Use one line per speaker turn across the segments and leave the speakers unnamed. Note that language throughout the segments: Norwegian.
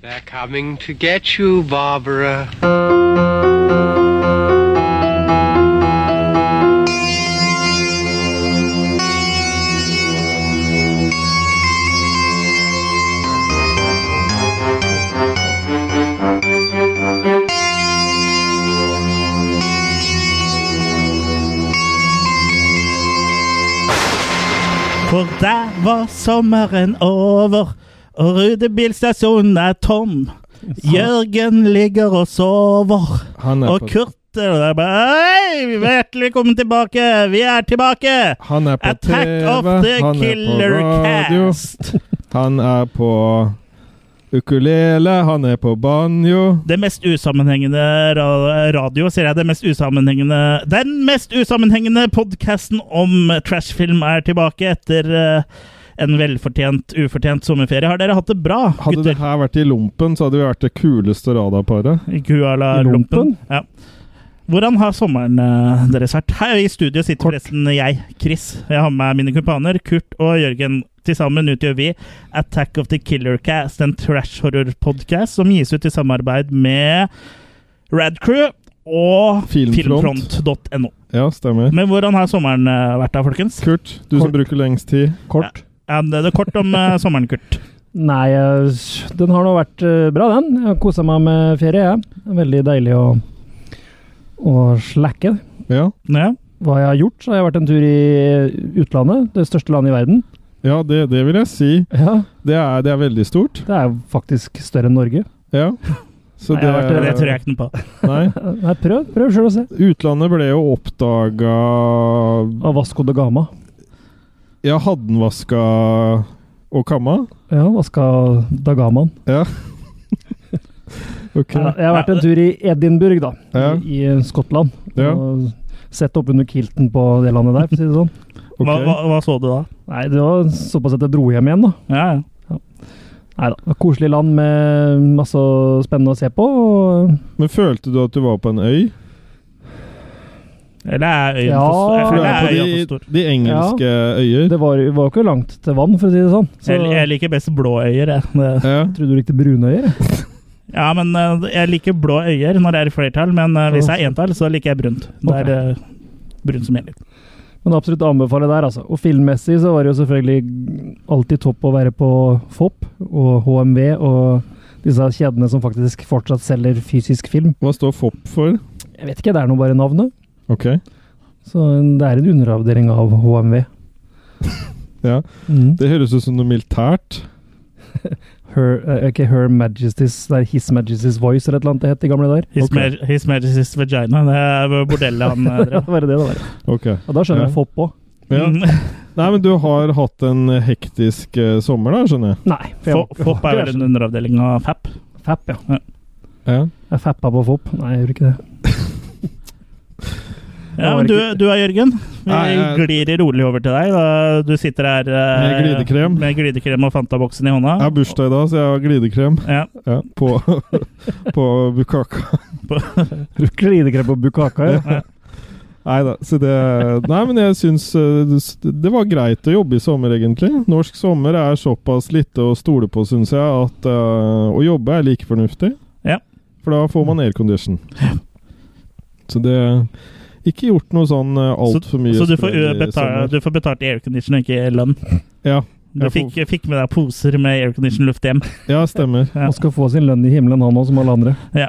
They're coming to get you, Barbara.
For der var sommeren over, og rudebilstasjonen er tom. Jørgen ligger og sover,
Han er
og
på,
Kurt er bare Hei, hjertelig velkommen tilbake! Vi er tilbake!
han er på TV,
Attack of the
han er på
Killer
radio,
Cast!
han er på ukulele, han er på banjo.
Det mest usammenhengende ra- radio, sier jeg. Det mest usammenhengende Den mest usammenhengende podkasten om trashfilm er tilbake etter eh, en velfortjent, ufortjent sommerferie. Har dere hatt det bra,
Hadde det
gutter?
her vært i lompen, så hadde vi vært det kuleste radaparet.
I Kuala Lumpen? Ja. Hvordan har sommeren eh, deres vært? Her i studio sitter forresten jeg, Chris. Jeg har med meg mine kumpaner, Kurt og Jørgen. Til sammen utgjør vi Attack of the Killer Cast, en trash horror-podkast som gis ut i samarbeid med Radcrew og
Filmfront.
filmfront.no.
Ja, stemmer.
Men hvordan har sommeren eh, vært da, folkens?
Kurt, du som bruker lengst tid.
Kort.
Ja, det er kort om eh, sommeren, Kurt.
Nei, eh, den har nå vært eh, bra, den. Jeg har kosa meg med ferie, jeg. Veldig deilig å, å slakke.
Ja.
Ja.
Hva jeg har gjort, så har jeg vært en tur i utlandet. Det største landet i verden.
Ja, det, det vil jeg si.
Ja,
Det er, det er veldig stort.
Det er jo faktisk større enn Norge.
Ja. Så
Nei, jeg har vært-
Det tror jeg ikke noe på.
Nei.
Nei, prøv, prøv sjøl å se.
Utlandet ble jo oppdaga
Av Vasco de Gama.
Ja, Haddenvaska og Kamma.
Ja, Vasca da Gamaen.
Ok.
Ja, jeg har vært en tur i Edinburgh, da.
Ja.
I, i Skottland.
Ja.
Og sett oppunder kilten på det landet der, for å si det sånn.
ok.
Hva, hva, hva så du da?
Nei, det var såpass at jeg dro hjem igjen, da.
Ja, ja.
Nei da. Koselig land med masse spennende å se på. Og
Men følte du at du var på en øy?
Eller er øyen
Ja,
for stor?
For
Eller
Du er
det
er
på
øya for
de,
stor?
de engelske øyer.
det var, var jo ikke langt til vann, for å si det sånn. Så
Jeg, jeg
jeg
liker best blå øyer. Jeg. Det-
Ja.
trodde du likte brunøyer. jeg.
Ja, men eh, jeg liker blå øyer når det er i flertall, men eh, hvis det er entall, så liker jeg brunt. Da er det brunt som gjelder.
Men absolutt anbefale der, altså. Og filmmessig så var det jo selvfølgelig alltid topp å være på FOP og HMV og disse kjedene som faktisk fortsatt selger fysisk film.
Hva står FOP for?
Jeg vet ikke, det er nå bare navnet.
Ok.
Så det er en underavdeling av HMV.
Ja.
Mm.
Det høres ut som noe militært.
Her, eh, ok, Her Majesty's Det er His Majesty's Voice eller et eller annet det het i gamle dager.
His,
Ok.
ma- his Majesty's Vagina. Det er bordellet han eh,
Ja,
drev.
bare det, det var.
Ok.
Og da skjønner
Ja.
jeg FOP òg.
Ja.
Mm.
Nei, men du har hatt en hektisk eh, sommer, da, skjønner jeg.
Nei. for jeg
Fo-
var-
Fopp er vel en underavdeling av FAP.
Fapp, ja.
Ja.
Jeg fappa på FOP. Nei, jeg gjorde ikke det.
Ja, men du, du er Jørgen.
Nei,
Vi
jeg-
glir rolig over til deg. Da du sitter her eh,
Med glidekrem.
med glidekrem og Fanta-boksen i hånda.
Jeg har bursdag i dag, så jeg har glidekrem
Ja.
ja, på, på bukaka.
Glidekrem på Bukaka, ja.
Nei da, så det Nei, men jeg syns eh, det det var greit å jobbe i sommer, egentlig. Norsk sommer er såpass lite å stole på, syns jeg, at eh, å jobbe er like fornuftig.
Ja.
For da får man aircondition. Så det Ikke gjort noe sånn eh, altfor mye
Så du får,
sprell i
eh, betale,
sommer.
du får betalt i aircondition, og ikke i lønn.
Ja,
Du
Jeg
fikk, fikk med deg poser med aircondition-luft hjem.
ja, stemmer.
Ja.
Han skal få sin lønn i himmelen, han òg, som alle andre.
Ja.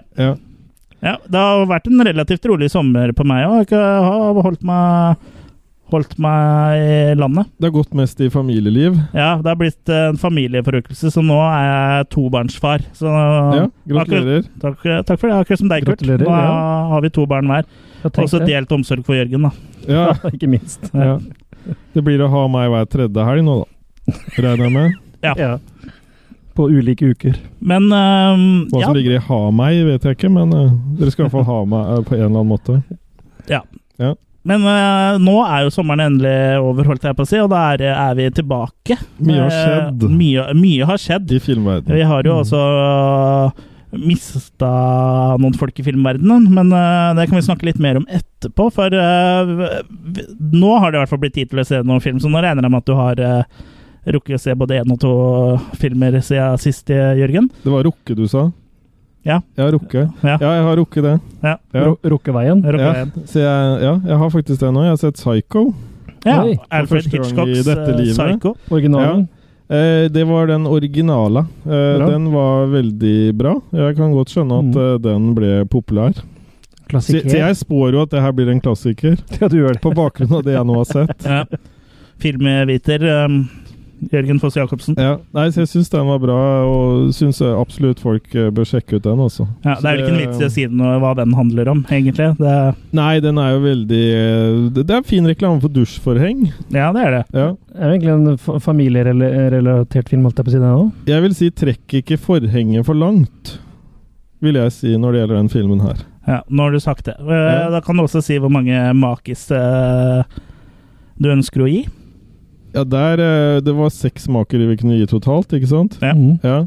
Ja, det har vært en relativt rolig sommer på meg òg. Jeg har holdt meg, holdt meg i landet.
Det har gått mest i familieliv.
Ja, det har blitt eh, en familieforøkelse, så nå er jeg tobarnsfar. Så
Ja, gratulerer.
takk, takk for det. Akkurat som deg, Kurt.
Gratulerer,
Nå er-
ja.
har vi to barn hver.
Jeg
Og så
tenkte det.
delt omsorg for Jørgen, da.
Ja,
Ikke minst.
ja. Det blir å ha meg hver tredje helg nå, da. Regner jeg med.
Ja.
På ulike uker.
Men ehm,
Hva
ja,
som ligger i ha meg, vet jeg ikke, men eh, dere skal i hvert fall ha meg eh, på en eller annen måte.
men eh, nå er jo sommeren endelig over, holdt jeg på å si, og da er, er vi tilbake.
Mye har
Eh,
skjedd Mm.
Mye, mye har skjedd.
i filmverdenen.
Vi har jo også mista noen folk i filmverdenen, men eh, det kan vi snakke litt mer om etterpå. uh, For eh, v- nå har det i hvert fall blitt tid til å se noen film, så nå regner jeg med at du har eh, rukket å se både én og to filmer siden sist, eh, Jørgen.
Det var Rukke du sa?
Ja.
Jeg har Rukke.
Ja.
Ja, jeg har Rukke det.
Ja.
Ja.
Ru- Rukke veien.
Rukket
Ja.
igjen.
Så jeg, ja, jeg har faktisk det nå. Jeg har sett Psycho.
Ja,
Oi.
Alfred
For første gang
Hitchcocks
i dette
eh,
livet.
Psycho.
Originalen.
Eh, det var den originale. Eh,
Bra.
den var veldig bra. Jeg kan godt skjønne at
Mm.
eh, den ble populær. Så,
Klassiker.
så jeg spår jo at det her blir en klassiker,
Ja, du gjør det.
på bakgrunn av det jeg nå har sett.
Ja. Filmviter um, Jørgen Foss Jacobsen.
Ja. Nei, så jeg syns den var bra, og syns absolutt folk eh, bør sjekke ut den, altså.
Ja, det er vel ikke en vits i å si noe hva den handler om, egentlig. Det,
Nei, den er jo veldig eh, Det det er fin reklame for dusjforheng.
ja, det er det.
Ja.
Det er jo egentlig en fa- familierelatert film, holdt jeg på å si det nå.
Jeg vil si trekk ikke forhenget for langt, vil jeg si når det gjelder den filmen her.
Ja, nå har du sagt det. Eh,
Ja.
Da kan du også si hvor mange makis eh, du ønsker å gi.
Ja, der eh, Det var seks makere vi kunne gi totalt, ikke sant?
Ja.
Mm.
Ja.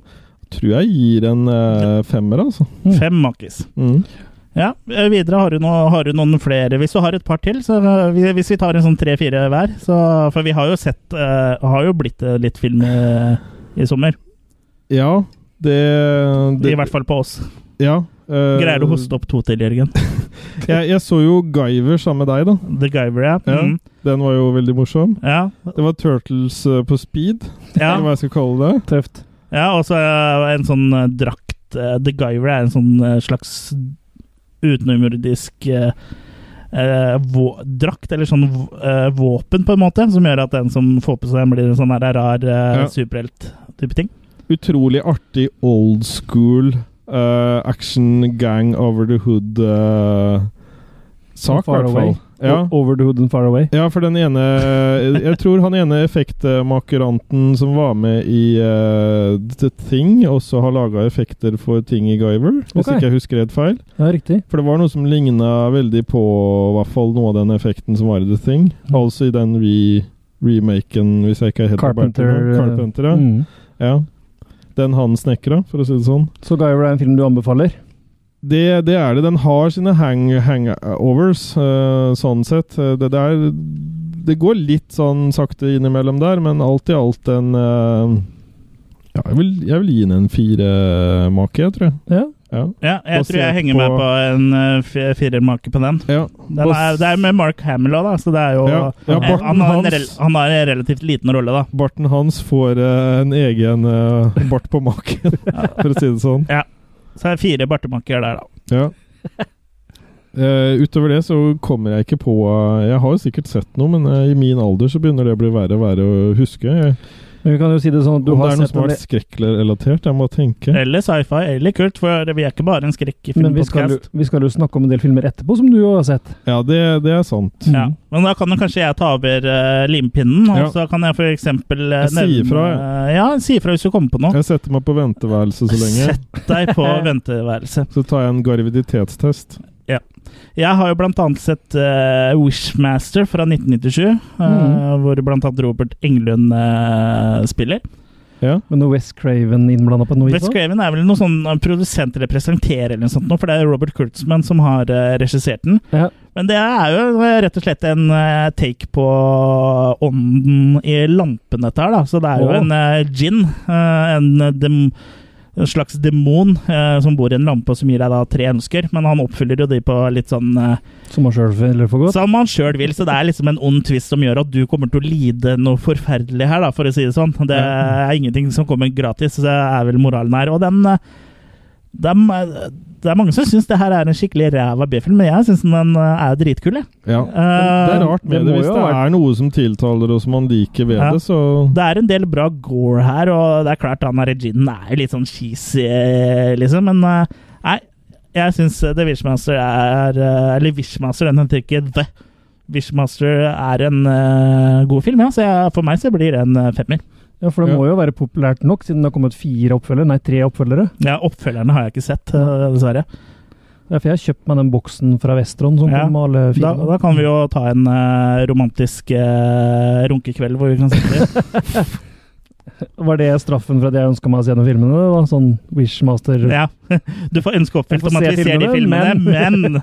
Tror jeg gir en eh, femmer, altså.
Mm.
Fem makis.
Mm.
Ja, eh, videre har du, noe, har du noen flere. Hvis du har et par til, så eh, vi- hvis vi tar en sånn tre-fire hver så, For vi har jo sett eh, Har jo blitt eh, litt film eh, i sommer.
Ja, det, det
I hvert fall på oss.
Ja. eh,
Greier du å hoste opp to til, Jørgen?
Jeg, jeg så jo Guyver sammen med deg, da.
The Guyver, ja.
Ja.
Mm.
Den var jo veldig morsom.
ja.
Det var Turtles eh, på speed,
ja.
eller hva jeg skal kalle det.
Tøft.
Ja, og så eh, en sånn eh, drakt eh, The Giver er en sånn eh, slags utenomjordisk eh, eh, vå- drakt, eller sånn v- eh, våpen, på en måte, som gjør at den som får på seg den, blir en sånn her rar eh,
Ja.
superhelt-type ting.
Utrolig artig old school eh, action gang over the hood eh, sak, i
Far
hvert
away.
fall. Ja.
O- Over the hood and far away.
ja, for den ene jeg- Jeg tror han ene effektmakeranten som var med i eh, The Thing, også har laga effekter for ting i Guyver, hvis
Ok.
ikke jeg husker helt feil.
Ja, riktig.
For det var noe som ligna veldig på i hvert fall noe av den effekten som var i The Thing.
Mm.
Altså i den re remaken, hvis jeg ikke er helt på bærten
Carpenter.
nå.
eh,
Carpenter ja.
Mm.
ja. Den han snekra, for å si det sånn.
Så Guyver er en film du anbefaler?
Det, det er det. Den har sine hang, hangovers, eh, sånn sett. Eh, Det, det, er, det går litt sånn sakte innimellom der, men alt i alt en eh, ja, jeg vil, jeg vil gi den en firemake, jeg, tror jeg.
Ja.
Ja.
Ja, jeg tror jeg
Basert
henger
på-
meg på en eh, f- firermake på den.
ja.
den er, det er med Mark Hamill òg, da, så det er jo
Ja, ja,
eh,
Barton
han, har en
Hans.
rel han har en relativt liten rolle, da.
Barten hans får eh, en egen eh, bart på maken, for å si det sånn.
Så er det fire bartemaker der, da.
Ja. Eh, utover det så kommer jeg ikke på eh, Jeg har jo sikkert sett noe, men eh, i min alder så begynner det å bli verre og verre å huske. Jeg,
Men vi kan jo si det sånn at du
om
har
det er noe
sett
som
en
har
del,
vært skrekkrelatert, jeg må tenke.
Eller sci-fi, eller kult, for vi er ikke bare en skrekk i
men vi skal, jo-
filmpodkast.
vi skal jo snakke om en del filmer etterpå som du jo har sett.
Ja, det, det er sant.
Ja, men da kan jo kanskje jeg ta over eh, limpinnen, og
Ja.
så kan jeg for eksempel eh,
Jeg sier fra,
eh, Ja, si ifra hvis du kommer på noe.
Jeg setter meg på venteværelset så lenge.
Sett deg på venteværelset.
Så tar jeg en graviditetstest.
Jeg har jo blant annet sett eh, Wishmaster fra 1997, eh,
Mm.
Mhm.
hvor blant annet Robert Englund eh, spiller.
Ja.
Men noe West Craven innblanda på noe?
Wes Craven er vel noen sånn eh, produsent eller presenterer eller noe sånt, nå, for det er Robert Kurtzman som har eh, regissert den.
Ja.
Men det er jo eh, rett og slett en eh, take på ånden i lampen, dette her. da. Så det er jo
Åh.
en eh, gin, eh, en, eh, dem, en slags demon eh, som bor i en lampe og som gir deg da tre ønsker, men han oppfyller jo de på litt sånn eh,
Som han sjøl føler for godt?
som han sjøl vil. Så det er liksom en ond twist som gjør at du kommer til å lide noe forferdelig her, da, for å si det sånn. Det
Ja.
er ingenting som kommer gratis, det er vel moralen her. Og den eh, dem, eh, Det er mange som syns det her er en skikkelig ræva B-film, men jeg syns den eh, er dritkul, jeg.
Ja. Det er
Eh,
rart med
det
det.
må
Hvis
jo
det
ha vært-
er noe som tiltaler og som man liker ved
Ja.
det, så
det er en del bra gore her, og det er klart han Reginen er jo litt sånn cheesy, liksom, men eh, nei. Jeg syns eh, The Wishmaster er eh, Eller Wishmaster, den heter ikke The. Wishmaster er en eh, god film, ja, så jeg, for meg så blir det en eh, femmer.
Ja, for det
Ja.
må jo være populært nok, siden det har kommet fire oppfølgere, nei, tre oppfølgere.
Ja, Oppfølgerne har jeg ikke sett, eh, dessverre.
Det er for jeg har kjøpt meg den boksen fra Vesterålen som
Ja.
kom med alle
Da,
filmene.
da kan vi jo ta en eh, romantisk eh, runkekveld hvor vi kan sitte.
Var det straffen for at jeg ønska meg å se gjennom filmene? da? Sånn Wishmaster
Ja. Du får ønske oppfylt
Jeg får
om at
se
vi ser de filmene, men
filmene,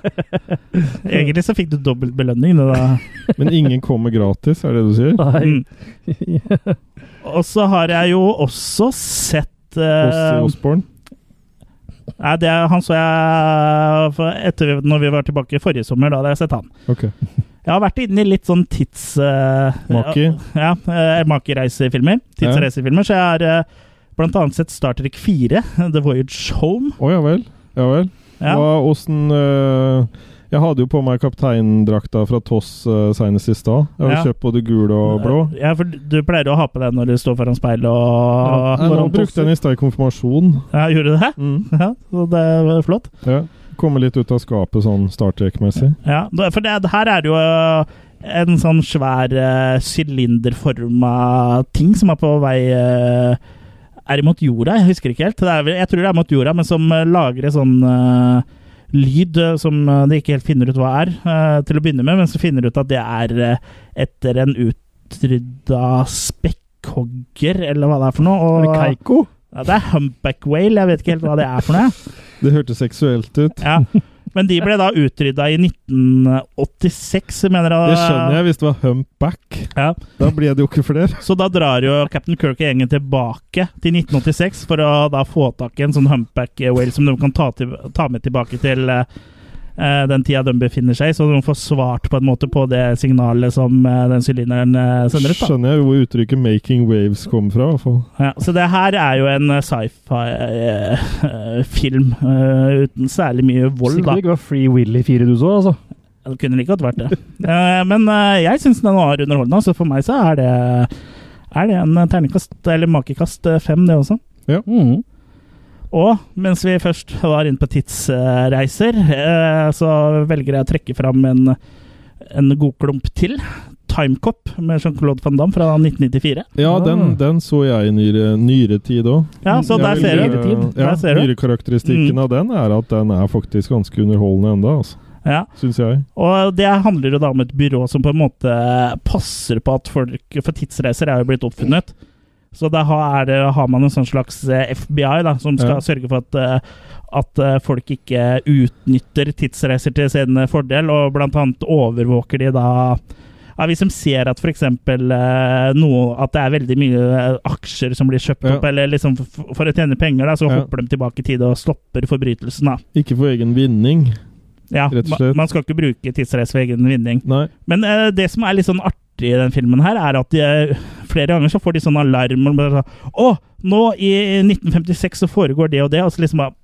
Egentlig så fikk du dobbelt belønning, du da.
Men ingen kommer gratis, er det du sier?
Nei.
Mm. Og så har jeg jo også sett
Ozzy
eh,
Osbourne.
Nei, det er- han så jeg for etter vi- når vi var tilbake forrige sommer. Da hadde jeg sett han.
Ok.
Jeg har vært inne i litt sånn tids... eh,
Maki.
Ja, eh, makereisefilmer. Tidsreisefilmer. Så jeg har eh, blant annet sett Star Trek 4, The Voyage Home.
Å ja vel. Ja vel.
Ja.
Hva, åssen eh, Jeg hadde jo på meg kapteindrakta fra Toss eh, senest i stad. Jeg har
Ja.
jo kjøpt både gul og blå.
Eh, Ja, for du pleier å ha på den når du står foran speilet og
Jeg har brukt den i stad i konfirmasjon.
Ja, gjorde du det?
Mm.
Ja, så det var flott.
Ja. Komme litt ut av skapet sånn Star Trek-messig.
Ja, da- for det, her er det jo eh, en sånn svær eh, sylinderforma ting som er på vei eh, Er imot jorda, jeg husker ikke helt. Det er, vel- jeg tror det er mot jorda, men som eh, lager en sånn eh, lyd eh, som eh, de ikke helt finner ut hva er, eh, til å begynne med, men så finner de ut at det er eh, etter en utrydda spekkhogger, eller hva det er for noe.
Er det
Og,
Keiko?
ja, det er humpback whale, jeg vet ikke helt hva det er for noe. jeg.
Det hørtes seksuelt ut.
Ja. Men de ble da utrydda i 1986, mener jeg.
Det skjønner jeg hvis det var humpback.
Ja.
Da ble det jo ikke flere.
Så da drar jo Captain Kirk og gjengen tilbake til 1986 for å da få tak i en sånn humpback whale som de kan ta, til, ta med tilbake til eh, eh, den tida de befinner seg i, så de får svart på en måte på det signalet som eh, den sylinderen eh, sender ut. da.
Skjønner jeg jo hvor uttrykket 'making waves' kom fra. i hvert fall.
Ja, så det her er jo en eh, sci-fi-film eh, uten særlig mye vold,
Sikkert
da.
ikke var Free Willy 4 du så, altså.
Ja, Det kunne like godt vært det. Eh, Men eh, jeg syns den var underholdende, så for meg så er det, er det en terningkast, eller makekast eh, fem, det også.
Mm.
Og mens vi først var inne på tidsreiser, eh, så velger jeg å trekke fram en, en god klump til. Timecop med Jean-Claude van Damme fra 1994.
Ja, den,
Ah.
den så jeg i nyere, nyere tid òg.
Ja, så
Mm, Ja,
der
veldig
ser du.
nyere tid.
Ja,
Der ser du.
Nyrekarakteristikken
Mm.
av den er at den er faktisk ganske underholdende enda, altså.
Ja.
syns jeg.
Og det handler jo da om et byrå som på en måte passer på at folk For tidsreiser er jo blitt oppfunnet. Så da ha- er det, har man en sånn slags eh, FBI da, som skal
Ja.
sørge for at, eh, at eh, folk ikke utnytter tidsreiser til sin fordel, og blant annet overvåker de da ja, Hvis de ser at f.eks. noe At det er veldig mye eh, aksjer som blir kjøpt
Ja.
opp, eller liksom for, for å tjene penger, da, så
Ja.
hopper de tilbake i tid og stopper forbrytelsen. da.
Ikke for egen vinning.
Ja,
Rett og
ma-
slett.
Man skal ikke bruke tidsreise for egen vinning.
Nei.
Men eh, det som er litt sånn artig i den filmen her, er at de, flere ganger så får de sånn alarm og bare sånn Å, nå i 1956 så foregår det og det, og så liksom bare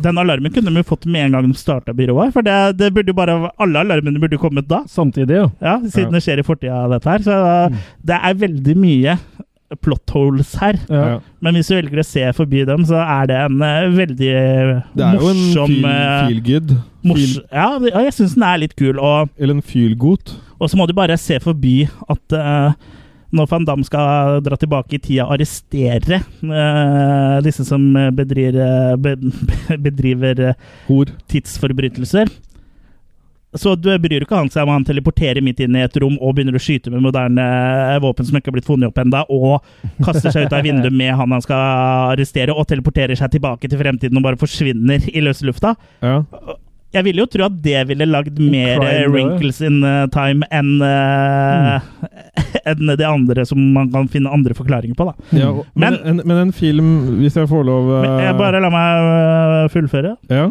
Den alarmen kunne de jo fått med en gang de starta byrået, for det, det burde jo bare Alle alarmene burde jo kommet da.
Samtidig, ja.
Ja, siden
Ja.
det skjer i fortida, dette her. Så eh,
Mm.
det er veldig mye plot holes her.
ja.
Ja.
Men hvis du velger å se forbi dem, så er det en eh, veldig
Det er jo en
morsom
feel,
eh,
feelgood.
mors
Feel,
Ja, jeg syns den er litt kul. og
eller en feelgood.
og så må du bare se forbi at eh, når Van Damme skal dra tilbake i tida og arrestere eh, disse som bedrir, eh, be, bedriver eh,
Hor.
tidsforbrytelser så du bryr ikke han seg om han teleporterer midt inn i et rom og begynner å skyte med moderne eh, våpen som ikke er blitt funnet opp ennå, og kaster seg ut av vinduet med han han skal arrestere, og teleporterer seg tilbake til fremtiden og bare forsvinner i løse lufta.
Ja.
Jeg ville jo tro at det ville lagd mer
Crime,
eh,
det.
wrinkles in eh, time enn eh, enn det andre som man kan finne andre forklaringer på, da.
ja og- men,
Men-
en, men en film, hvis jeg får lov eh,
Men jeg bare la meg eh, fullføre.
ja.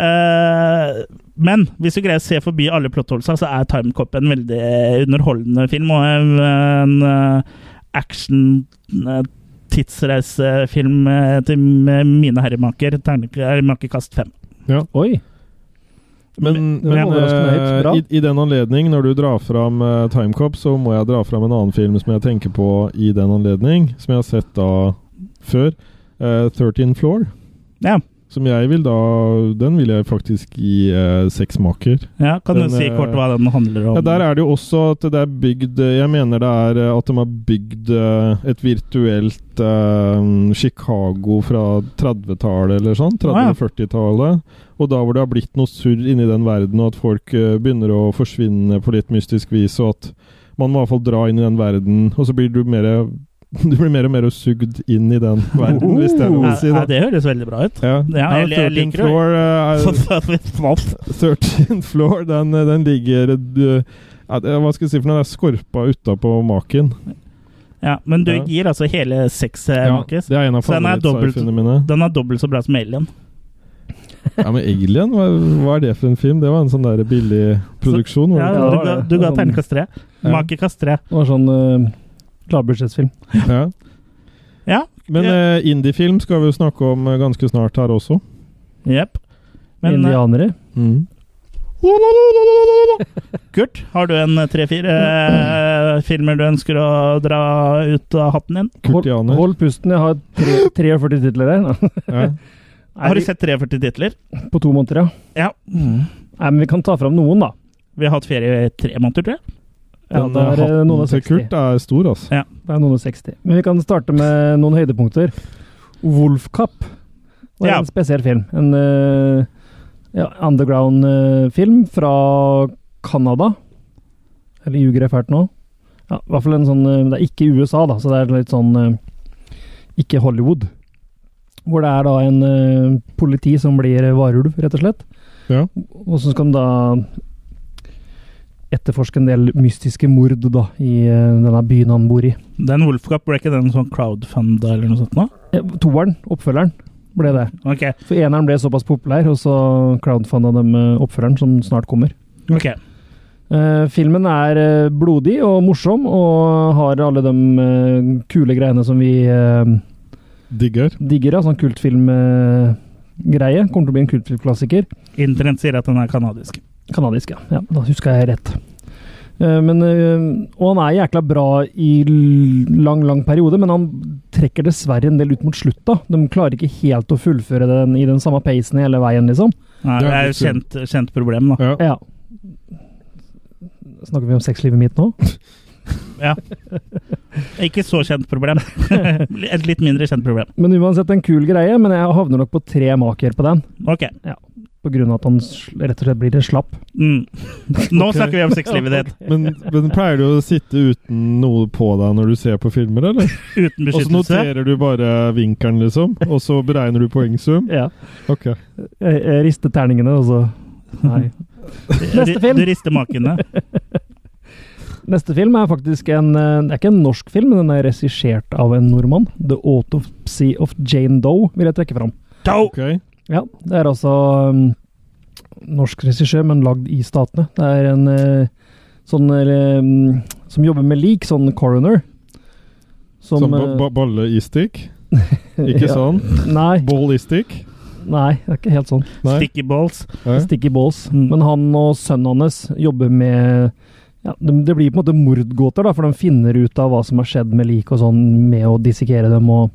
Eh, men hvis du greier å se forbi alle plottholdelser, så er Time Cop en veldig underholdende film, og en, en eh, action eh, tidsreisefilm eh, til mine herremaker. Ternek- Herremakekast fem.
Oi.
Men,
Det
men
var
eh,
overraskende høyt. Bra.
i, i den anledning, når du drar fram eh, Timecop, så må jeg dra fram en annen film som jeg tenker på i den anledning, som jeg har sett da før. Eh, 13 Floor.
Ja,
Som jeg vil da Den vil jeg faktisk gi eh, seksmaker.
ja, kan
Den,
du si
eh,
kort hva den handler om?
Ja, der er det jo også at det er bygd Jeg mener det er eh, at de har bygd eh, et virtuelt eh, Chicago fra 30-tallet eller sånn.
Ah, ja.
30-40-tallet. Og da hvor det har blitt noe surr inni den verden, og at folk eh, begynner å forsvinne på litt mystisk vis, og at man må i hvert fall dra inn i den verden, og så blir du mer du blir mer og mer sugd inn i den verden, hvis det er lov å
Ja,
si.
ja,
Da.
det høres veldig bra ut.
Ja.
Ja, jeg- jeg
13
liker det.
floor, eh, er,
ja,
13th floor, den, den ligger eh, ja, det- Hva skal jeg si for noe? Det er skorpa utapå maken.
Ja, men du
Ja.
gir altså hele seks, eh,
Ja,
Markus.
det er en av
Så den er dobbelt-
favorittsci-fi-filmene mine.
Den er dobbelt så bra som Alien.
Ja, men Alien, hva, hva er det for en film? Det var en sånn der billig produksjon.
Ja,
var det
det
du,
var
ga,
det.
du ga
Sånn-
terningkast tre.
Ja.
Makekast tre.
Det var sånn uh, klarbudsjettsfilm.
ikke? Ja.
Ja.
Men eh, indiefilm skal vi jo snakke om eh, ganske snart her også.
Jepp. Men eh,
Indianere.
Mm.
Kurt, har du en eh, tre-fire eh, filmer du ønsker å dra ut av hatten din?
Hold,
Kurtianer.
hold pusten, jeg har tre- 43 titler her.
Ja.
Har du sett 43 titler?
På to måneder, ja.
Ja.
Nei, men vi kan ta fram noen, da.
Vi har hatt ferie i tre måneder, tror jeg.
Ja,
Den
det er eh, noen
hatten
og
til
60.
Kurt er stor, altså.
Det er noen og 60. Men vi kan starte med noen høydepunkter. Wolfkapp var
Ja.
en spesiell film. En eh, ja, underground-film fra Canada. Eller ljuger jeg fælt nå? Ja, i hvert fall en sånn eh, Det er ikke USA, da, så det er litt sånn eh, Ikke Hollywood. Hvor det er da en eh, politi som blir varulv, rett og slett.
Ja.
Og så skal de da etterforske en del mystiske mord da, i eh, denne byen han bor i.
Den Wolfcup, ble ikke den sånn crowdfund eller noe sånt nå?
Eh, Toeren, oppfølgeren, ble det.
Ok.
For eneren ble såpass populær, og så crowdfunda de eh, oppfølgeren, som snart kommer.
ok.
Eh, filmen er eh, blodig og morsom, og har alle de eh, kule greiene som vi eh,
Digger.
digger. da, Sånn kultfilmgreie. Kommer til å bli en kultfilmklassiker.
Internett sier at den er kanadisk.
Kanadisk, ja. ja. Da huska jeg rett. Eh, Men, eh, og han er jækla bra i l- lang, lang periode, men han trekker dessverre en del ut mot slutt. da. De klarer ikke helt å fullføre den i den samme peisen hele veien, liksom.
Nei,
Det er
det er jo
litt synd.
kjent, kjent problem, da.
Ja.
Ja. Snakker vi om sexlivet mitt nå?
Ikke så kjent problem. Et litt mindre kjent problem.
Men uansett en kul greie, men jeg havner nok på tre maker på den.
Ok.
På grunn av at han sl- rett og slett blir en slapp.
Mm. Nå snakker vi om sexlivet ditt.
Men, men pleier du å sitte uten noe på deg når du ser på filmer, eller?
Uten
Og så
beskyttelse.
noterer du bare vinkelen, liksom? Og så beregner du poengsum?
Ja.
Ok.
Jeg, jeg rister terningene, altså. og så Nei. Neste film.
Du rister makene.
Neste film er faktisk en eh, Det er ikke en norsk film, men den er regissert av en nordmann. 'The Autopsy of Jane Doe' vil jeg trekke fram.
Dope!
ok.
Ja, Det er altså um, norsk regissør, men lagd i Statene. Det er en eh, sånn eh, um, som jobber med lik, sånn coroner.
Som, Sånn ba
eh,
ba balle i stikk? Ikke
ja.
sånn?
Nei,
Ball i stikk?
nei, det er ikke helt sånn.
Nei?
Sticky balls.
Ja.
Sticky balls.
Mm.
Men han og sønnen hans jobber med ja, det, det blir på en måte mordgåter, da, for de finner ut av hva som har skjedd med lik og sånn, med å dissekere dem og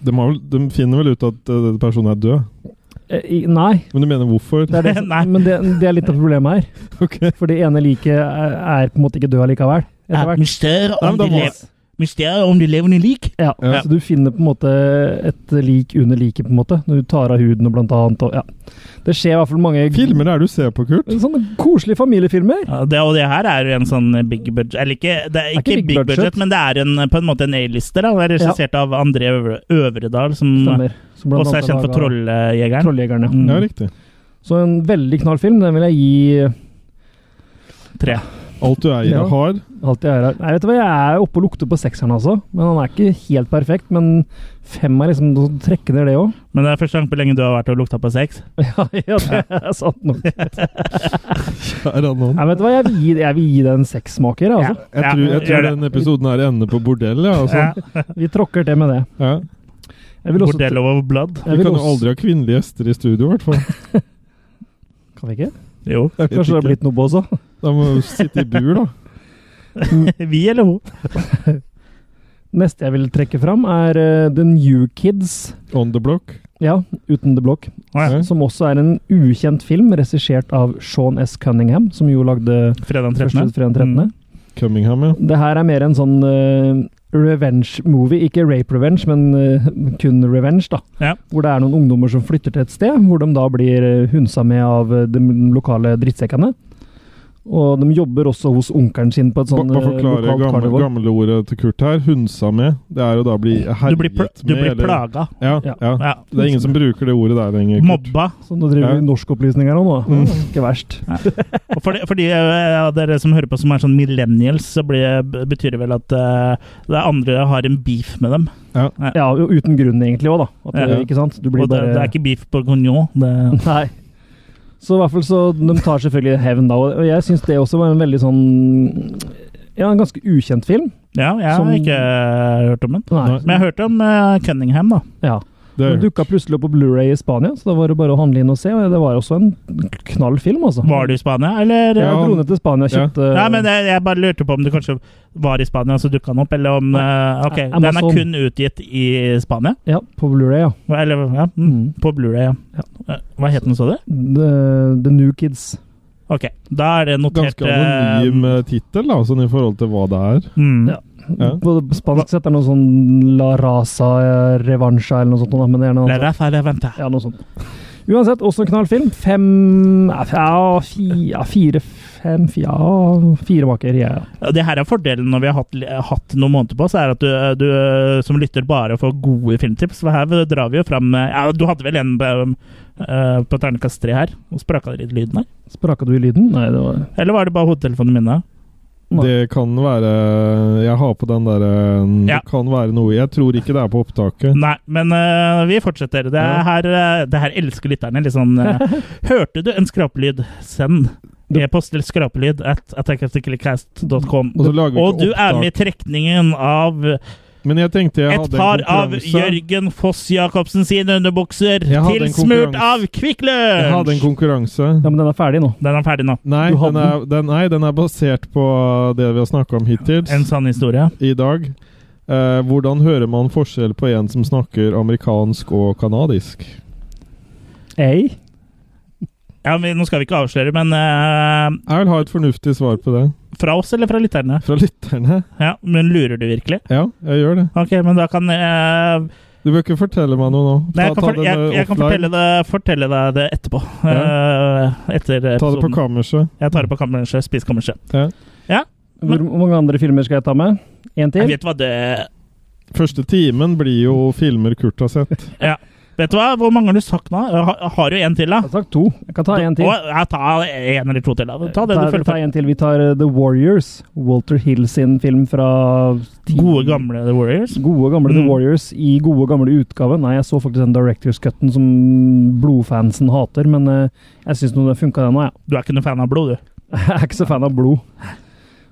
De, har vel, de finner vel ut at eh, personen er død?
Eh, i- Nei.
Men du mener hvorfor?
Det er det, som-
Nei.
men det, det er litt av problemet her.
Ok.
For det ene liket er, er på en måte ikke død likevel. Etter hvert.
Mysteriet
Nei, men da må-
mysteriet om de levende lik.
Ja,
Ja.
Så du finner på en måte et lik under liket, på en måte. Når du tar av huden og blant annet. Og, ja. Det skjer i hvert fall mange
Filmer det er du ser på, Kurt?
Sånne koselige familiefilmer.
Ja, det, og det her er jo en sånn big budget Eller ikke, det er ikke, big, budget, men det er en, eh, på en måte en A-lister. da. Det er Regissert av André Øvre, Øvredal, som
Stemmer. Som blant
også Mm. er
annet
kjent for
laget-
Trolljegeren.
Trolljegeren. ja.
Mm.
Ja, riktig.
Så en veldig knall film. Den vil jeg gi
Tre.
Alt du eier
Ja.
og har.
alt jeg er her. Nei, vet du hva, jeg er oppe og lukter på sekseren, altså. Men han er ikke helt perfekt. Men fem er liksom å trekke ned det òg.
Men det er første gang på lenge du har vært og lukta på sex.
Ja, ja, det er sant nok.
Er det noen?
Nei, vet du hva, jeg vil gi, jeg vil gi det en seksmaker, altså.
Jeg
Ja,
tror, jeg
gjør
tror
det.
den episoden her ender på bordell, ja. Altså.
Ja.
Vi tråkker til med det.
Ja.
Jeg vil også,
Bordello of Blood.
jeg
Vi
vil
kan jo
også-
aldri ha kvinnelige gjester i studio, i hvert fall.
Kan vi ikke?
Jo.
Jeg vet
Kanskje det har
ikke.
blitt noe på også.
Da må vi sitte i bur, da.
Vi eller hun.
Neste jeg vil trekke fram, er eh, The New Kids.
On the block.
Ja, uten The Block.
Å ja.
Ja.
Som også er en ukjent film, regissert av Sean S. Cunningham, som jo lagde
Fredag den Mm. 13.
Første fredag den
Mm.
13.
Cummingham, ja.
Det her er mer en sånn eh, revenge-movie. Ikke rape revenge, men eh, kun revenge, da.
Ja.
Hvor det er noen ungdommer som flytter til et sted, hvor de da blir eh, hunsa med av eh, de lokale drittsekkene. Og de jobber også hos onkelen sin på et
Ba-
sånn,
sånt
Bare
eh,
forklare
lokalt
gammel,
karneval.
gamleordet til Kurt her. Hunsa med. Det er å da bli
Du
herjet
blir, pl
med.
du blir
eller-
plaga.
Ja,
Ja.
ja.
Ja.
Det er ingen som bruker det ordet der lenger. Kurt.
Mobba.
Så nå driver vi
Ja.
norskopplysning her òg, nå.
Mm.
Ikke verst.
Og for de, for de eh, av dere som hører på som er sånn millennials, så blir, b- betyr det vel at eh, det er andre har en beef med dem.
Ja, og uten grunn egentlig òg, da. At,
Ja.
eh, Ikke sant? Du blir
Og det,
bare
det er ikke beef bourguignon. Det,
Nei. Så i hvert fall så De tar selvfølgelig hevn da, og jeg syns det også var en veldig sånn Ja, en ganske ukjent film.
ja, jeg
Som-
har ikke eh, hørt om den.
Nei.
Men jeg har hørt om eh, Cunningham, da.
Ja.
Det
Den
er,
dukka plutselig opp på Blu-ray i Spania, så da var det bare å handle inn og se. og Det var også en knall film, altså.
Var du i Spania, eller?
Jeg
Ja.
dro ned til Spania og
Ja.
kjøpte
Nei, men jeg, jeg bare lurte på om du kanskje var i Spania, så dukka den opp, eller om eh, Ok,
Nei,
den er
Amazon.
kun utgitt i Spania?
Ja, på Blu-ray, ja.
Eller, ja, mm, på Blu-ray, ja. Eh, Hva het den, så du?
The, Mm. The New Kids.
Ok, da er det notert
ganske anonym eh, tittel, da, sånn i forhold til hva det er.
eh, mm.
Ja.
Ja.
På spansk sett er det noe sånn La Raza eh, Revancha eller noe sånt. da, Men det er noe
La raza levanta.
Ja, noe sånt. Uansett, også en knallfilm. Fem ja, f- ja, fi, ja, fire fem, fi- ja, fire baker. Ja, ja.
Ja, Det her er fordelen når vi har hatt, hatt noen måneder på oss, er at du, du som lytter bare får gode filmtips. For her drar vi jo fram ja, Du hadde vel en på, eh, på ternekast tre her, og spraka det litt lyden her?
Spraka du i lyden? Nei, det var
Eller var det bare hodetelefonene mine?
Nei.
Det kan være Jeg har på den derre
Ja.
Det kan være noe Jeg tror ikke det er på opptaket.
Nei, men eh, vi fortsetter. Det
Ja.
her, eh, det her elsker lytterne. Litt sånn eh, Hørte du en skrapelyd? Send. E-post til skrapelyd at attackoftheclickcast.com.
Og så lager vi
Og
ikke
du er med i
opptak. trekningen
trekningen av
Men jeg tenkte jeg
et
hadde en
par av
konkurranse.
Jørgen Foss Jacobsen sine underbukser
Jeg hadde en
tilsmurt
konkurranse.
av Kvikk
Jeg hadde en
Lunsj!
konkurranse.
Ja, men den er ferdig nå.
Den er ferdig nå.
Nei,
Du
den
hadde
er, den, nei, den er basert på det vi har snakka om
En
hittil
sann historie.
i dag. Eh, hvordan hører man forskjell på en som snakker amerikansk og kanadisk?
Ei?
Ja, men Nå skal vi ikke avsløre, men eh,
Jeg vil ha et fornuftig svar på det.
fra oss eller fra lytterne?
Fra lytterne?
Ja, Men lurer du virkelig?
Ja, jeg gjør det.
Ok, men da kan eh,
Du bør ikke fortelle meg noe nå.
Nei, jeg kan, for, jeg,
eh,
jeg kan fortelle, deg, fortelle deg det etterpå. Eh, etter
Ta det på
episoden.
kammerset.
jeg tar det på kammerset. Spis kammerset.
Hvor mange andre filmer skal jeg ta med? Én
Jeg
til?
vet hva det
Første timen blir jo filmer Kurt har sett.
Vet du hva? Hvor mange har du sagt nå? Jeg har- jeg Har du en til, da?
Jeg har sagt to. Jeg kan ta én til.
Å, jeg tar en eller to til. da. Ta det
Ta-
du føler
ta
for.
en til. Vi tar eh, The Warriors. Walter Hill sin film fra ti-
Gode, gamle The Warriors.
Gode gamle
Mm.
The Warriors i gode gamle utgave. Nei, jeg så faktisk den Directors Cutten som blodfansen hater, men eh, jeg syns nå det funka, den òg, jeg.
Du er ikke noen fan av blod, du.
Jeg er ikke så fan av blod.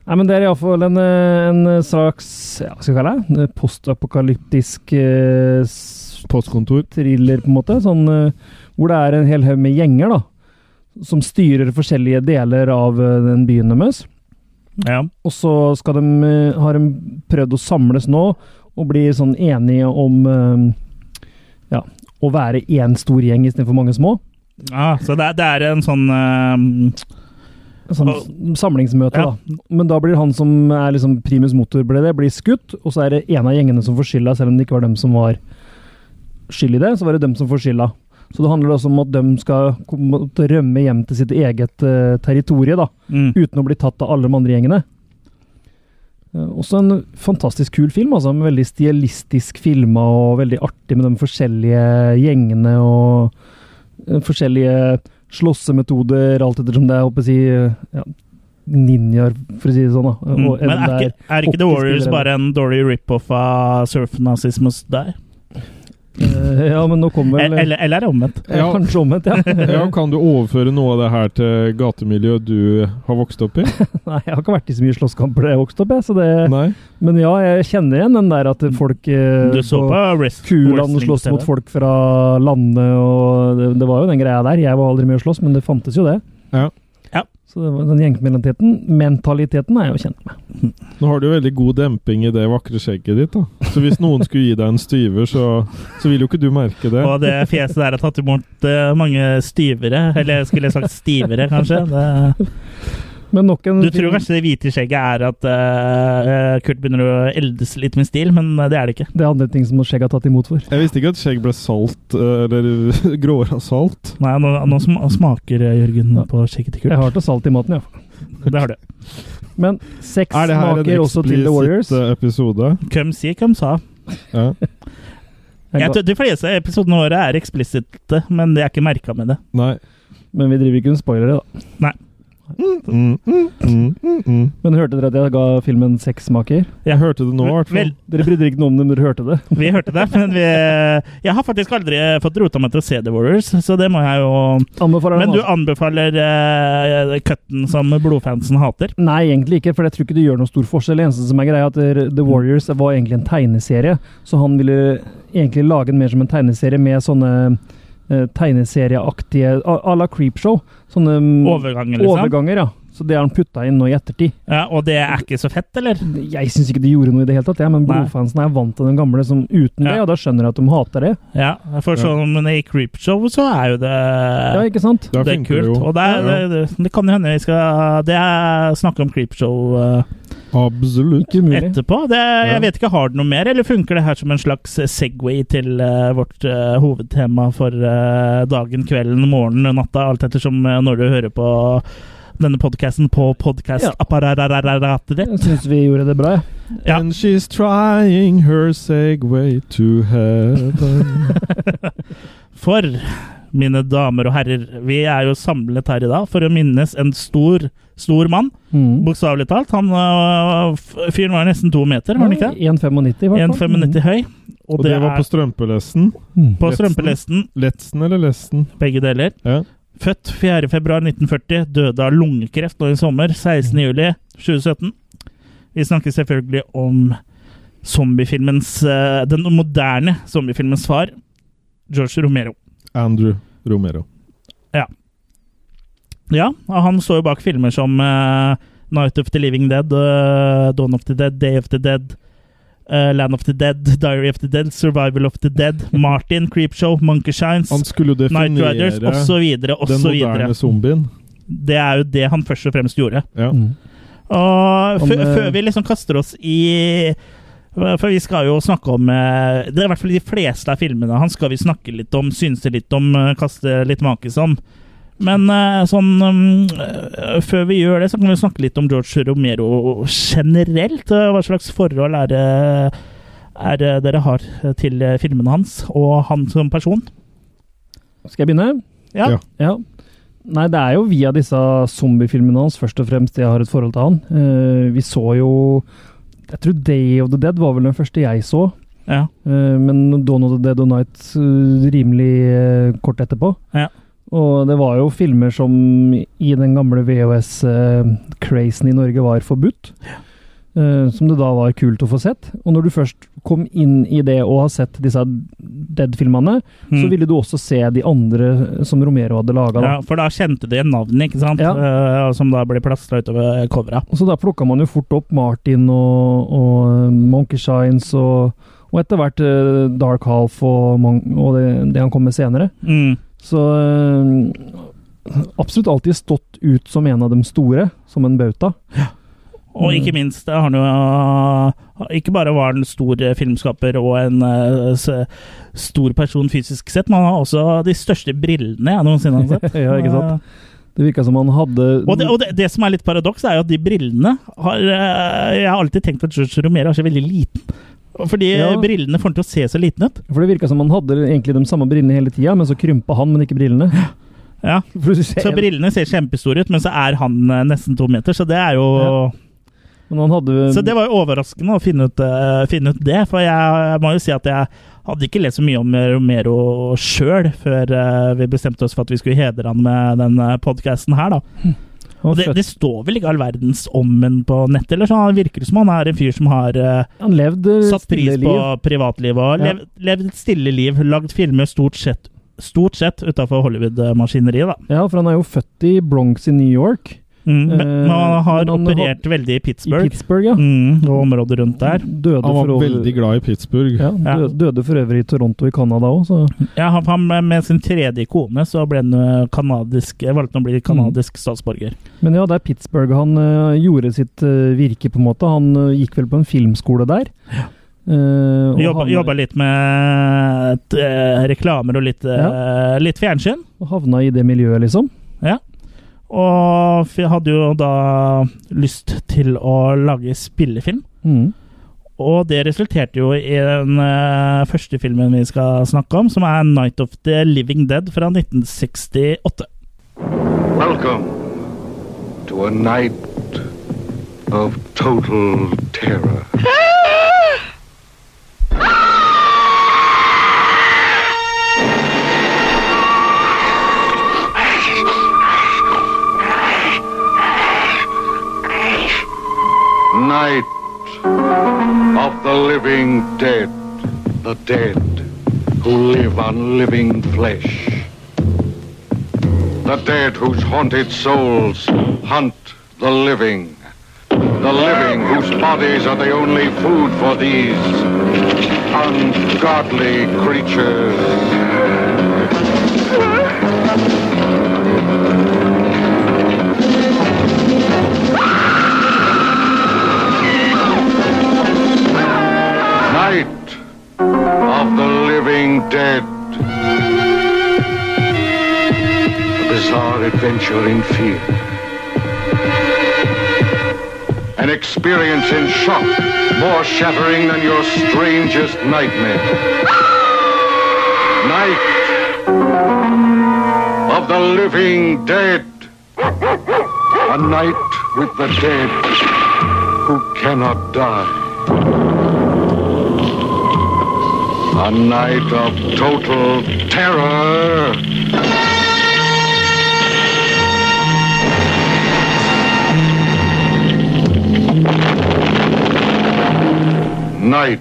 Nei, men Det er iallfall en, eh, en slags ja, hva skal jeg kalle det? En eh, postapokalyptisk eh, s-
Postkontor.
thriller, på en måte. Sånn, eh, hvor det er en hel haug med gjenger da, som styrer forskjellige deler av eh, den byen deres.
Ja.
Og så skal de, eh, har de prøvd å samles nå og bli sånn enige om eh, ja, å være én stor gjeng istedenfor mange små.
Ah, så det, er- det er en sånn eh,
Sånn
Og-
s- samlingsmøte,
Ja.
da. Men da blir han som er liksom primus motor, ble det, blir skutt, og så er det en av gjengene som får skylda, selv om det ikke var dem som var skyld i det, så var det dem som får skylda. Så det handler også om at de skal kom- måtte rømme hjem til sitt eget eh, territorie, da,
mm.
uten å bli tatt av alle de andre gjengene. Eh, også en fantastisk kul film, altså. en Veldig stilistisk filma og veldig artig med de forskjellige gjengene og eh, forskjellige slåssemetoder, alt ettersom det er, håper jeg, å si, eh, ja, ninjaer, for å si det sånn. da.
Mm.
Og
Men
om
er
det
ikke, er ikke The
hockeyspillere
Warriors
eller-
bare en dårlig rip-off av Surf Nazismus der?
er- eh, Ja, men nå kommer vel
Eller, eller er det omvendt?
eh,
Ja.
Kanskje omvendt, ja.
Ja, Kan du overføre noe av det her til gatemiljøet du har vokst opp i?
Nei, jeg har ikke vært i så mye slåsskamper da jeg vokste opp, jeg. Så det,
Nei?
men ja, jeg kjenner igjen den der at folk eh,
Du så
på-
på Wrest-
Kulan
wrestling
slåss
TV.
mot folk fra landet, og det, det var jo den greia der. Jeg var aldri med å slåss, men det fantes jo det.
Ja.
Ja.
Så det var den gjengmentaliteten mentaliteten er jeg jo kjent med.
Nå har du jo veldig god demping i det vakre skjegget ditt, da. Så hvis noen skulle gi deg en styver, så, så vil jo ikke du merke det.
Og det fjeset der har tatt imot eh, mange stivere. Eller jeg skulle sagt stivere, kanskje. Det,
Men nok en
du tror kanskje det hvite skjegget er at eh, Kurt begynner å eldes litt med stil, men eh, det er det ikke.
Det er andre ting som skjegget har tatt imot for.
Jeg visste ikke at skjegg ble salt, eh, eller gråere av salt.
Nei, nå, nå sm- smaker eh, Jørgen på skjegget til
Jeg
Kurt.
har til salt i maten, ja.
Det har du.
Men sex
Er det her en
smaker også til The Warriors.
eksplisitt eh, episode?
Hvem si, hvem sa.
Ja.
Jeg tror De fleste episodene våre er eksplisitte, men det er ikke merka med det.
Nei.
Men vi driver ikke med spoilere, da.
Mm, mm, mm, mm, mm.
Men hørte dere at jeg ga filmen seks smaker?
Ja.
Hørte du nå, i hvert
Vel,
fall?
Dere brydde dere ikke noe om det, men dere hørte det.
vi hørte det, men vi Jeg har faktisk aldri fått rota meg til å se The Warriors, så det må jeg jo
Anbefaler den,
Men du
altså.
anbefaler eh, cutten som blodfansen hater?
Nei, egentlig ikke, for jeg tror ikke det gjør noen stor forskjell. Det eneste som er greia, er at eh,
Mm.
The Warriors var egentlig en tegneserie, så han ville egentlig lage den mer som en tegneserie med sånne eh, tegneserieaktige à à la Creepshow. Sånne mm,
Overgangen, liksom?
overganger, ja. Så det har han putta inn nå i ettertid.
Ja, og det er ikke så fett, eller?
Jeg syns ikke de gjorde noe i det hele tatt, jeg, men
Nei.
blodfansen er vant til den gamle som uten det,
Ja.
og da skjønner jeg at de hater det.
Ja, for
Ja.
sånn i Creepshow så er jo det
Ja, ikke sant?
Da
det er
funker det
kult.
jo.
Og det, er, eh,
Ja.
det, det kan jo hende vi skal Det er snakk om Creepshow eh,
Absolutt.
Ikke umulig.
etterpå. Det,
Ja.
jeg vet ikke, Har det noe mer, eller funker det her som en slags Segway til eh, vårt eh, hovedtema for eh, dagen, kvelden, morgenen og natta, alt ettersom uh, når du hører på denne podkasten på
Ja.
podkastapparatet ditt?
Jeg syns vi gjorde det bra, jeg.
Ja.
And she's trying her segway to heaven.
For, mine damer og herrer, vi er jo samlet her i dag for å minnes en stor, stor mann.
Mm.
Bokstavelig talt. Han øh, f- fyren var nesten to meter, var han ikke? det?
1,95 i hvert fall.
1,95 høy. Og,
Og
det,
det var
er
på strømpelesten.
Mm.
på
Letsen.
strømpelesten,
Letsen eller lesten?
begge deler.
Ja.
Født 4.2.1940, døde av lungekreft nå i sommer,
Mm.
16.07.2017. Vi snakker selvfølgelig om zombiefilmens øh, Den moderne zombiefilmens far, George Romero.
Andrew Romero.
Ja, og han står jo bak filmer som eh, Night of the Living Dead, eh, Dawn of the Dead, Day of the Dead, eh, Land of the Dead, Diary of the Dead, Survival of the Dead, Martin, Creepshow, Monkey Shines,
Han skulle jo
Night Riders,
definere
osv.,
den moderne
osv.
zombien.
Det er jo det han først og fremst gjorde.
Ja.
Mm.
Og
Han,
fø-
eh,
før vi liksom kaster oss i For vi skal jo snakke om eh, Det er i hvert fall de fleste av filmene hans skal vi snakke litt om, synse litt om, eh, kaste litt makis om. Men eh, sånn mm, eh, Før vi gjør det, så kan vi snakke litt om George Romero generelt. eh, Hva slags forhold er det er det dere har til eh, filmene hans, og han som person?
Skal jeg begynne?
Ja.
Ja.
Ja. Nei, det er jo via disse zombiefilmene hans først og fremst jeg har et forhold til han. Eh, vi så jo Jeg tror Day of the Dead var vel den første jeg så.
Ja.
Eh, men Dawn of the Dead og Night eh, rimelig eh, kort etterpå.
Ja.
Og det var jo filmer som i den gamle VHS-crazen eh, i Norge var forbudt. Eh, som det da var kult å få sett. Og når du først kom inn i det og har sett disse Dead-filmene, så
Mm.
ville du også se de andre som Romero hadde laga.
ja, For da kjente de navnet, ikke sant?
Ja.
Eh, som da ble plastra utover covera.
Så da plukka man jo fort opp Martin og, og eh, Monkey Shines og, og etter hvert eh, Dark Half og, Mon og det, det han kom med senere.
Mm.
Så eh, absolutt alltid stått ut som en av de store, som en bauta.
Og
Mm.
ikke minst eh, har han jo Ikke bare var han en stor eh, filmskaper og en eh, s- stor person fysisk sett, men han har også de største brillene jeg noensinne har sett.
ja, ikke sant? Det virka som han hadde
Eh, Og, det, og det, det som er litt paradoks, er jo at de brillene har eh, Jeg har alltid tenkt at George Romero er så veldig liten. Fordi
Ja.
eh, brillene får han til å se så liten ut.
For det virka som han hadde egentlig de samme brillene hele tida, men så krympa han, men ikke brillene.
Ja.
For du ser-
Så brillene ser kjempestore ut, men så er han eh, nesten to meter, så det er jo
men han hadde
Så det var jo overraskende å finne ut, eh, finne ut det, for jeg, jeg må jo si at jeg hadde ikke lest så mye om Romero sjøl før eh, vi bestemte oss for at vi skulle hedre han med denne podkasten her, da.
han
Og det,
født-
det står vel ikke all verdens om ham på nettet, eller så han virker det som han er en fyr som har eh,
Han levde
satt pris
stille
på
liv.
privatlivet og
Ja.
lev, levd et stille liv, lagd filmer stort sett Stort sett utafor Hollywood-maskineriet, da.
Ja, for han er jo født i Bronx i New York.
Mm. Men men han har
men han
operert veldig i
I
Pittsburgh
Pittsburgh, ja.
mm, og området rundt der.
Døde
Han var
for over-
veldig glad i Pittsburgh.
ja,
Ja.
dø- Døde for øvrig i Toronto i Canada òg, så
Ja, han, han med sin tredje kone så ble han eh, kanadisk, eh, valgte han å bli
Mm.
kanadisk statsborger.
Men ja, det er Pittsburgh han eh, gjorde sitt eh, virke, på en måte. Han eh, gikk vel på en filmskole der. Eh, og
Jobba,
havna-
jobba litt med eh, reklamer og eh, litt, eh, litt fjernsyn.
og havna i det miljøet, liksom.
Og f- hadde jo da lyst til å lage spillefilm.
Mm.
Og det resulterte jo i den eh, første filmen vi skal snakke om, som er 'Night of the Living Dead' fra 1968.
Welcome to a night of total terror. Night of the living dead, the dead who live on living flesh. The dead whose haunted souls hunt the living. The living whose bodies are the only food for these ungodly creatures. Night of the living dead. A bizarre adventure in fear. An experience in shock more shattering than your strangest nightmare. Night of the living dead. A night with the dead who cannot die. A night of total terror. night.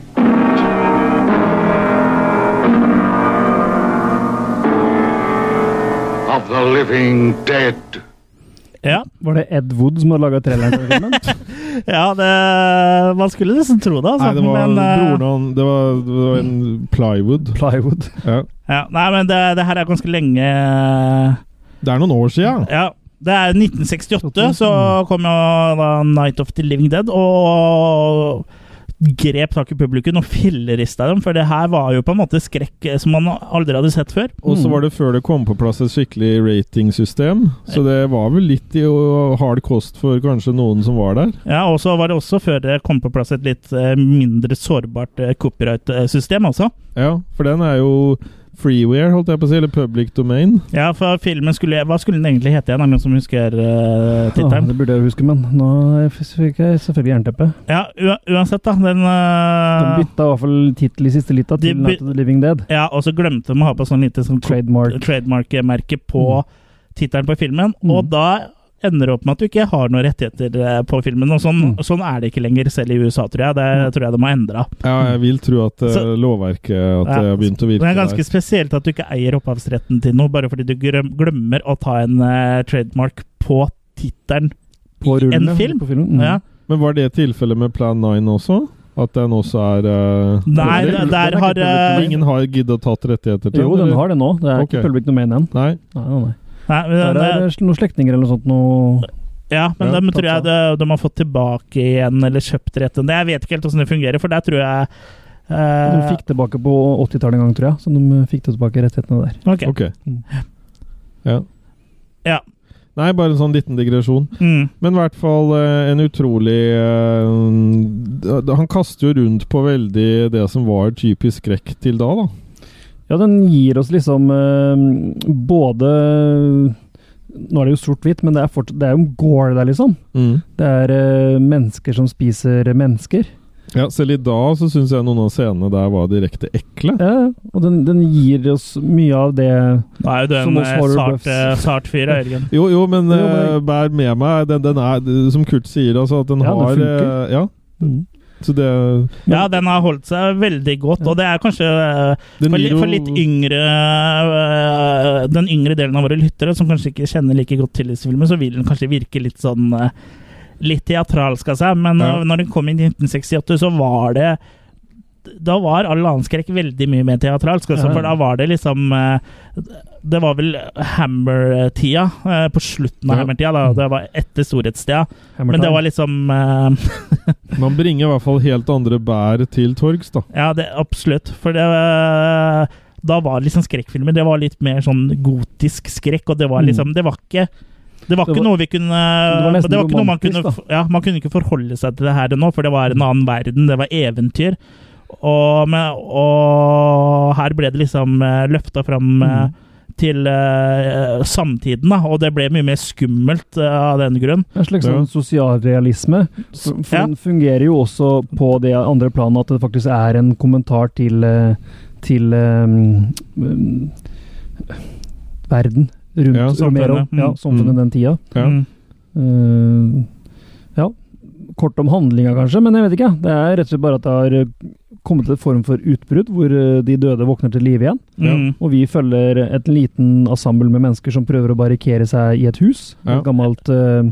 Of the living dead.
Ja,
Var det Ed Wood som hadde laga traileren? til filmen?
ja det, man skulle nesten tro det, altså.
Nei, det var
men, eh,
broren han det var, det var en plywood.
Plywood.
Ja.
ja, Nei, men det, det her er ganske lenge eh,
Det er noen år sia.
Ja, det er 1968, så kom jo da 'Night of the Living Dead' og grep tak i publikum og fillerista dem, for det her var jo på en måte skrekk eh, som man aldri hadde sett før.
Og så var det før det kom på plass et skikkelig ratingsystem. Så det var vel litt i å- hard kost for kanskje noen som var der.
Ja, og så var det også før det kom på plass et litt eh, mindre sårbart eh, copyright-system også.
Ja, for den er jo freeware, holdt jeg på å si. Eller public domain.
Ja, for filmen skulle Hva skulle den egentlig hete igjen? Er det noen som husker uh,
Ja,
tittelen?
det burde jeg huske, men nå fikk jeg selvfølgelig jernteppe.
Ja, ua- uansett, da. Den
De
eh,
bytta i hvert fall tittel i siste lita
De by-
til Night of the Living Dead.
Ja, og så glemte de å ha på sånn lite sånn
Trademark.
trademark-merke på tittelen på filmen, og
Mm.
da ender det opp med at du ikke har noen rettigheter eh, på filmen. Og sånn,
Mm.
sånn er det ikke lenger, selv i USA, tror jeg. Det tror jeg de har endra.
Ja, jeg vil tro at eh,
Så-
lovverket
Ja,
at det har begynt å virke
Det er
der.
ganske spesielt at du ikke eier opphavsretten til noe, bare fordi du grøm- glemmer å ta en eh, trademark på tittelen i
På
en
rullene,
film.
På filmen. Mm.
Ja.
Men var det tilfellet med Plan 9 også? At den også er eh,
Nei,
det-
der,
den er
der
ikke
har eh,
Ingen har giddet å tatt rettigheter til
Jo, den
eller?
har det nå. Det er
Ok.
ikke public domain igjen.
Nei.
Nei, nei, nei.
nei, men,
Der er
eh,
det noen slektninger eller noe sånt. Noe...
Ja, men
Ja,
dem
tatt
tror jeg
seg.
de, de har fått tilbake igjen, eller kjøpt retten. Jeg vet ikke helt åssen det fungerer, for der tror jeg
De
eh,
fikk tilbake på 80-tallet en gang, tror jeg. Så de eh, fikk tilbake rettighetene der.
ok.
Ok.
Mm.
Ja.
Ja.
Nei, bare en sånn liten digresjon.
Mm.
Men i hvert fall eh, en utrolig eh, d- Han kaster jo rundt på veldig det som var typisk skrekk til da, da.
Ja, den gir oss liksom eh, både Nå er det jo sort-hvitt, men det er, fortsatt, det er jo gore der, liksom. Det er eh, mennesker som spiser mennesker.
Ja, selv i dag så syns jeg noen av scenene der var direkte ekle.
Ja, og den, den gir oss mye av det
Da er jo du
Som
en
hos
eh,
Horror
sart,
Buffs.
eh, sart fyr, da, Jørgen.
Jo, jo, men
Jo, men-
eh, bær med meg den, den er, Som Kurt sier, altså, at den
Ja, den
har
funker.
eh, Ja,
Mm.
så det
Ja, den har holdt seg veldig godt, og det er kanskje eh,
den
for,
gir
li,
jo-
for litt yngre eh, Den yngre delen av våre lyttere, som kanskje ikke kjenner like godt til disse filmene, så vil den kanskje virke litt sånn eh, Litt teatralsk av seg, men
Ja.
eh, når den kom i 1968, så var det da var all annen skrekk veldig mye mer teatralsk, altså,
Ja.
for da var det liksom eh, Det var vel Hammer-tida, eh, på slutten av
Ja.
Hammer-tida, da. Det var etter storhetstida. Men det var liksom eh,
Man bringer i hvert fall helt andre bær til torgs, da.
Ja, det, absolutt. For det eh, Da var det liksom skrekkfilmer. Det var litt mer sånn gotisk skrekk, og det var liksom Det var ikke Det var
Mm. Det
ikke
var-
noe vi kunne
Det var nesten
det var ikke noe Man kunne
romantisk,
ja, man kunne ikke forholde seg til det her og nå, for det var en annen verden, det var eventyr. Og, men, og her ble det liksom løfta
Mm.
fram eh, til eh, samtiden, da, og det ble mye mer skummelt eh, av den grunn.
En slags
Ja.
sånn sosialrealisme. For, for
Ja.
Den fungerer jo også på det andre planet at det faktisk er en kommentar til eh, til eh, mm, verden rundt
Ja,
samfunnet.
Romero. Ja,
Mm.
samfunnet
Mm.
den tida.
Ja.
Mm.
Eh, ja. Kort om handlinga, kanskje, men jeg vet ikke. Det er rett og slett bare at det har eh, kommet til et form for utbrudd, hvor eh, de døde våkner til live igjen.
Mm.
Og vi følger et liten ensemble med mennesker som prøver å barrikere seg i et hus.
Ja.
Et gammelt eh,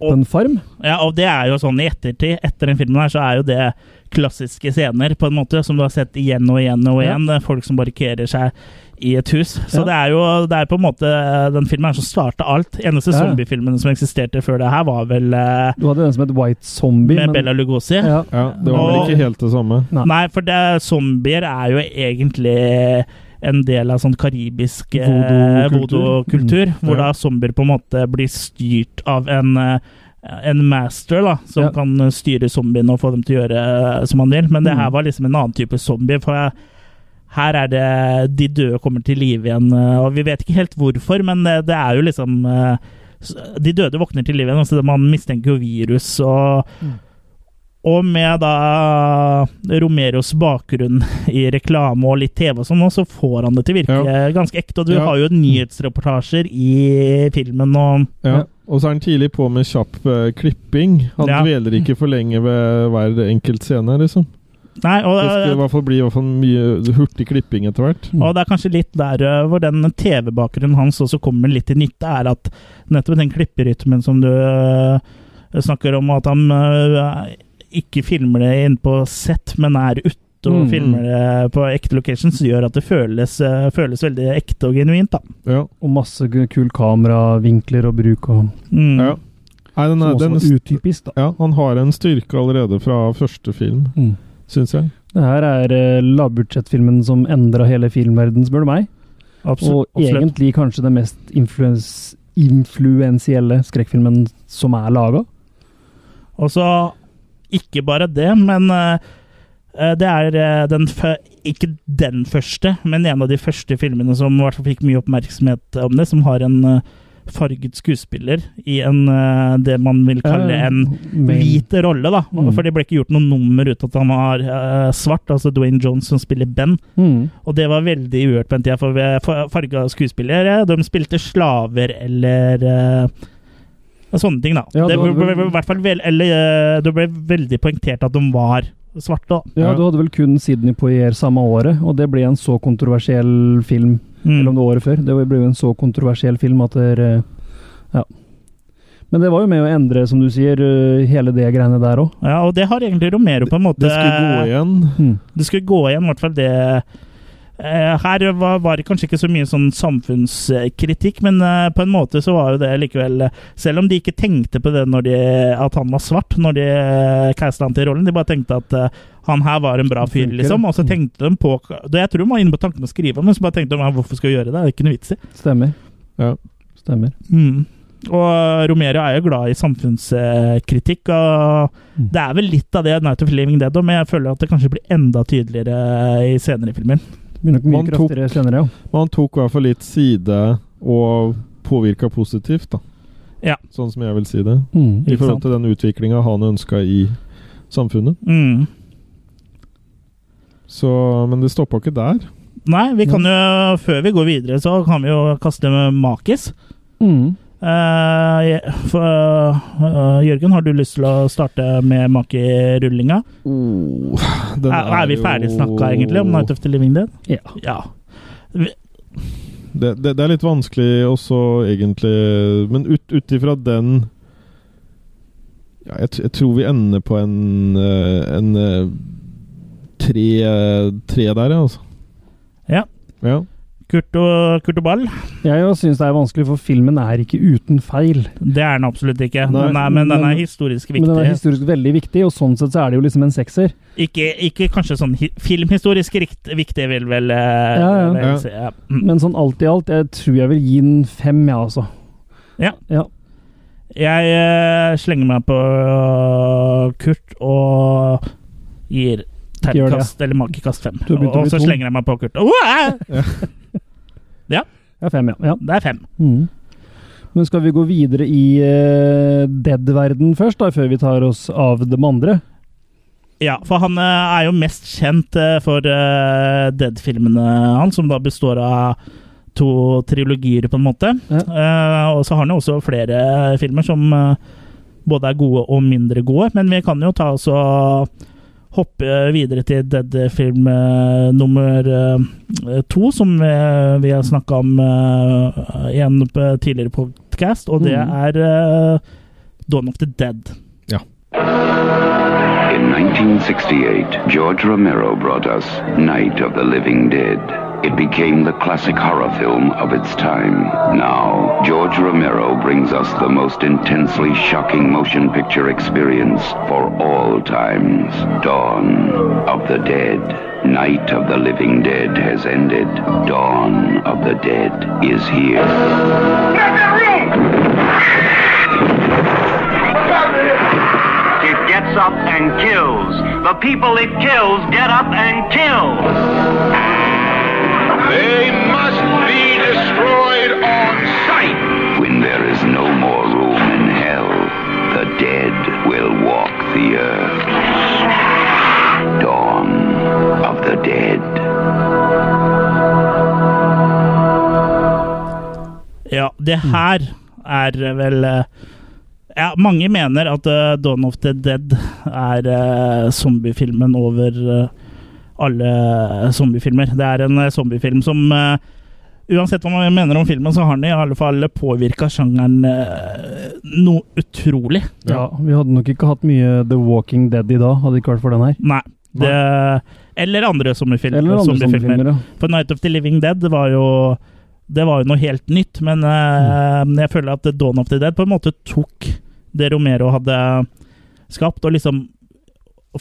Og-
på en farm.
Ja, og det er jo sånn i ettertid, etter den filmen her, så er jo det klassiske scener, på en måte, som du har sett igjen og igjen og
Ja.
igjen. Det er Folk som barrikerer seg i et hus. Så
Ja.
det er jo det er på en måte eh, den filmen her som starta alt. Eneste
Ja.
zombiefilmen som eksisterte før det her, var vel eh,
Du hadde den som het White Zombie.
med
men-
Bella Lugosi.
Ja.
ja, det var vel
Og-
ikke helt det samme.
Nei.
Nei, for det, zombier er jo egentlig en del av sånn karibisk eh,
Voodoo-kultur. Mm.
voodoo-kultur, hvor
Ja.
da zombier på en måte blir styrt av en eh, en master da, som
Ja.
kan styre zombiene og få dem til å gjøre eh, som han vil. Men det
Mm.
her var liksom en annen type zombie. For her er det de døde kommer til live igjen. eh, Og vi vet ikke helt hvorfor, men eh, det er jo liksom eh, s- De døde våkner til liv igjen. Altså man mistenker jo virus og
Mm.
Og med da Romeros bakgrunn i reklame og litt TV og sånn, nå, så får han det til å virke
Ja.
ganske ekte. Og du
Ja.
har jo nyhetsreportasjer i filmen og
Ja.
Ja.
Og så er han tidlig på med kjapp eh, klipping. Han
Ja.
dveler ikke for lenge ved hver enkelt scene, liksom.
Nei, og
Det skal i hvert fall bli i hvert fall mye hurtig klipping etter hvert.
Mm.
Og det er kanskje litt der ø, hvor den TV-bakgrunnen hans også kommer litt til nytte, er at nettopp den klipperytmen som du ø, snakker om, at han ø, ikke filmer det inne på sett, men er ute og
Mm.
filmer det på ekte locations, gjør at det føles, ø, føles veldig ekte og genuint, da.
Ja.
Og masse kul kameravinkler og bruk, og,
Mm.
Ja. Nei, den
som
er,
også
den,
var utypisk. da.
ja, han har en styrke allerede fra første film,
Mm.
syns jeg.
Det her er eh, lavbudsjettfilmen som endra hele filmverdenen, spør du meg.
Absolutt.
og
absolutt.
egentlig kanskje den mest influens influensielle skrekkfilmen som er laga.
Og så ikke bare det, men eh, eh, det er eh, den fø- ikke den første, men en av de første filmene som i hvert fall fikk mye oppmerksomhet om det, som har en eh, farget skuespiller i en, eh, det man vil kalle en hvit rolle, da.
Eh, Mm.
For det ble ikke gjort noe nummer ut at han var eh, svart, altså Dwayne Johnson spiller Ben.
Mm.
Og det var veldig uhørt på en tid, for vi- for- farga skuespillere de spilte slaver eller eh, sånne ting, da.
Ja,
det
det var
ble, ble,
vel-
ble, i hvert fall vel, eller, eh, det ble veldig poengtert at de var svarte, da.
Ja,
Ja.
du hadde vel kun Sydney Poitier samme året, og det ble en så kontroversiell film. Eller
Mm.
om det var året før. Det ble jo en så kontroversiell film at det eh, Ja. Men det var jo med å endre, som du sier, eh, hele det greiene der òg.
Ja, og det har egentlig Romero på en måte
Det skulle gå igjen.
Mm.
Det skulle gå igjen, i hvert fall det Eh, her var, var det kanskje ikke så mye sånn samfunnskritikk, men eh, på en måte så var jo det likevel eh, Selv om de ikke tenkte på det når de, at han var svart, når de eh, castet han til rollen, de bare tenkte at eh, han her var en bra
Han
fyr,
funker,
liksom.
ja.
Og så tenkte de på det, Jeg tror de var inne på tanken å skrive, men så bare tenkte de "Ja, hvorfor skal vi gjøre det? Det er ikke noe vits i.
Stemmer.
Ja.
Stemmer.
Mm. Og Romero er jo glad i samfunnskritikk, og
Mm.
det er vel litt av det Night of Living Dead òg, men jeg føler at det kanskje blir enda tydeligere eh, i senere filmer.
Det blir nok mye
Man tok-
kraftigere senere, ja.
Men han tok i hvert fall litt side og påvirka positivt, da.
Ja.
Sånn som jeg vil si det.
Mm.
I
Ikke sant?
forhold til den utviklinga han ønska i samfunnet.
Mm.
Så, men det stoppa ikke der.
Nei, vi kan jo, før vi går videre, så kan vi jo kaste med Makis.
Mm.
Eh, jeg- for, eh, Jørgen, har du lyst til å starte med Maki-rullinga?
Oh, Den
Er, er vi
jo-
ferdig snakka egentlig om Night of the Living Dead?
Ja.
ja.
det, det, det er litt vanskelig også, egentlig. Men ut, ut ifra den ja, jeg, tr- jeg tror vi ender på en, eh, en eh, tre, eh, tre der, ja, altså.
Ja.
ja.
Kurt og, Kurt og Ball?
Jeg jo syns det er vanskelig, for filmen er ikke uten feil.
Det er den absolutt ikke.
Nei,
den er, men den er
men-
historisk
Men den er
viktig.
historisk veldig viktig, og sånn sett så er det jo liksom en sekser.
Ikke, ikke kanskje sånn hi filmhistorisk rikt, viktig, vil vel eh,
Ja, ja.
vel
Ja.
si, ja. Mm.
Men sånn alt i alt, jeg tror jeg vil gi den fem, jeg, ja, altså.
Ja.
Ja.
Jeg eh, slenger meg på eh, Kurt og gir
Gjør det.
terningkast eller makekast fem.
Du har begynt å
Og
bli
så
tom.
slenger jeg meg på Kurt. Åh!
Ja, fem, ja. ja.
Det er fem.
Mhm. Men skal vi gå videre i eh, dead-verden først, da, før vi tar oss av dem andre?
Ja, for han eh, er jo mest kjent eh, for eh, Dead-filmene hans, som da består av to trilogier, på en måte.
Ja.
Eh, og så har han jo også flere filmer som eh, både er gode og mindre gode, men vi kan jo ta oss og hoppe videre til Dead-film eh, nummer eh, to, som vi, vi har snakka om eh, i en p- tidligere podcast, og det
Mhm.
er eh, Dawn of the Dead.
In 1968, George Romero brought us Night of the Living Dead. It became the classic horror film of its time. Now, George Romero brings us the most intensely shocking motion picture experience for all times. Dawn of the Dead. Night of the Living Dead has ended. Dawn of the Dead is here.
It gets up and kills. The people it kills get up and kill.
They must be destroyed on sight.
When there is no more room in hell, the dead will walk the earth. Dawn of the dead.
Ja, det her er vel eh, Ja, mange mener at eh, Dawn of the Dead er eh, zombiefilmen over eh, alle eh, zombiefilmer. Det er en eh, zombiefilm som eh, Uansett hva man mener om filmen, så har den i alle fall påvirka sjangeren eh, noe utrolig.
Ja. Vi hadde nok ikke hatt mye The Walking Dead i dag, hadde det ikke vært for den her.
Nei. Det, eller andre zombiefilmer.
Eller andre
zombiefilmer.
zombiefilmer. Ja.
For Night of the Living Dead det var jo Det var jo noe helt nytt, men eh, jeg føler at Dawn of the Dead på en måte tok det Romero hadde skapt, og liksom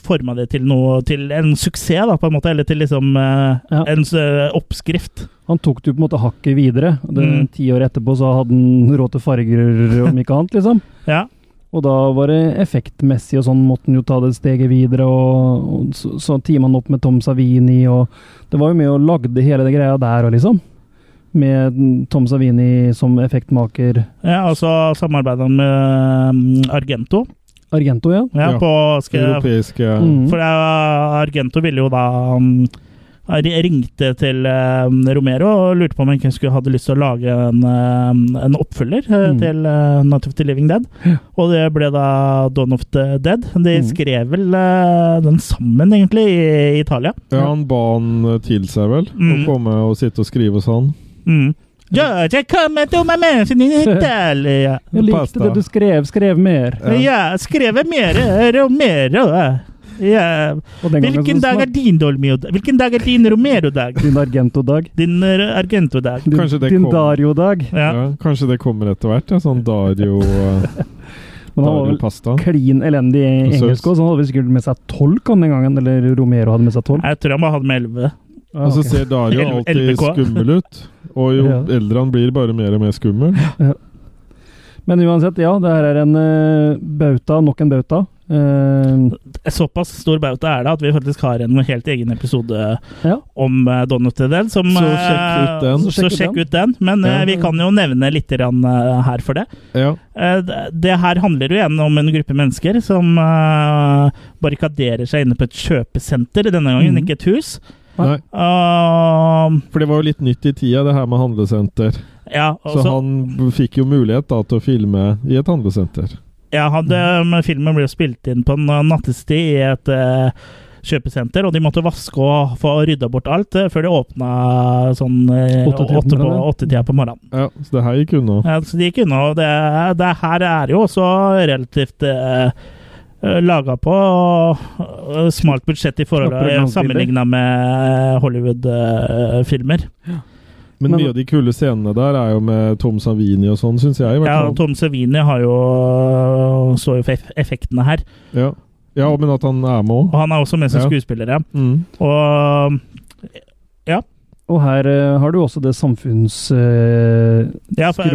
forma det til noe Til en suksess, da, på en måte. Eller til liksom eh,
Ja.
en eh, oppskrift.
Han tok det jo på en måte hakket videre. og Det,
Mm.
Ti år etterpå så hadde han råd til farger, om ikke annet, liksom.
Ja.
Og da var det effektmessig og sånn, måtte han jo ta det steget videre, og, og så, så teamet han opp med Tom Savini, og det var jo med og lagde hele det greia der og liksom. Med Tom Savini som effektmaker.
ja og så samarbeida han med eh, Argento.
Argento, ja.
Ja,
Ja.
på skal,
Europeiske
Mm.
For eh, Argento ville jo da um, ri- Ringte til eh, Romero og lurte på om han ikke skulle hadde lyst til å lage en, eh, en oppfølger eh,
Mm.
til eh, Night of the Living Dead.
Ja.
Og det ble da Dawn of the Dead. De
Mm.
skrev vel eh, den sammen, egentlig, i Italia.
Ja, han ba han til seg, vel? Å
Mm.
komme og sitte og skrive hos han.
Mm. George, come to my mansion in Italia.
Jeg likte
Pasta.
det du skrev, skrev mer.
Ja.
Ja, skrevet mer eh, Romero. eh. Ja.
Og den gangen
Hvilken
så
dag er
snak-
din Dolmio-dag? Hvilken dag er din Romero-dag?
Din Argento-dag.
Din eh, Argento-dag.
Din,
Kanskje det
din
kom-
Dario-dag.
Ja.
Ja, kanskje det kommer etter hvert? Ja, sånn Dario, eh,
Men han var
Dario
vel
Pasta.
klin elendig i
Og så-
engelsk også, så han hadde vel sikkert med seg tolk han den gangen, eller Romero hadde med seg tolk.
Jeg tror han bare hadde med 11.
Ah,
Og så
ok.
ser Dario
L-
alltid
LBK.
skummel ut. Og jo
Ja.
eldre han blir, bare mer og mer skummel.
Men uansett, ja, det her er en eh, bauta, nok en bauta. Eh,
Såpass stor bauta er det at vi faktisk har en helt egen episode
Ja.
om eh, Don of the Dead. Som,
Så
eh,
sjekk ut den.
Så sjekk, ut den. Men eh,
Ja.
vi kan jo nevne litt grann, eh, her for det.
Ja.
Eh, d- det her handler jo igjen om en gruppe mennesker som eh, barrikaderer seg inne på et kjøpesenter denne gangen,
Mhm.
ikke et hus.
Nei,
Uh,
for det var jo litt nytt i tida, det her med handlesenter.
ja,
Så
også-
han fikk jo mulighet da til å filme i et handlesenter.
Ja, han, det, men filmen ble jo spilt inn på en eh, nattestid i et eh, kjøpesenter, og de måtte vaske og få rydda bort alt eh, før de åpna sånn eh,
Åtte til
åtte på-
morgenen.
åttetida på morgenen.
Ja, Så det her gikk unna.
Ja, så de gikk unna, og det, det her er jo også relativt eh, Laga på eh, smalt budsjett i forhold
Knapper og
til
glansbilder.
sammenligna med eh, Hollywood-filmer.
Men,
Men-
mye av de kule scenene der er jo med Tom Savini og sånn, syns jeg. i
Ja,
hvert fall.
Tom Savini har jo så jo for eff- effektene her.
Ja. ja, men at han er med Mm. òg.
Og han er også med som
Ja.
skuespiller, ja.
Mm.
Og ja.
Og her eh, har du også det eh, samfunnsskråblikket.
Ja, for,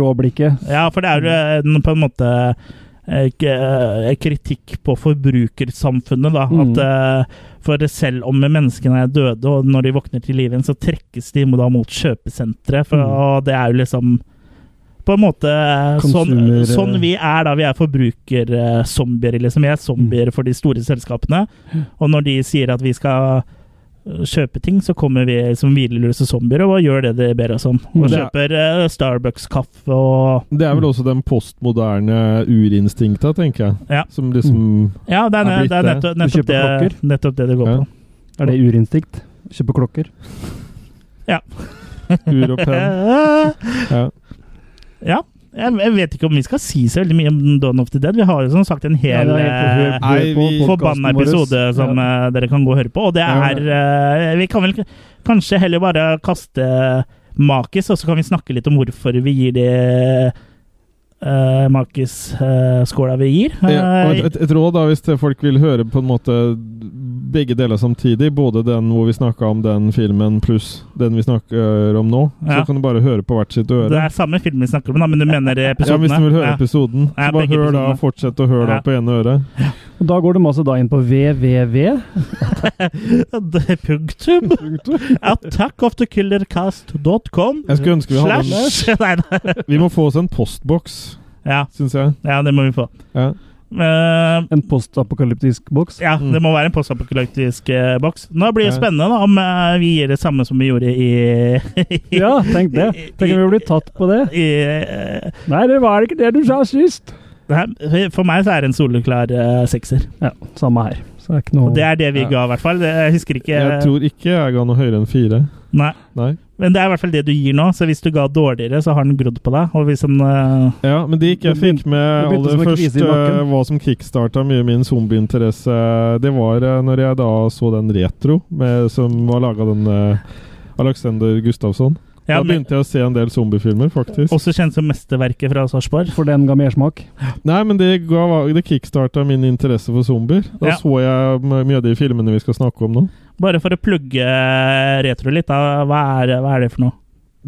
ja, for det er jo en, på en måte eh, k- eh, kritikk på forbrukersamfunnet, da.
Mm.
At, eh, for selv om menneskene er døde, og når de våkner til liv igjen, så trekkes de da mot kjøpesentre. For,
Mm.
Og det er jo liksom på en måte eh, sånn,
Consumer-
sånn vi er da. Vi er forbrukerzombier, liksom. Vi er zombier for de store selskapene. Og når de sier at vi skal eh, kjøpe ting, så kommer vi som hvileløse zombier og gjør det de ber oss om. Og
Mm.
kjøper eh, Starbucks-kaffe og
Det er vel også den postmoderne urinstinkta, tenker jeg.
Ja.
Som liksom
Ja, det er,
Er blitt
det er
det.
nettopp,
Du
nettopp,
kjøper
det, nettopp det det går
Ja.
på.
Er det urinstinkt? Kjøpe klokker?
ur og penn. Ja.
ja. Jeg, jeg vet ikke om vi skal si så veldig mye om Dawn of the Dead. Vi har jo som sagt en
Ja,
hel
det er helt
eh,
forhør- hør
Nei,
på
vi-
podcasten
forbanna
vår.
episode som
Ja.
eh, dere kan gå og høre på. Og det
Ja.
er eh, Vi kan vel k- kanskje heller bare kaste Makis, og så kan vi snakke litt om hvorfor vi gir de uh, Makis-skåla eh, vi gir.
Ja, og
Eh,
et, et, et råd da, hvis det folk vil høre på en måte begge deler samtidig, både den hvor vi snakka om den filmen pluss den vi snakker om nå,
Ja.
så kan du bare høre på hvert sitt
det
øre.
er samme film vi snakker om, da, men du mener
Ja,
episodene?
Hvis du vil høre
Ja.
episoden,
Ja,
så bare
begge
hør da,
episodene.
fortsett å høre da
Ja.
på ene øret.
Og da går de altså da inn på www.
Det- Punktum. Attackofthekillercast.com.
Jeg skulle ønske vi hadde en,
Slash Nei da.
Vi må få oss en postboks,
Ja,
syns jeg.
ja, det må vi få.
Ja.
Eh,
En postapokalyptisk boks.
ja, det må være en postapokalyptisk eh, boks. Nå blir det
Mm. Ja.
spennende da, om eh, vi gjør det samme som vi gjorde i
Ja, tenk det. Tenk om vi blir tatt på det.
i eh,
Nei, det var ikke det du sa sist.
det her, For meg så er det en soleklar eh, sekser.
Ja, samme her. Så det er ikke noe
Og det er det vi
Ja.
ga, i hvert fall. Det, jeg husker ikke
Jeg tror ikke jeg ga noe høyere enn fire.
Nei.
Nei.
Men det er i hvert fall det du gir nå, så hvis du ga dårligere, så har den grodd på deg. Og hvis den eh,
Ja, men det ikke jeg fikk med
Det begynte som
aller
en
først,
kvise i nakken.
eh, hva som kickstarta mye min zombieinteresse, det var eh, når jeg da så den retro med, som var laga den eh, Alexander Gustafsson.
ja,
da begynte jeg å se en del zombiefilmer, faktisk.
Også kjent som mesterverket fra Sarpsborg.
For den ga mersmak.
Nei, men det, ga- det kickstarta min interesse for zombier. Da
Ja.
så jeg m- mye av de filmene vi skal snakke om nå.
Bare for å plugge eh, retro litt, da, hva, er, hva er det for noe?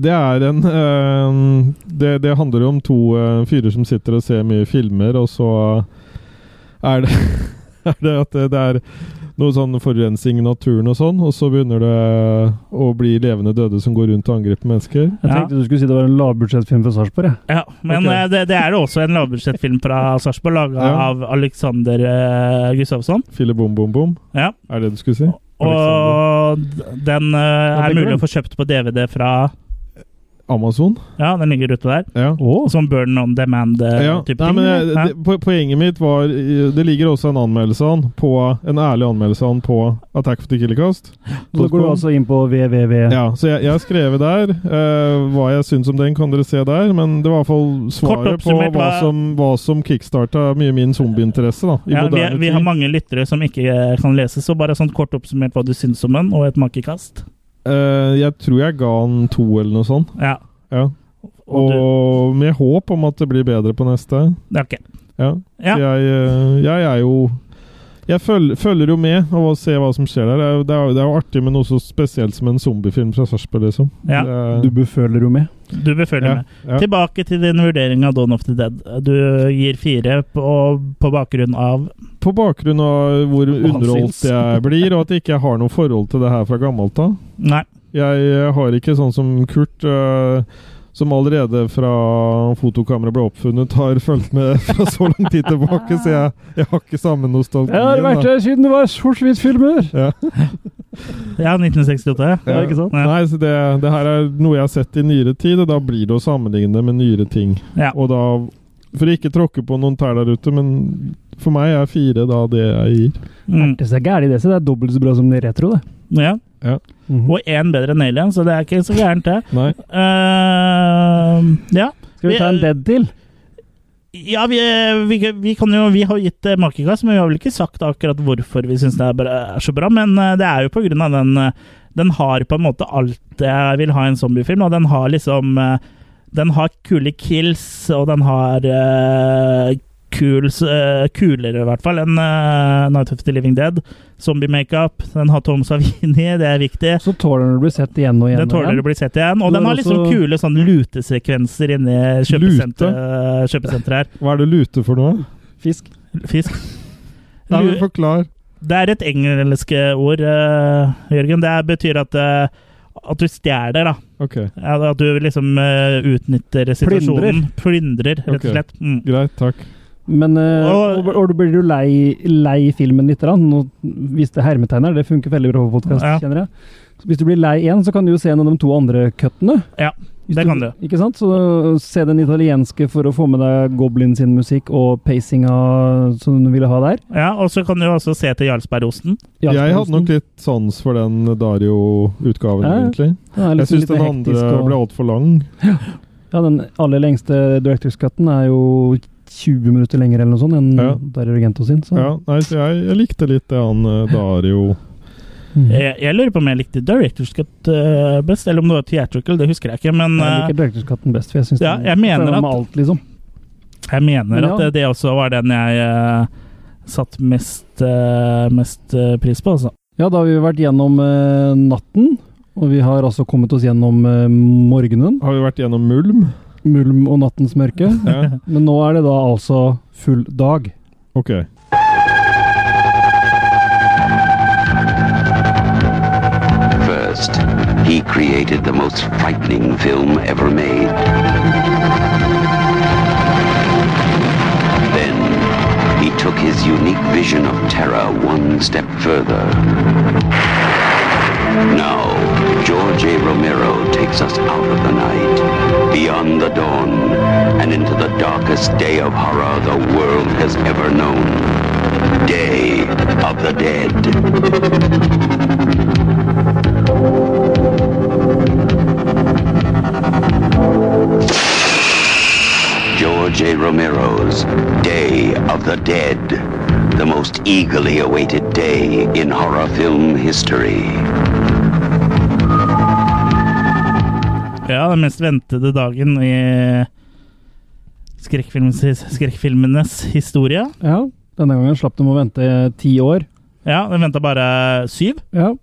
Det er en eh, det, det handler om to eh, fyrer som sitter og ser mye filmer, og så eh, er det, er det at eh, det, det er noe sånn forurensning i naturen og sånn, og så begynner det eh, å bli levende døde som går rundt og angriper mennesker.
Jeg
Ja.
tenkte du skulle si det var en lavbudsjettfilm fra Sarpsborg. jeg.
Ja, Men
Ok.
eh, det, det er det også en lavbudsjettfilm fra Sarpsborg, laga
Ja.
av Alexander eh, Gustavsson.
Fille bom, bom, bom.
Ja.
Er det det du skulle si? Alexander.
Og d- den eh, er
det
mulig å
glemt.
få kjøpt på DVD fra
Amazon?
Ja, den ligger ute der.
Ja.
Som Burn on
Ja.
Demand-type
Nei,
Eh, ting.
men jeg,
ja.
det, po- poenget mitt var eh, Det ligger også en anmeldelse av den på En ærlig anmeldelse av den på Attack for the Killercast.
Så går du altså inn på www.
Ja, så jeg, jeg har skrevet der. eh, hva jeg syns om den, kan dere se der. Men det var i hvert fall svaret på
oppsummert,
hva
hva-
som, hva som kickstarta mye min zombieinteresse. da, i
Ja, vi,
moderne
vi
tid.
har mange lyttere som ikke eh, kan lese, så bare sånn kort oppsummert hva du syns om den, og et makekast.
Eh, jeg tror jeg ga den to, eller noe sånt.
Ja.
Ja.
Og
Og
du,
med håp om at det blir bedre på neste.
ja, ok.
Ja.
Ja.
Så Jeg, eh, jeg er jo jeg følger, følger jo med og ser hva som skjer der. Det er, jo- det er, jo- det er jo artig med noe så spesielt som en zombiefilm fra Sarpsborg, liksom.
Ja.
Det er-
Du beføler jo med.
Du bør følge
ja,
med.
ja.
Tilbake til din vurdering av Dawn of the Dead. Du gir fire på, på bakgrunn av
På bakgrunn av hvor
hans
underholdt
syns.
jeg blir, og at jeg ikke har noe forhold til det her fra gammelt av.
Nei.
Jeg har ikke sånn som Kurt, øh, som allerede fra fotokameraet ble oppfunnet, har fulgt med fra så lang tid tilbake, så jeg, jeg har ikke samme nostalgi.
Jeg har vært her siden det var sort-hvitt-filmer!
Ja, 1968.
Ja, ikke sant?
Nei, så det, det her er noe jeg har sett i nyere tid, og da blir det å sammenligne det med nyere ting.
Ja.
Og da, for ikke tråkke på noen tær der ute, men for meg er fire da det jeg gir.
Mm.
Det er gærent, det. så Det er dobbelt så bra som det retro, det.
ja. Og én bedre enn Alien, så det er ikke så gærent, det.
Nei.
Eh, ja.
Skal vi ta en dead til?
Ja, vi, eh, vi, vi, kan jo, vi har gitt eh, makekast, men vi har vel ikke sagt akkurat hvorfor vi syns det er, bra, er så bra. Men eh, det er jo på grunn av den eh, Den har på en måte alt jeg vil ha i en zombiefilm, og den har liksom eh, Den har kule kills, og den har eh, kul, eh, kulere i hvert fall enn eh, Night of the Living Dead. Zombie-makeup, den har Tom Savini, det er viktig.
Så tåler den å bli sett igjen og igjen.
Den tåler å
og igjen.
bli sett igjen. Og
Du
den
har
har liksom
også-
kule sånn lutesekvenser inni kjøpesenteret kjøpesenteret her.
Hva er det lute for noe?
Fisk.
Fisk.
Nei, men Forklar.
Det er et engelsk ord, eh, Jørgen. Det er- betyr at, eh, at du stjeler, da.
Ok,
Ja, At du liksom eh, utnytter situasjonen. Plyndrer. rett og
Ok.
slett. Mm.
greit, takk.
Men eh,
Og-
og, og du blir jo lei, lei filmen litt. grann. Nå viste hermetegn her, det funker veldig bra på podkast,
Ja.
kjenner jeg. Så hvis du blir lei én, så kan du jo se en av de to andre cuttene.
Ja,
Hvis
det kan du.
Ikke sant? Så se den italienske for å få med deg Goblin sin musikk og pacinga som du ville ha der.
Ja, og så kan du også se til Jarlsbergosten.
Jeg hadde nok litt sans for den Dario-utgaven,
Ja, ja.
egentlig. Jeg syns den andre ble altfor lang.
Ja, den aller lengste Directors Cutten er jo 20 minutter lenger eller noe sånt enn
Ja.
Dario Argento sin. Så.
Ja, nei, så jeg, jeg likte litt det han eh, Dario
Mm.
Jeg, jeg lurer på om jeg likte Director's Cut eh, best, eller om det var Theatrical, det husker jeg ikke. Men
Jeg
eh,
liker Directors Cutten best, for jeg syns
Ja, jeg
den,
mener
den er med
at-
alt, liksom.
jeg mener
Men
at
ja.
eh, det også var den jeg eh, satt mest, eh, mest eh, pris på, altså.
Ja, da har vi vært gjennom eh, natten, og vi har altså kommet oss gjennom eh, morgenen.
Har vi vært gjennom Mulm?
Mulm og nattens mørke.
Ja,
Men nå er det da altså full dag.
ok.
First, he created the most frightening film ever made. Then, he took his unique vision of terror one step further. Now, George A. Romero takes us out of the night, beyond the dawn, and into the darkest day of horror the world has ever known. Day of the Dead. George A. Romero's Day of the Dead, the most eagerly awaited day in horror film history.
Ja, den mest ventede dagen i skrekkfilmens, skrekkfilmenes historie.
Ja, denne gangen slapp de å vente eh, ti år.
Ja, den venta bare syv.
Ja.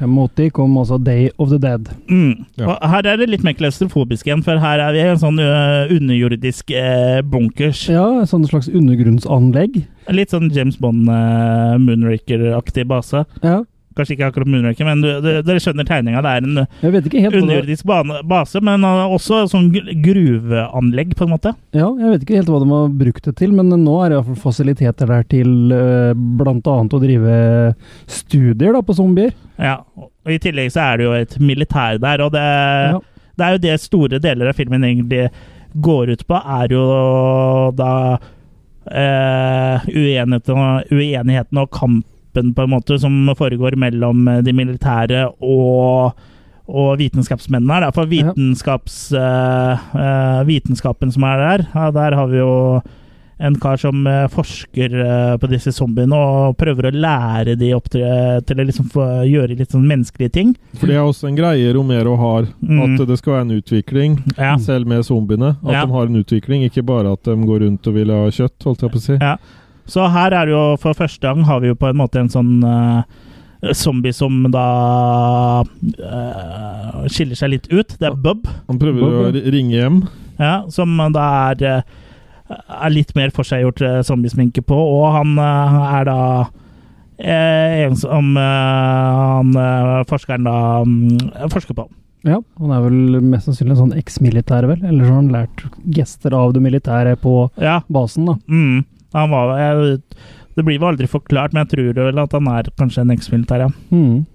85 kom altså Day of the Dead.
Mm.
Ja.
Og her er det litt mer klaustrofobisk igjen, for her er vi i en sånn ø, underjordisk ø, bunkers.
Ja, et sånt slags undergrunnsanlegg.
Litt sånn James Bond ø, Moonraker-aktig base.
Ja.
Kanskje ikke akkurat Moonraker, men du, du, dere skjønner tegninga. Det er en ø,
Jeg vet ikke helt hva det,
underjordisk bane, base, men ø, også sånn gru- gruveanlegg, på en måte.
ja, jeg vet ikke helt hva de har brukt det til, men nå er det iallfall fasiliteter der til eh, blant annet å drive eh, studier da, på zombier.
Ja, og I tillegg så er det jo et militær der, og det,
Ja.
det er jo det store deler av filmen egentlig går ut på, er jo da eh, uenigheten, uenigheten og kampen på en måte som foregår mellom eh, de militære og og vitenskapsmennene her, da. for
Ja.
vitenskaps, eh, eh, vitenskapen som er der, ja, der har vi jo en kar som eh, forsker eh, på disse zombiene og prøver å lære de opp til, til å liksom få gjøre litt sånn menneskelige ting.
For det er også en greie Romero har,
Mm.
at det skal være en utvikling,
Ja.
selv med zombiene. At
Ja.
de har en utvikling, ikke bare at de går rundt og vil ha kjøtt, holdt jeg på å si.
Ja. Så her er det jo for første gang har vi jo på en måte en sånn eh, zombie som da eh, skiller seg litt ut. Det er Bub,
Han prøver
Bob, ja.
å ri- ringe hjem.
ja, som da er, eh, er litt mer forseggjort eh, zombiesminke på, og han eh, er da eh, en som eh, han eh, forskeren da mm, forsker på.
Ja, Han er vel mest sannsynlig en sånn eks-militær, vel? Eller så har han lært gester av det militære på
Ja,
basen, da.
mm, han var jeg, Det blir vel aldri forklart, men jeg tror vel at han er kanskje en eksmilitær, ja.
Mm.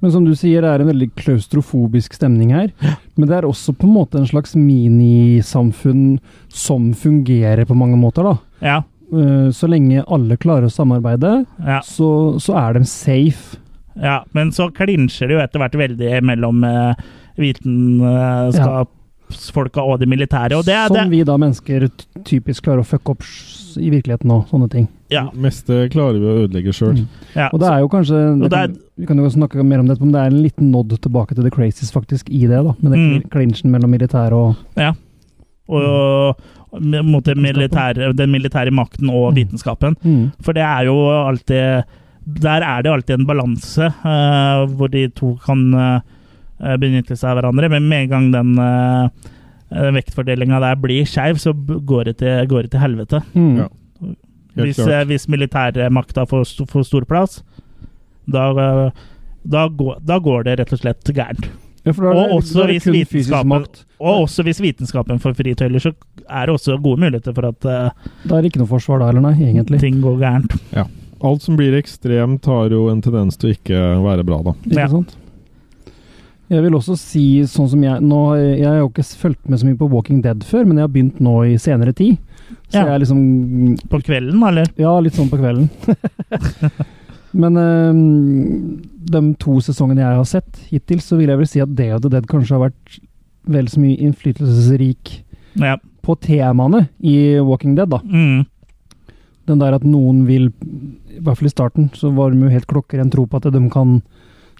Men som du sier, det er en veldig klaustrofobisk stemning her. Men det er også på en måte en slags minisamfunn som fungerer på mange måter, da.
Ja,
Eh, Så lenge alle klarer å samarbeide,
ja.
så, så er de safe.
Ja, men så klinsjer det jo etter hvert veldig mellom eh, vitenskapsfolka og de militære. Og det er
som
det.
vi da mennesker ty- typisk klarer å fucke opp s- i virkeligheten nå, sånne ting.
Ja,
Det meste klarer vi å ødelegge sjøl.
Mm.
ja.
Og det er jo kanskje
Og
det
det er-
kan, Vi kan jo snakke mer om dette, men det er en liten nod tilbake til The Crazies faktisk i det, da. Med den
Mm.
klinsjen mellom militæret og
Og, og, med- mot det militære, den militære makten og vitenskapen.
Mm.
For det er jo alltid Der er det alltid en balanse eh, hvor de to kan eh, benytte seg av hverandre. Men med en gang den uh, vektfordelinga der blir skeiv, så b- går det til, går det til helvete.
Mm.
Ja. Helt
Hvis,
klart.
eh, hvis militærmakta får, st- får stor plass, da, eh, da, går, da går det rett og slett gærent.
Ja, for da er
Og
det- liksom- da
også
er det
hvis
kun fysisk
vitenskapen-
makt.
Og også hvis vitenskapen får fritøyler, så er det også gode muligheter for at eh,
Da er det ikke noe forsvar da, eller nei, egentlig.
ting går gærent.
Alt som blir ekstremt, har jo en tendens til å ikke være bra, da.
Ikke
Ja.
sant? Jeg vil også si, sånn som jeg nå, har Jeg jeg har jo ikke fulgt med så mye på Walking Dead før, men jeg har begynt nå i senere tid. Så
Ja.
jeg er liksom
På kvelden, eller?
Ja, litt sånn på kvelden. Men eh, de to sesongene jeg har sett hittil, så vil jeg vel si at Day of the Dead kanskje har vært vel så mye innflytelsesrik
Ja.
på temaene i Walking Dead, da.
Mm.
Den der at noen vil, i hvert fall i starten, så var de jo helt klokkeren tro på at de kan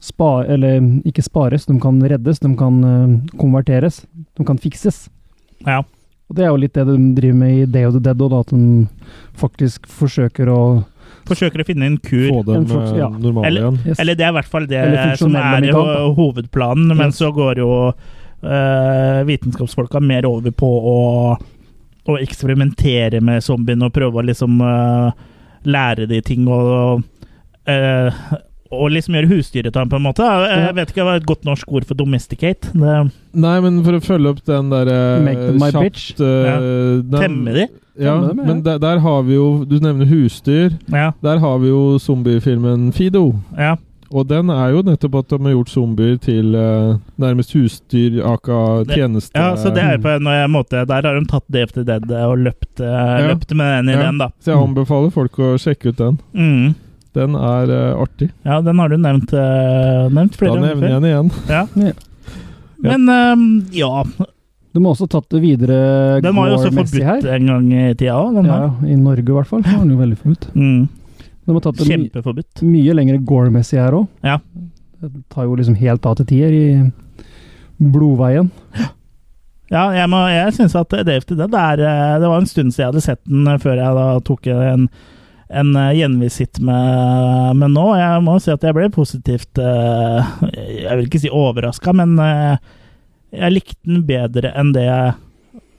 spare, eller ikke spares, de kan reddes, de kan eh, konverteres, de kan fikses.
ja.
Og det er jo litt det de driver med i Day of the Dead, og da at de faktisk forsøker å
Forsøker å finne en kur.
Få dem
En forts-
eh,
ja.
normale
Eller-
igjen.
Yes.
Eller det er i hvert fall det
Eller
som
funksjonelle
er ho-
migranter.
hovedplanen, men
Yes.
så går jo eh, vitenskapsfolka mer over på å, å eksperimentere med zombien og prøve å liksom eh, lære de ting og eh, og liksom gjøre husdyret av dem, på en måte. Jeg
Ja.
vet ikke hva er et godt norsk ord for domesticate. Det,
Nei, men for å følge opp den eh, derre
Make them my bitch.
temme de.
eh, Ja,
Temme dem, ja.
men der, der har vi jo Du nevner husdyr.
Ja,
Der har vi jo zombiefilmen Fido.
ja.
Og den er jo nettopp at de har gjort zombier til eh, nærmest husdyr, aka
Det-
tjeneste... Mm.
ja, så det er jo på en eh, måte Der har de tatt Day of the Dead og løpt, eh, løpt med den
Ja.
ideen, da.
Så jeg anbefaler folk å sjekke ut den.
Mm.
Den er eh, artig.
Ja, den har du nevnt, eh, nevnt
Da
flere ganger
nevner
før.
jeg den igjen.
Men ehm, ja,
De har også tatt det videre
den var jo også
gore-messig
forbudt en gang i tida òg, den
Ja,
her.
ja, I Norge i hvert fall. så var Den jo veldig forbudt.
Mm.
De har tatt det my
Kjempeforbudt.
mye lengre gore-messig her òg.
Ja.
Det tar jo liksom helt av til tier i blodveien.
Ja, jeg, må- jeg syns at Dave til det, det, er, eh, det var en stund siden jeg hadde sett den eh, før jeg da tok en, en eh, gjenvisitt med, med nå. Jeg må si at jeg ble positivt eh, Jeg vil ikke si overraska, men eh, jeg likte den bedre enn det jeg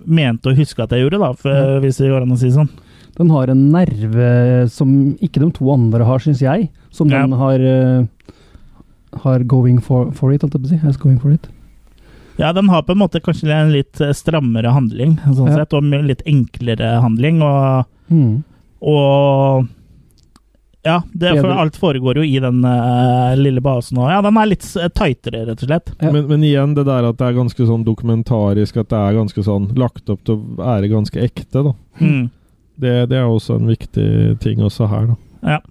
mente å huske at jeg gjorde, da,
Mm.
for, hvis det går an å si sånn.
Den har en nerve som ikke de to andre har, syns jeg. Som
Ja.
den har eh, har going for, for it, holdt jeg på å si. Has going for it.
Ja, den har på en måte kanskje en litt eh, strammere handling, sånn
Ja.
sett, og mye- litt enklere handling. Og,
Mm.
og ja, det, for
Bedre.
alt foregår jo i den eh, lille basen. Og, ja, den er litt eh, tightere, rett og slett.
Ja.
Men, men igjen, det der at det er ganske sånn dokumentarisk, at det er ganske sånn lagt opp til å være ganske ekte, da.
Hmm.
Mm.
Det, det er også en viktig ting også her, da.
Ja.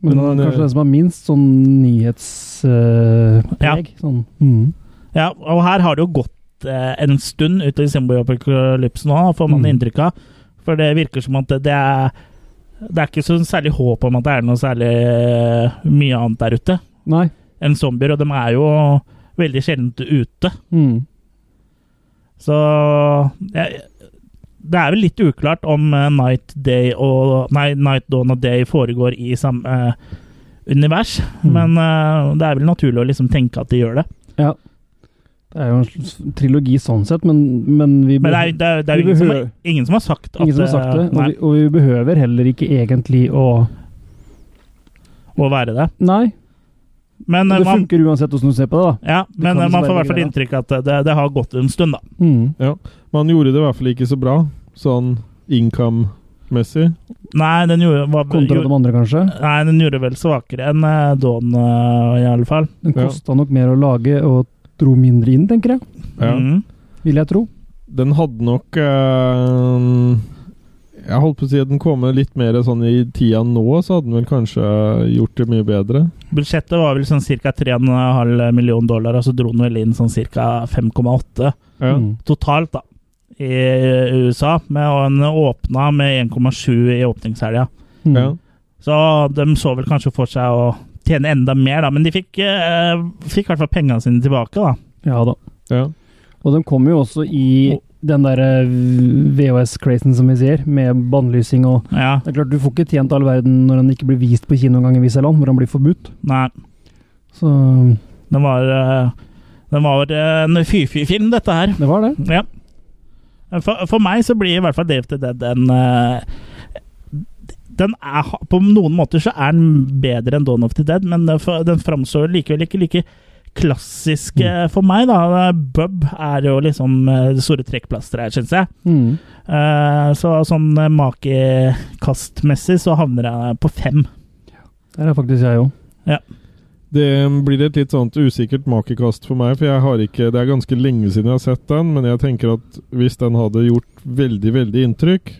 Men,
Men,
den er
eh,
kanskje den som har minst sånn nyhetspreg.
Ja.
Sånn. Mm.
ja, og her har det jo gått eh, en stund ute i Zimbo-apokalypsen nå, får man
Mm.
inntrykk av. For det virker som at det er det er ikke så særlig håp om at det er noe særlig eh, mye annet der ute
Nei.
enn zombier, og de er jo veldig sjeldent ute.
Mm.
Så jeg, Det er vel litt uklart om eh, Night, Day og, nei, Night Dawn og Day foregår i samme eh, univers,
Mm.
men eh, det er vel naturlig å liksom tenke at de gjør det.
Det er jo en slags trilogi sånn sett, men, men vi
Men det er, det er, det er jo
Vi
ingen som,
behøver-
ingen som har sagt at
Ingen som har sagt det,
eh,
og
nei,
vi, og vi behøver heller ikke egentlig å
å være det.
Nei,
Men eh,
det
man,
funker uansett hvordan du ser på det, da.
ja,
kan
men eh,
liksom
man får i
være
hvert fall
greia.
inntrykk av at det, det har gått en stund, da.
Mm. Man gjorde det i hvert fall ikke så bra, sånn income-messig.
Nei, den gjorde, var,
Kontra de
gjorde,
andre, kanskje.
nei, den gjorde vel svakere enn eh, Dawn, eh, i alle fall.
Den
Ja.
kosta nok mer å lage og dro mindre inn, tenker jeg.
Ja.
Mm.
Vil jeg tro.
Den hadde nok eh, Jeg holdt på å si at den kom med litt mer sånn i tida nå, så hadde den vel kanskje gjort det mye bedre.
Budsjettet var vel sånn ca. 3,5 million dollar, og så dro den vel inn sånn ca. 5,8
Ja.
Mm.
totalt da, i USA. Med, og den åpna med 1,7 i åpningshelga.
Mm.
Ja.
Så de så vel kanskje for seg å tjene enda mer, da. Men de fikk, eh, fikk i hvert fall pengene sine tilbake, da.
ja da.
ja.
Og den kom jo også i
Og-
den eh, derre VHS-crazen, som vi sier, med bannlysing og
Ja,
Det er klart, du får ikke tjent all verden når han ikke blir vist på kino engang i visse land, hvor han blir forbudt.
nei.
Så
Den var, eh, den var eh, en fy-fy-film, dette her.
det var det.
Ja. For, for meg så blir i hvert fall Dave the Dead en eh, den er, ha- På noen måter så er den bedre enn Dawn of the Dead, men den fa- den framstår likevel ikke like klassisk eh, for meg. da. Bub er jo liksom eh, det store trekkplasteret her, syns jeg.
Mm.
Eh, Så sånn eh, makekastmessig så havner jeg på fem.
Der er faktisk jeg òg.
Det blir et litt sånt usikkert makekast for meg, for jeg har ikke Det er ganske lenge siden jeg har sett den, men jeg tenker at hvis den hadde gjort veldig, veldig inntrykk,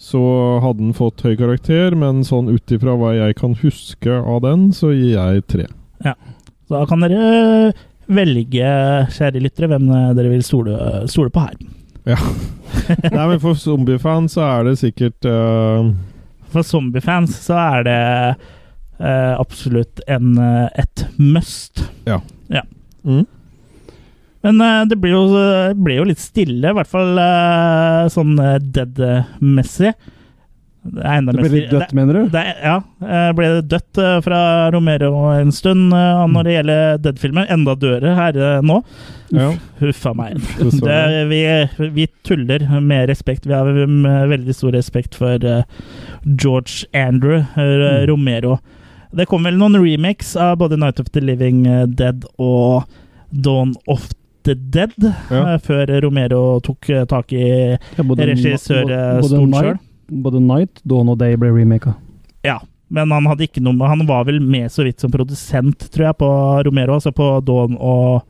så hadde den fått høy karakter, men sånn ut ifra hva jeg kan huske av den, så gir jeg tre.
Så Da kan dere eh, velge, kjære lyttere, hvem eh, dere vil stole, stole på her.
Nei, men for zombiefan så er det sikkert eh,
For zombiefans så er det eh, absolutt en, eh, et must.
mm.
Men eh, det blir jo, det blir jo litt stille, i hvert fall eh, sånn eh, dead-messig. Det er enda
Det
mer
ble litt
stille.
dødt, mener du?
Det, er- ja. eh, Ble det dødt eh, fra Romero en stund eh, når det gjelder Dead-filmer? Enda dødere her eh, nå.
Ja,
Huffa meg. Det,
dessverre.
vi, vi tuller med respekt. Vi har eh, veldig stor respekt for eh, George Andrew eh, Romero. Det kom vel noen remakes av både Night of the Living eh, Dead og Dawn of the Dead
Ja.
eh, før Romero tok eh, tak i
Ja, både-
regissør eh,
både- både
stort
Night-
sjøl.
Både Night, Dawn og Day ble remaka.
Ja, men han hadde ikke noe Han var vel med så vidt som produsent, tror jeg, på Romero, altså på Dawn og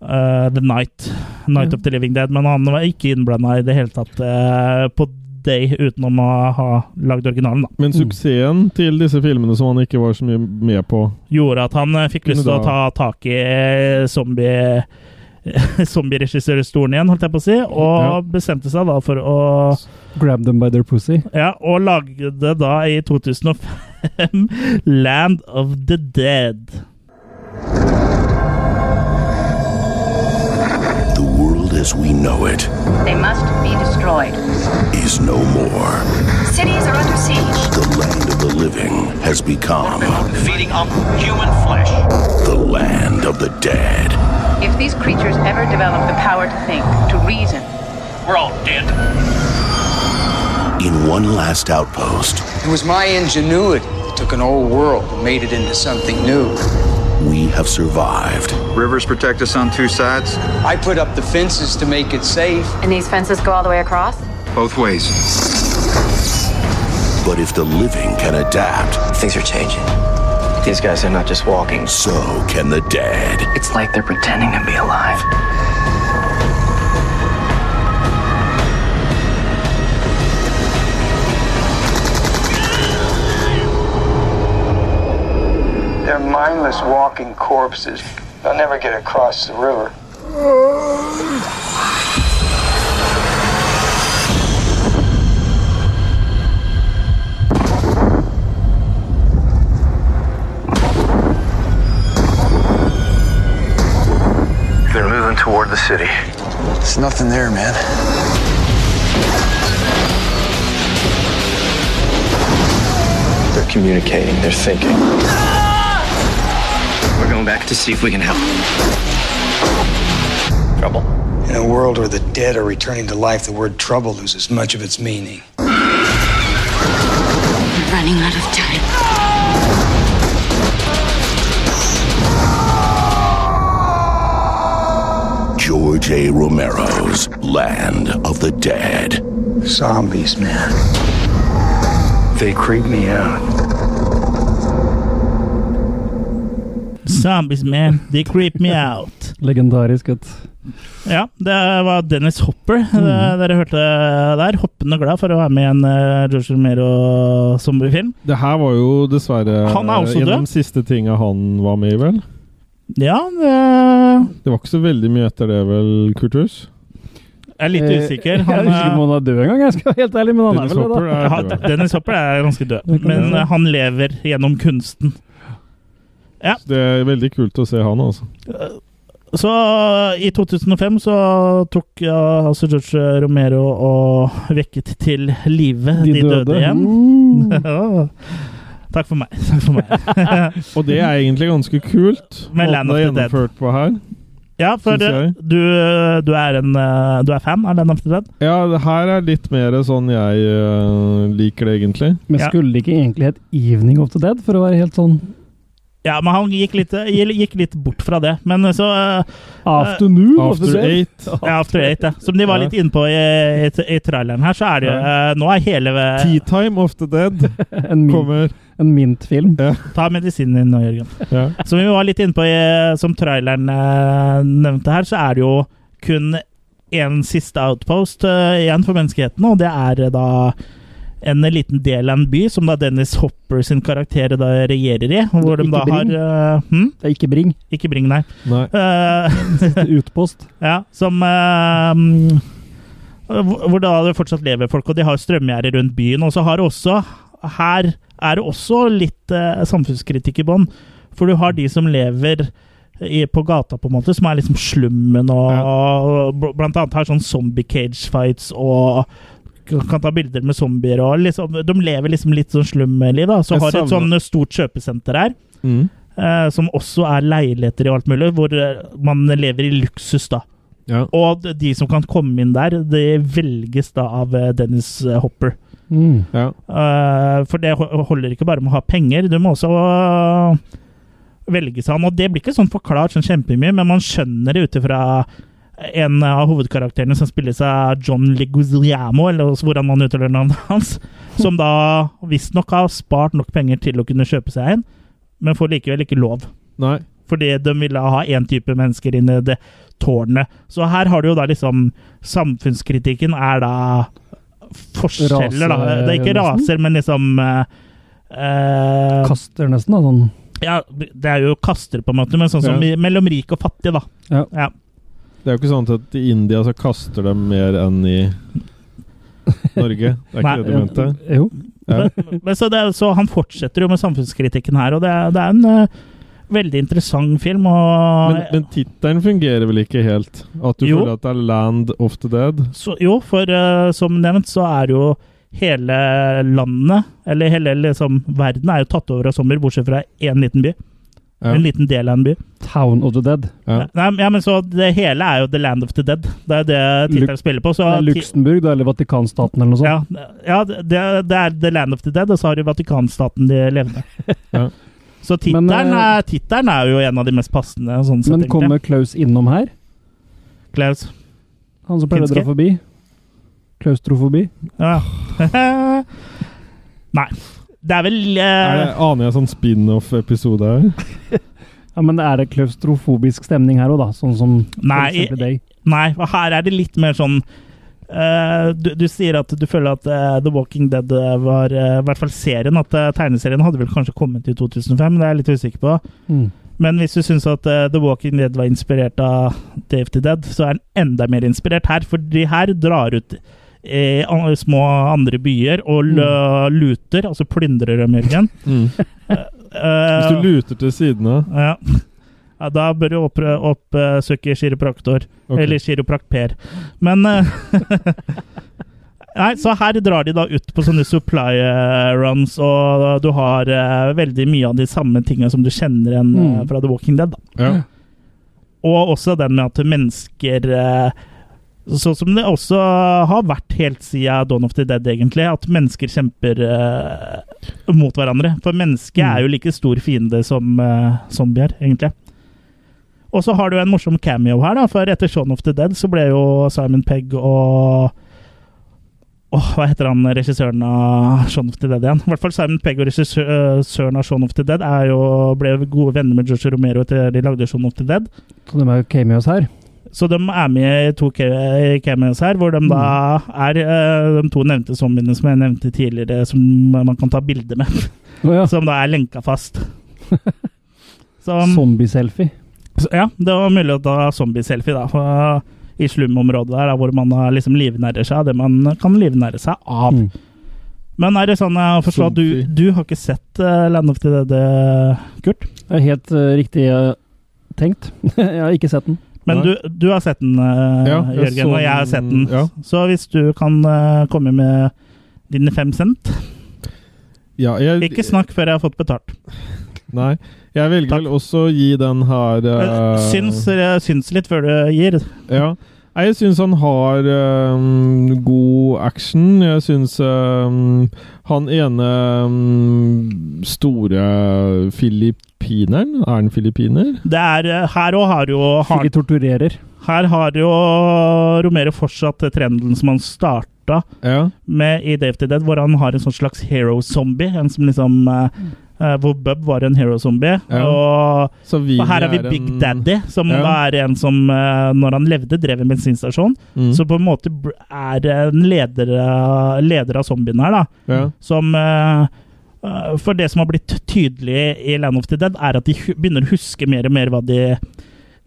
eh, The Night. Night
Ja.
of the Living Dead. Men han var ikke innblanda i det hele tatt eh, på Day, utenom å ha lagd originalen, da.
Men suksessen til disse filmene som han ikke var så mye med på
Gjorde at han eh, fikk lyst til å
Kunne
ta
da-
tak i eh, zombie zombieregissørstolen igjen, holdt jeg på å si, og
Ja.
bestemte seg da for å
Grab them by their pussy.
Ja, og lagde da i 2005 Land of the Dead.
The world as we know it
They must be destroyed.
is no more.
Cities are under siege.
The land of the living has become
Feeding on human flesh.
the land of the dead.
If these creatures ever develop the power to think, to reason,
We're all dead.
In one last outpost,
It was my ingenuity that took an old world and made it into something new.
we have survived.
Rivers protect us on two sides,
I put up the fences to make it safe.
and these fences go all the way across,
both ways.
But if the living can adapt,
Things are changing. These guys are not just walking.
so can the dead.
It's like they're pretending to be alive.
They're mindless walking corpses. They'll never get across the river.
They're moving toward the city.
There's nothing there, man. They're communicating, they're thinking.
We're going back to see if we can help. Trouble.
In a world where the dead are returning to life, the word trouble loses much of its meaning.
running out of time.
George A. Romero's Land of the Dead.
Zombies, man. They creep me out.
Zombies, man. They creep me out.
Legendarisk, vet du.
Ja, det var Dennis Hopper eh,
Mm.
dere hørte der. Hoppende glad for å være med i en eh, George Romero-zombiefilm.
Det her var jo dessverre
Han er også
en av
død.
de siste tinga han var med i, vel?
Ja, det
Det var ikke så veldig mye etter det, vel, Kurtus?
jeg er litt
Eh,
usikker.
jeg
Han,
husker ikke om han er død engang, jeg skal være helt ærlig, men han
Dennis
er vel
Hopper
det, da.
eh,
er
ha-
død.
Dennis Hopper er ganske død,
kan
men
jeg si.
eh, han lever gjennom kunsten.
Det er veldig kult å se han, altså.
Så i 2005 så tok ja, altså George Romero og vekket til live de, døde. igjen.
Mm.
Ja. Takk for meg. Takk for meg.
Og det er egentlig ganske kult.
Med Land
måten det
of the
er gjennomført på her.
ja, for
Syns jeg.
du, du, er en, eh, du er fan av Land of the Dead?
Ja, det her er litt mer sånn jeg øh, liker det, egentlig.
Men
Ja.
skulle det ikke egentlig hett Evening of the Dead, for å være helt sånn
Ja, men han gikk litt, eh, gikk litt bort fra det. Men så eh,
Afternoon of the
After
Dead?
Eight.
Ja, After Eight, ja. Som de var
Ja.
litt inne på i, i, i traileren her, så er det jo eh, Nå er hele
Tea Time of the Dead
En, min,
kommer.
en Mint-film?
Ja.
Ta medisinen din nå, Jørgen.
Ja.
Som vi var litt inne på, i, som traileren eh, nevnte her, så er det jo kun én siste outpost eh, igjen for menneskeheten, og det er eh, da en liten del av en by som da Dennis Hopper sin karakter da regjerer i. Hvor de
Ikke
da har
Bring.
eh, hm?
Det er ikke Bring.
Ikke Bring, nei.
Nei.
Eh,
Det er Utpost.
Ja, som eh, mm, hvor- Hvor da det fortsatt lever folk, og de har strømgjerder rundt byen. Og så har det også Her er det også litt eh, samfunnskritikk i bånn. For du har de som lever i, på gata, på en måte, som er liksom slummen og, og bl- Blant annet har sånn zombie cage fights og kan kan ta bilder med zombier og liksom De lever liksom litt sånn slumliv, da. Så
Jeg
har de et
savner-
sånn stort kjøpesenter her.
Mm.
eh, som også er leiligheter og alt mulig, hvor eh, man lever i luksus, da.
Ja.
Og de som kan komme inn der, det velges da av eh, Dennis eh, Hopper.
Mm.
Ja.
Eh, for det ho- holder ikke bare med å ha penger, du må også eh, velges han. Og det blir ikke sånn forklart sånn kjempemye, men man skjønner det ut ifra en av hovedkarakterene som spilles av John Leguizamo, eller også hvordan man uttaler navnet hans, som da visstnok har spart nok penger til å kunne kjøpe seg en, men får likevel ikke lov.
Nei.
Fordi de ville ha én type mennesker inn i det tårnet. Så her har du jo da liksom Samfunnskritikken er da forskjeller, da.
Rase,
Det er ikke
nesten?
raser, men liksom eh, eh,
Kaster nesten, da. Sånn.
ja, Det er jo kaster, på en måte, men sånn som
Ja.
i- mellom rik og fattig, da.
Ja.
Ja.
Det er jo ikke sånn at i India så kaster de mer enn i Norge. Det er ikke
Nei.
det du mente?
Eh, Jo.
Ja.
Men så, det, er- så han fortsetter jo med samfunnskritikken her, og det, er- det er en eh, veldig interessant film. Og,
Men, men tittelen fungerer vel ikke helt? At du
Jo.
føler at det er Land of the Dead?
Så, jo, for eh, som nevnt så er jo hele landet, eller hele liksom, verden, er jo tatt over av sommer, bortsett fra én liten by.
Ja.
En liten del av en by.
Town of the Dead.
Ja.
Nei, ja, men så Det hele er jo The Land of the Dead. Det er jo det
Lux-
tittelen spiller på. Så,
Det er sånn. Luxembourg, da, eller Vatikanstaten, eller noe
ja,
sånt.
ja det, det er The Land of the Dead, og så har du Vatikanstaten de levende.
Ja.
Så tittelen
Men, eh,
er, tittelen er jo en av de mest passende. Sånn sett,
Men kommer
egentlig.
Klaus innom her?
Klaus.
Han som pleier å dra
Finske?
forbi? Klaustrofobi?
Ja. Nei. Det er vel eh,
Er det, aner jeg sånn spin-off-episode her?
Ja, men er det klaustrofobisk stemning her òg, da? Sånn som
Nei,
for eksempel deg.
Nei, og her er det litt mer sånn eh, du, du sier at du føler at eh, The Walking Dead eh, var eh, I hvert fall serien, at eh, tegneserien hadde vel kanskje kommet i 2005, det er jeg litt usikker på.
Mm.
Men hvis du syns at eh, The Walking Dead var inspirert av Dave the Dead, så er den enda mer inspirert her, for de her drar ut eh, an- små andre byer og lø
Mm.
luter, altså plyndrer dem, Jørgen.
Mm.
Eh,
Hvis du luter til sidene
ja. ja, da bør du oppre- oppsøke kiropraktor.
Ok.
Eller kiroprakt Per. Men eh, Nei, så her drar de da ut på sånne supply eh, runs, og du har eh, veldig mye av de samme tinga som du kjenner igjen eh,
Mm.
fra The Walking Dead. Da.
ja.
Og også den med at mennesker eh, Sånn som det også har vært helt siden Dawn of the Dead, egentlig, at mennesker kjemper eh, mot hverandre. For mennesket
Mm.
er jo like stor fiende som eh, zombier, egentlig. Og så har du en morsom cameo her, da, for etter Shaun of the Dead så ble jo Simon Pegg og Åh, hva heter han regissøren av Shaun of the Dead igjen? I hvert fall Simon Pegg og regissøren av Shaun of the Dead er jo, ble jo gode venner med George Romero etter de lagde Shaun of the Dead.
Så de er jo cameos her.
Så de er med i to ca- cameos her, hvor de da er eh, de to nevnte zombiene som jeg nevnte tidligere, som man kan ta bilde med.
Å ja.
Som da er lenka fast. Så,
Zombie-selfie.
så ja, det var mulig å ta zombie-selfie, da. og I slumområdet der, da, hvor man har liksom livnærer seg av det man kan livnære seg av.
Mm.
Men er det sånn jeg forstår at du,
Zombie.
du har ikke sett eh, Land of the Dead, eh, Kurt?
Det er helt eh, riktig. eh, tenkt. jeg har ikke sett den.
Men du, du har sett den, eh,
Ja, jeg
Jørgen,
så
og jeg har sett den.
den, ja.
Så hvis du kan eh, komme med dine fem cent Ikke snakk før jeg har fått betalt.
Nei. Jeg velger vel også å gi den her eh,
Syns, eh, syns litt før du gir.
Ja. Nei, jeg syns han har ehm, god action. Jeg syns ehm, han ene ehm, store filippineren Er han filippiner?
Det er, eh, her òg har jo har,
torturerer.
Her har jo Romero fortsatt trenden som han starta med i Dave the Dead, hvor han har en sånn slags hero-zombie. En som liksom eh, eh, Hvor Bub var en hero-zombie.
Ja.
Og,
Så Vini
og her har vi
er
Big
en-
Daddy, som
Ja.
da er en som, eh, når han levde, drev en bensinstasjon.
Mm.
Så på en måte br- er en leder, eh, leder av zombiene her, da.
Ja.
Som eh, eh, For det som har blitt tydelig i Land of the Dead, er at de hu- begynner å huske mer og mer hva de eh,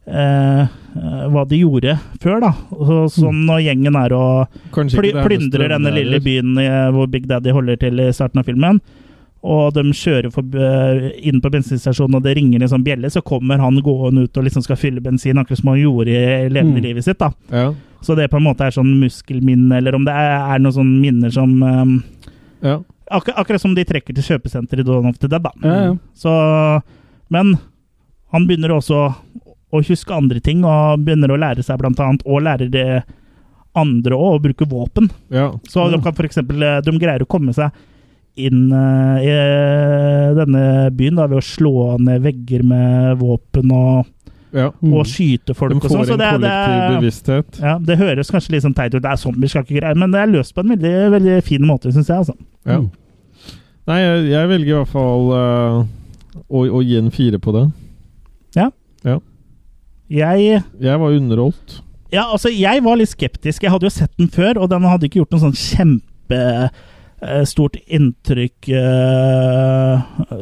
eh, hva de gjorde før, da. Så, sånn når gjengen er og
Kanskje
ply,
ikke Mm. det eneste
plyndrer denne
den
lille
er.
byen i, hvor Big Daddy holder til i starten av filmen, og de kjører forb- eh, inn på bensinstasjonen, og det ringer en sånn bjelle, så kommer han gående ut og liksom skal fylle bensin, akkurat som han gjorde i levende
Mm.
livet sitt. da.
Ja.
Så det på en måte er sånn muskelminne, eller om det er, er noen sånne minner som eh,
Ja.
Akkur akkurat som de trekker til kjøpesenteret i Dawn of the Dead, da.
Ja, ja.
Så, men han begynner også å huske andre ting, og begynner å lære seg blant annet, og lærer det andre også, å bruke våpen. Så de kan for eksempel, eh, de greier å komme seg inn eh, i eh, denne byen da, ved å slå ned vegger med våpen og,
Ja.
Mm. og skyte folk
Mm. De
og sånn.
får
Så
en
det, er- det
kollektiv
er-
bevissthet.
ja, det høres kanskje litt sånn teit ut, det er zombier, skal ikke greie, men det er løst på en veldig, veldig fin måte, syns jeg. Altså.
Ja. Nei, jeg, jeg velger i hvert fall eh, å, å gi en fire på det.
Ja.
Ja.
Jeg
Jeg var underholdt.
Ja, altså, jeg var litt skeptisk. Jeg hadde jo sett den før, og den hadde ikke gjort noe sånn kjempe eh, Stort inntrykk eh,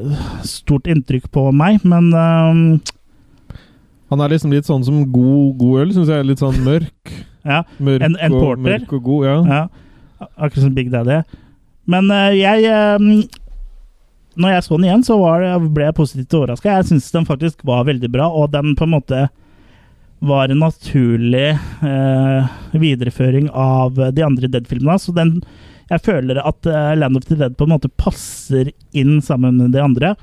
Stort inntrykk på meg, men eh,
Han er liksom litt sånn som god, god øl, syns jeg. er Litt sånn mørk.
Ja,
Mørk
en, en
og-
porter.
mørk og god, ja.
Ja, akkurat som Big Daddy. Men eh, jeg eh, Når jeg så den igjen, så var det, ble jeg positivt overraska. Jeg syns den faktisk var veldig bra, og den på en måte var en naturlig eh, videreføring av de andre Dead-filmene. Så den Jeg føler at eh, Land of the Dead på en måte passer inn sammen med de andre.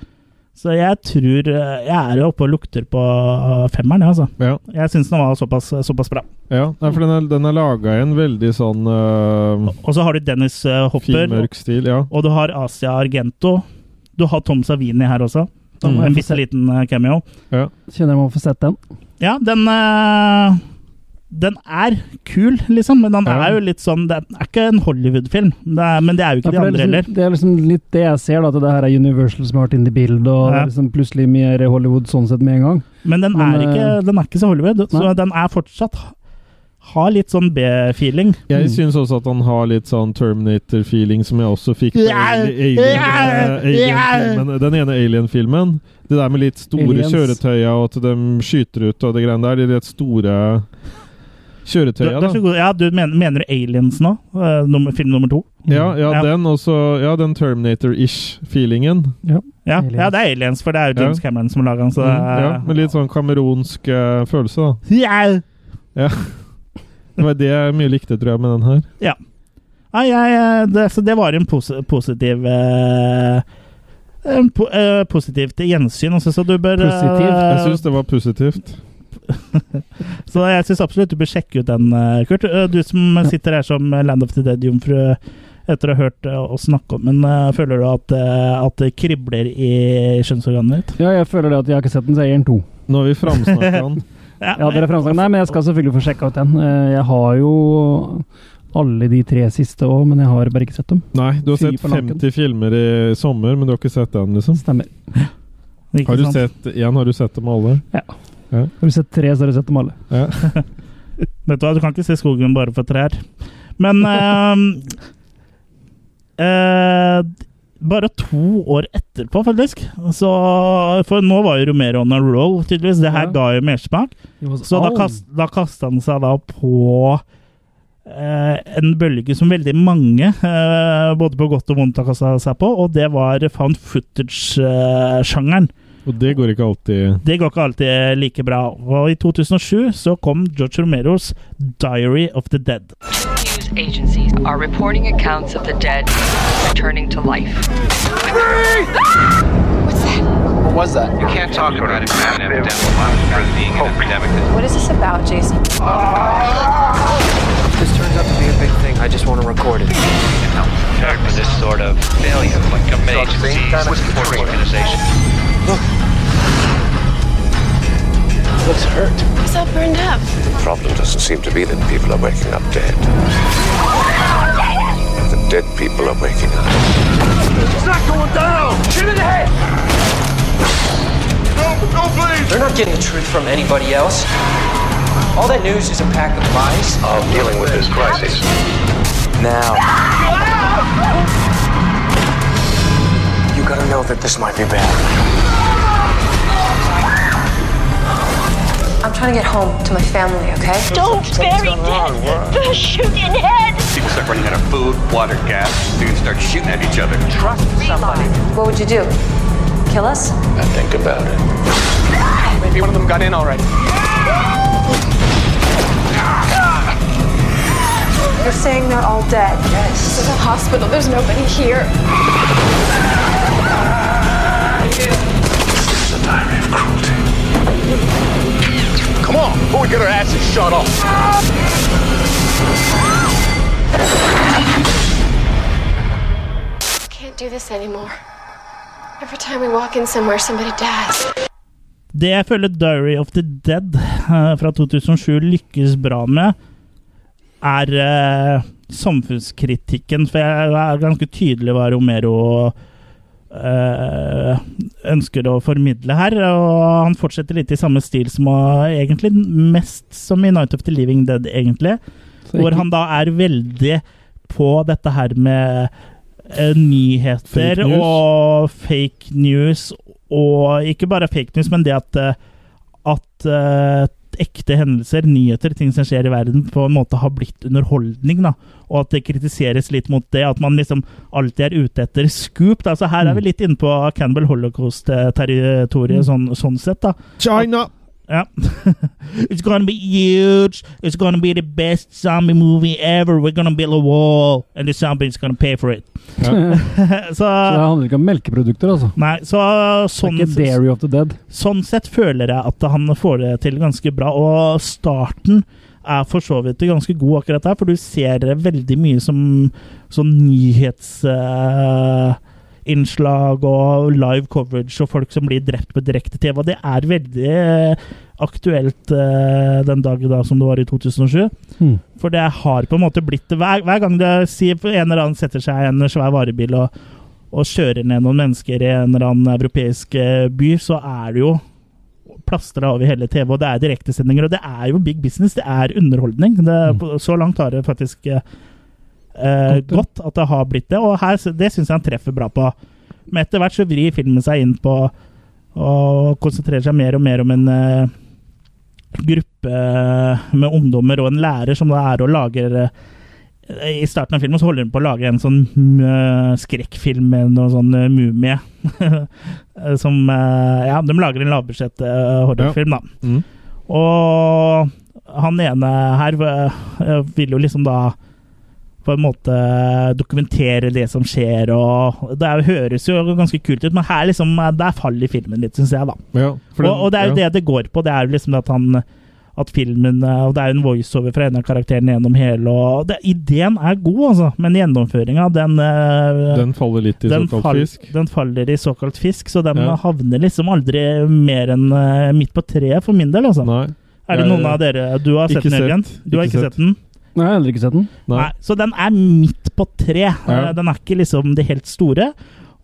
Så jeg tror eh, Jeg er oppe og lukter på eh, femmeren, jeg, altså. Jeg syns den var såpass, såpass bra.
Ja, nei, for den er, den er laga i en veldig sånn øh,
Og så har du Dennis eh, Hopper.
Finmørk stil, ja.
Og du har Asia Argento. Du har Tom Savini her også.
Da må jeg
En
få
bitte liten eh, cameo.
Kjenner jeg må få sett den.
Ja, den eh, Den er kul, liksom, men den er jo litt sånn Den er ikke en Hollywood-film, det er- men det er jo ikke
Ja,
de
for
andre
det, er
heller.
liksom, det er liksom litt det jeg ser, da, at det her er Universal som har vært inne i bildet, og det
Ja.
er liksom plutselig mer Hollywood sånn sett med en gang.
Men den
Men,
er ikke,
eh,
den er ikke så Hollywood, så den er fortsatt Har litt sånn B-feeling.
Jeg syns også at han har litt sånn Terminator-feeling, som jeg også fikk på
Ja,
Ali-
ja,
Alien- eh, Alien-filmen. Den ene Alien-filmen. Det der med litt store
Aliens.
kjøretøya, og at de skyter ut og det greiene der. De litt store
Du, du,
kjøretøya,
er så
da.
god. ja, du mener, mener du Aliens nå? Eh, nummer, film nummer to?
Ja, ja,
Ja.
den også Ja, den Terminator-ish-feelingen.
Ja.
Ja, ja, det er Aliens, for det er jo James
Ja.
Cameron som lager den.
Mm,
Så det er,
ja, med litt sånn kamerunsk eh, følelse, da.
Ja.
Ja. Det var det jeg mye likte, tror jeg, med den her.
Ja. Nei, jeg, eh, det, så det var en posi positiv eh, en po eh, Positiv til gjensyn, altså, så du bør eh,
Jeg syns det var positivt.
Så jeg syns absolutt du bør sjekke ut den, eh, Kurt. Eh, Du som sitter her som Land of the Dead-jomfru etter å ha hørt eh, oss snakke om den, eh, føler du at, eh, at det kribler i kjønnsorganet ditt?
Ja, jeg føler det at jeg har ikke sett den, så jeg gir den to.
Nå har vi framsnakka den.
Ja,
dere framsnakket Nei, men jeg skal selvfølgelig få sjekka ut den. Eh, Jeg har jo alle de tre siste òg, men jeg har bare ikke sett dem.
Nei, du har
Fy
sett
på nakken.
50 filmer i sommer, men du har ikke sett den, liksom?
Stemmer.
Ikke
Har du
sant?
sett én? Har du sett dem alle?
Ja.
Ja.
Har du sett tre, så har du sett dem alle.
Ja.
Vet du hva, du kan ikke se skogen bare for trær. Men eh, eh, Bare to år etterpå, faktisk. Så, for nå var jo Romero on a roll, tydeligvis. Det her
Ja.
ga jo mersmak.
It was
Så da,
on.
kast, da kasta han seg da på eh, en bølge som veldig mange, eh, både på godt og vondt, har kasta seg på, og det var found footage-sjangeren.
Og det går ikke alltid
Det går ikke alltid eh, like bra. Og i 2007 så kom George Romeros 'Diary of the Dead'.
News agencies are reporting accounts of the dead returning to life. What's that?
What was that?
You can't talk about it. An epidemic. As being an epidemic.
What is this about, Jason?
This turns out to be a big thing. I just want to record it. For this sort of failure, like government agencies, support organizations.
Looks hurt.
It's all burned up.
The problem doesn't seem to be that people are waking up dead. The dead people are waking up.
It's not going down! Shoot in the head! No, no, please!
They're not getting the truth from anybody else. All that news is a pack of lies.
Of dealing with this crisis.
Now. You gotta know that this might be bad.
I'm trying to get home to my family, okay?
Don't bury dead. The shooting head.
You can start running out of food, water, gas. You can start shooting at each other. Trust somebody.
What would you do? Kill us?
I think about it.
Maybe one of them got in already.
You're saying they're all dead? Yes. This is a hospital. There's nobody here.
This is a diary of cruelty.
Come on, before we get our asses shot off.
Can't do this anymore. Every time we walk in somewhere, somebody dies.
Det jeg føler 'Diary of the Dead' eh, fra 2007 lykkes bra med, er eh, samfunnskritikken. For jeg er ganske tydelig hva Romero eh, ønsker å formidle her. Og han fortsetter litt i samme stil som eh, egentlig mest som i 'Night of the Living Dead', egentlig.
Så
Hvor
ikke-
han da er veldig på dette her med eh, nyheter
Fake news.
og fake news, og ikke bare fake news, men det at, eh, at eh, ekte hendelser, nyheter, ting som skjer i verden, på en måte har blitt underholdning. da, Og at det kritiseres litt mot det, at man liksom alltid er ute etter scoop. da, Så her
Mm.
er vi litt inne på Canbell Holocaust-territoriet, sånn, sånn sett. da.
China!
Ja. It's gonna be huge. It's gonna be the best zombie movie ever. We're gonna build a wall, and the zombie's gonna pay for it. så,
Så det handler ikke om melkeprodukter, altså.
nei, så sånn,
det er ikke Dairy of the Dead.
sånn sett føler jeg at han får det til ganske bra. Og starten er for så vidt ganske god akkurat der, for du ser veldig mye som sånn nyhetsinnslag innslag og live coverage og folk som blir drept på direkte-TV. Og det er veldig eh, aktuelt eh, den dag i dag som det var i 2007. For det har på en måte blitt det. Hver, hver gang det sier en eller annen setter seg i en svær varebil og, og kjører ned noen mennesker i en eller annen europeisk eh, by, så er det jo plastra over hele TV, og det er direktesendinger, og det er jo big business. Det er underholdning. Det, på- Så langt har det faktisk eh, eh, godt at det har blitt det, og her, det syns jeg han treffer bra på. Men etter hvert så vrir filmen seg inn på å konsentrere seg mer og mer om en eh, gruppe med ungdommer og en lærer som da er og lager eh, I starten av filmen så holder hun på å lage en sånn eh, skrekkfilm med noen sånn eh, mumie. Eh, som eh, Ja, de lager en lavbudsjett eh, horrorfilm, da.
Mm.
Og han ene her eh, vil jo liksom da på en måte dokumentere det som skjer, og det er- høres jo ganske kult ut, men her liksom, eh, der faller filmen litt, syns jeg, da.
Ja, for den-
og, og det er jo
ja.
det det går på. Det er jo liksom at han at filmen eh, Og det er jo en voiceover fra en av karakterene gjennom hele, og det, ideen er god, altså, men gjennomføringa, den eh,
Den faller litt i
den,
såkalt
fall-
fisk.
den faller i såkalt fisk, så den
Ja.
havner liksom aldri mer enn eh, midt på treet, for min del, altså.
Nei.
Er det
Jeg-
noen av dere Du har sett
Ikke
den, Jørgen?
sett.
Du har
Ikke
ikke
sett.
sett den?
Nei, jeg har heller ikke sett den.
Nei.
Nei, så den er midt på tre.
Ja.
Eh, Den er ikke liksom det helt store.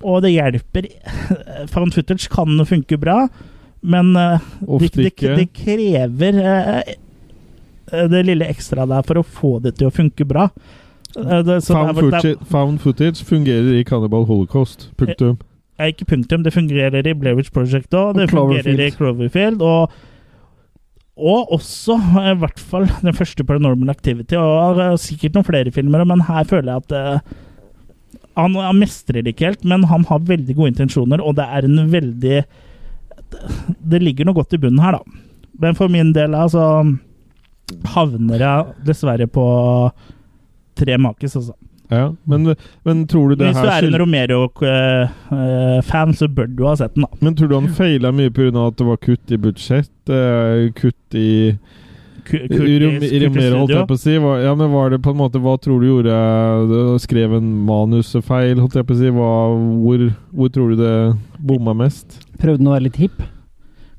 Og det hjelper Found footage kan funke bra, men eh, det,
Ofte
det,
ikke.
det krever eh, eh, det lille ekstra der for å få det til å funke bra. Eh, det- så det
Found,
er- det er-
footage, found footage fungerer i Cannibal Holocaust. Punktum.
er ikke punktum. Det fungerer i Blairwich Project òg. Det
Og Cloverfield.
fungerer i Cloverfield. Og, og også, eh, i hvert fall, den første Paranormal Activity. Og eh, sikkert noen flere filmer, men her føler jeg at eh, han, han mestrer det ikke helt, men han har veldig gode intensjoner, og det er en veldig det ligger noe godt i bunnen her, da. Men for min del altså, havner jeg dessverre på tre makis, altså.
Ja, men, men tror du det
Hvis du
her
er en
skyld-
Romero-fan, så bør du ha sett den, da.
Men tror du han feila mye pga. at det var kutt i budsjett? eh, Kutt i
Ku- kutt i-
Rom-
kutt
i
i
Romero, holdt
studio.
jeg på å si. Hva, ja, men var det på en måte Hva tror du gjorde det- Skrev en manusfeil, holdt jeg på å si? Hva, hvor, hvor tror du det bomma mest?
Prøvde han å være litt hipp?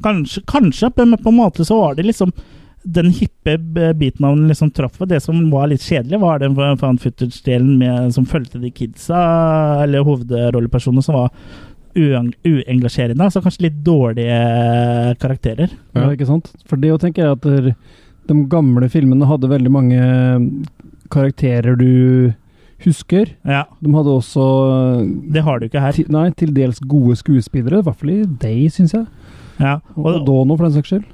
Kanskje, kanskje, men på en måte så var det liksom den hippe b- biten av den liksom traff. Og det som var litt kjedelig, var den found footage-delen med- som fulgte de kidsa, eller hovedrollepersonene, som var ueng- uengasjerende. Altså kanskje litt dårlige karakterer.
Ja, ikke sant? For det jo tenker jeg at der- de gamle filmene hadde veldig mange eh, karakterer du husker. De hadde også
Det har du ikke her.
Til, nei, til dels gode skuespillere, i hvert fall i Day, syns jeg.
Ja,
og, og Dono, for den saks skyld.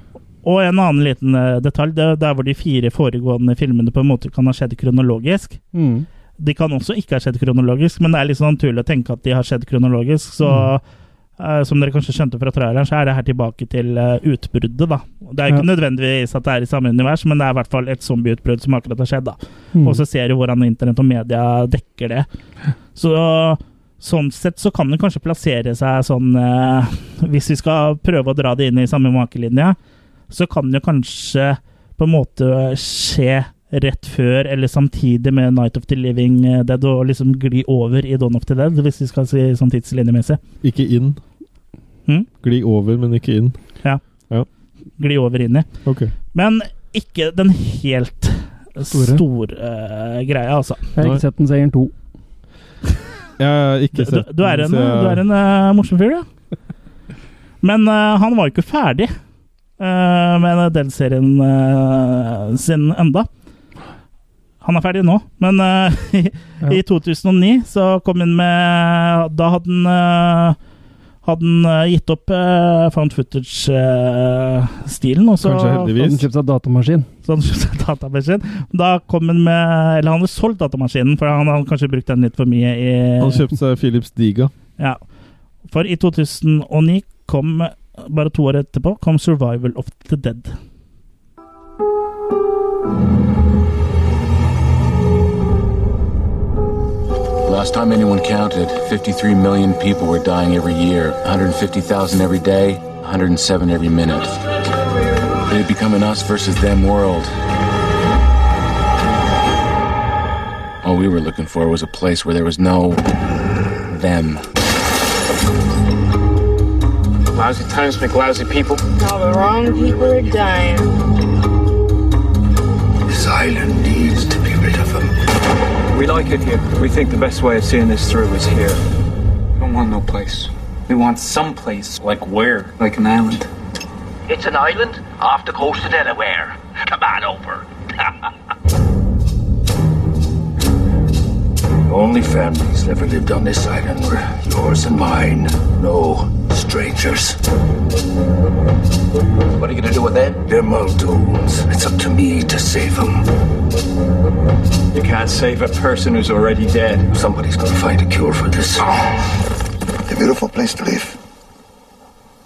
Og en annen liten eh, detalj, det er der hvor de fire foregående filmene på en måte kan ha skjedd kronologisk.
Mm.
De kan også ikke ha skjedd kronologisk, men det er litt sånn naturlig å tenke at de har skjedd kronologisk. Så eh, som dere kanskje skjønte fra traileren, så er det her tilbake til eh, utbruddet, da. Det er jo ikke nødvendigvis at det er i samme univers, men det er i hvert fall et zombieutbrudd som akkurat har skjedd, da.
Mm.
Og så ser du hvordan internett og media dekker det. Så sånn sett så kan det kanskje plassere seg sånn eh, Hvis vi skal prøve å dra det inn i samme makelinje, så kan det kanskje på en måte skje rett før eller samtidig med Night of the Living Dead, og liksom gli over i Dawn of the Dead, hvis vi skal si sånn tidslinjemessig.
Ikke inn.
Hm?
Gli over, men ikke inn.
Ja.
Ja.
Gli over inn i.
Ok.
Men ikke den helt
Store.
store, eh, greia, altså.
Jeg har ikke sett den seieren to.
Jeg har ikke
Du,
sett
du er
den,
en,
så jeg-
du er en eh, morsom fyr, du. Men eh, han var jo ikke ferdig eh, med den serien eh, sin enda. Han er ferdig nå, men eh, i, i 2009 så kom han med Da hadde han eh, hadde han eh, gitt opp eh, found footage-stilen. og så
Hadde kjøpt seg datamaskin.
så han kjøpte datamaskin. Da kom han med Eller han hadde solgt datamaskinen, for han hadde kanskje brukt den litt for mye i
Han kjøpte seg Philips Diga.
Ja. For i 2009 kom, bare to år etterpå, kom 'Survival of the Dead'.
Last time anyone counted, 53 million people were dying every year, 150,000 every day, 107 every minute. It had become an us versus them world. All we were looking for was a place where there was no them.
Lousy times make lousy people.
All the wrong people are dying.
This island needs to be rid of them.
We like it here. We think the best way of seeing this through is here. We don't want no place. We want some place. Like where? Like an island.
It's an island off the coast of Delaware. Come on over.
The only families ever lived on this island were yours and mine. No strangers. What are you gonna do with them? They're muldoons. It's up to me to save them.
You can't save a person who's already dead. Somebody's gonna find a cure for this.
A beautiful place to live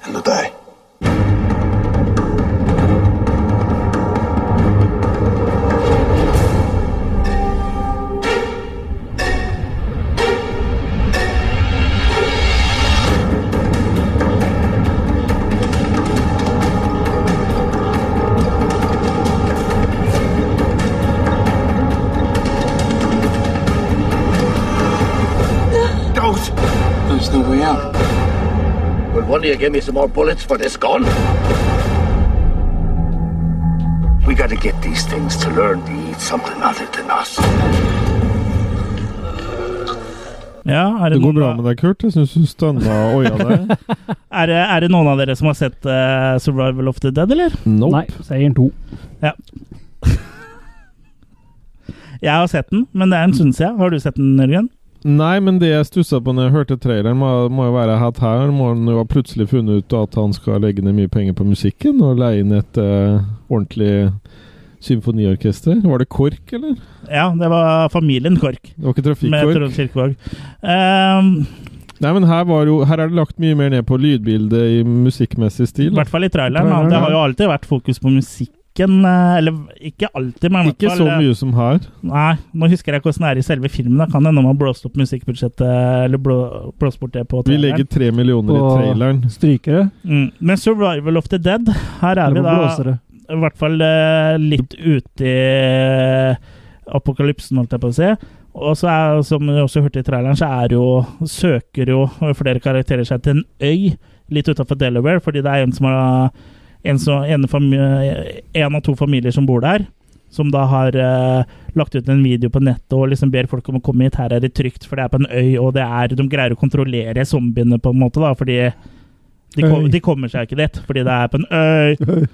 and to die.
Don't! There's no way out.
Will one of you give me some more bullets for this gun? We gotta get these things to learn to eat something other than us.
Ja, er
Det
det,
går
noen,
bra med deg, Kurt. Jeg syns du stønna oia der.
er, det, er det noen av dere som har sett eh, 'Survival of the Dead', eller?
Nope.
Nei, seieren to.
Ja. Jeg har sett den, men det er en stund siden. Har du sett den, Jørgen?
Nei, men det jeg stussa på når jeg hørte traileren, må, må jo være at her må han jo ha plutselig funnet ut at han skal legge ned mye penger på musikken og leie inn et eh, ordentlig symfoniorkester. Var det KORK, eller?
Ja, det var familien Kork.
Det var ikke
Med
Trafikkork?
Trond Kirkevåg. Ehm,
Nei, men her, var jo, her er det lagt mye mer ned på lydbildet i musikkmessig stil.
I hvert fall i traileren. da. Det har jo alltid vært fokus på musikken. eh, Eller ikke alltid, men i hvert
Ikke
fall
så
eh,
mye som her.
Nei, nå husker jeg ikke hvordan det er i selve filmen. Da kan det hende man har blåst opp musikkbudsjettet Eller blå, blåst bort det på
Vi
traileren.
legger tre millioner i
Og
traileren.
Strykere.
Mm. Men 'Survival of the Dead', her er
Eller
vi
på
da
blåsere.
i hvert fall eh, litt ute i eh, apokalypsen, holdt jeg på å si. Og så er, som vi også hørte i traileren, så er jo, søker jo flere karakterer seg til en øy litt utafor Delaware, fordi det er en som har eh, en, som, en, fami- en av to familier som bor der, som da har eh, lagt ut en video på nettet og liksom ber folk om å komme hit. Her er det trygt, for det er på en øy, og det er, de greier å kontrollere zombiene på en måte, da, fordi de, kom,
Øy.
de kommer seg ikke dit, fordi det er på en øy.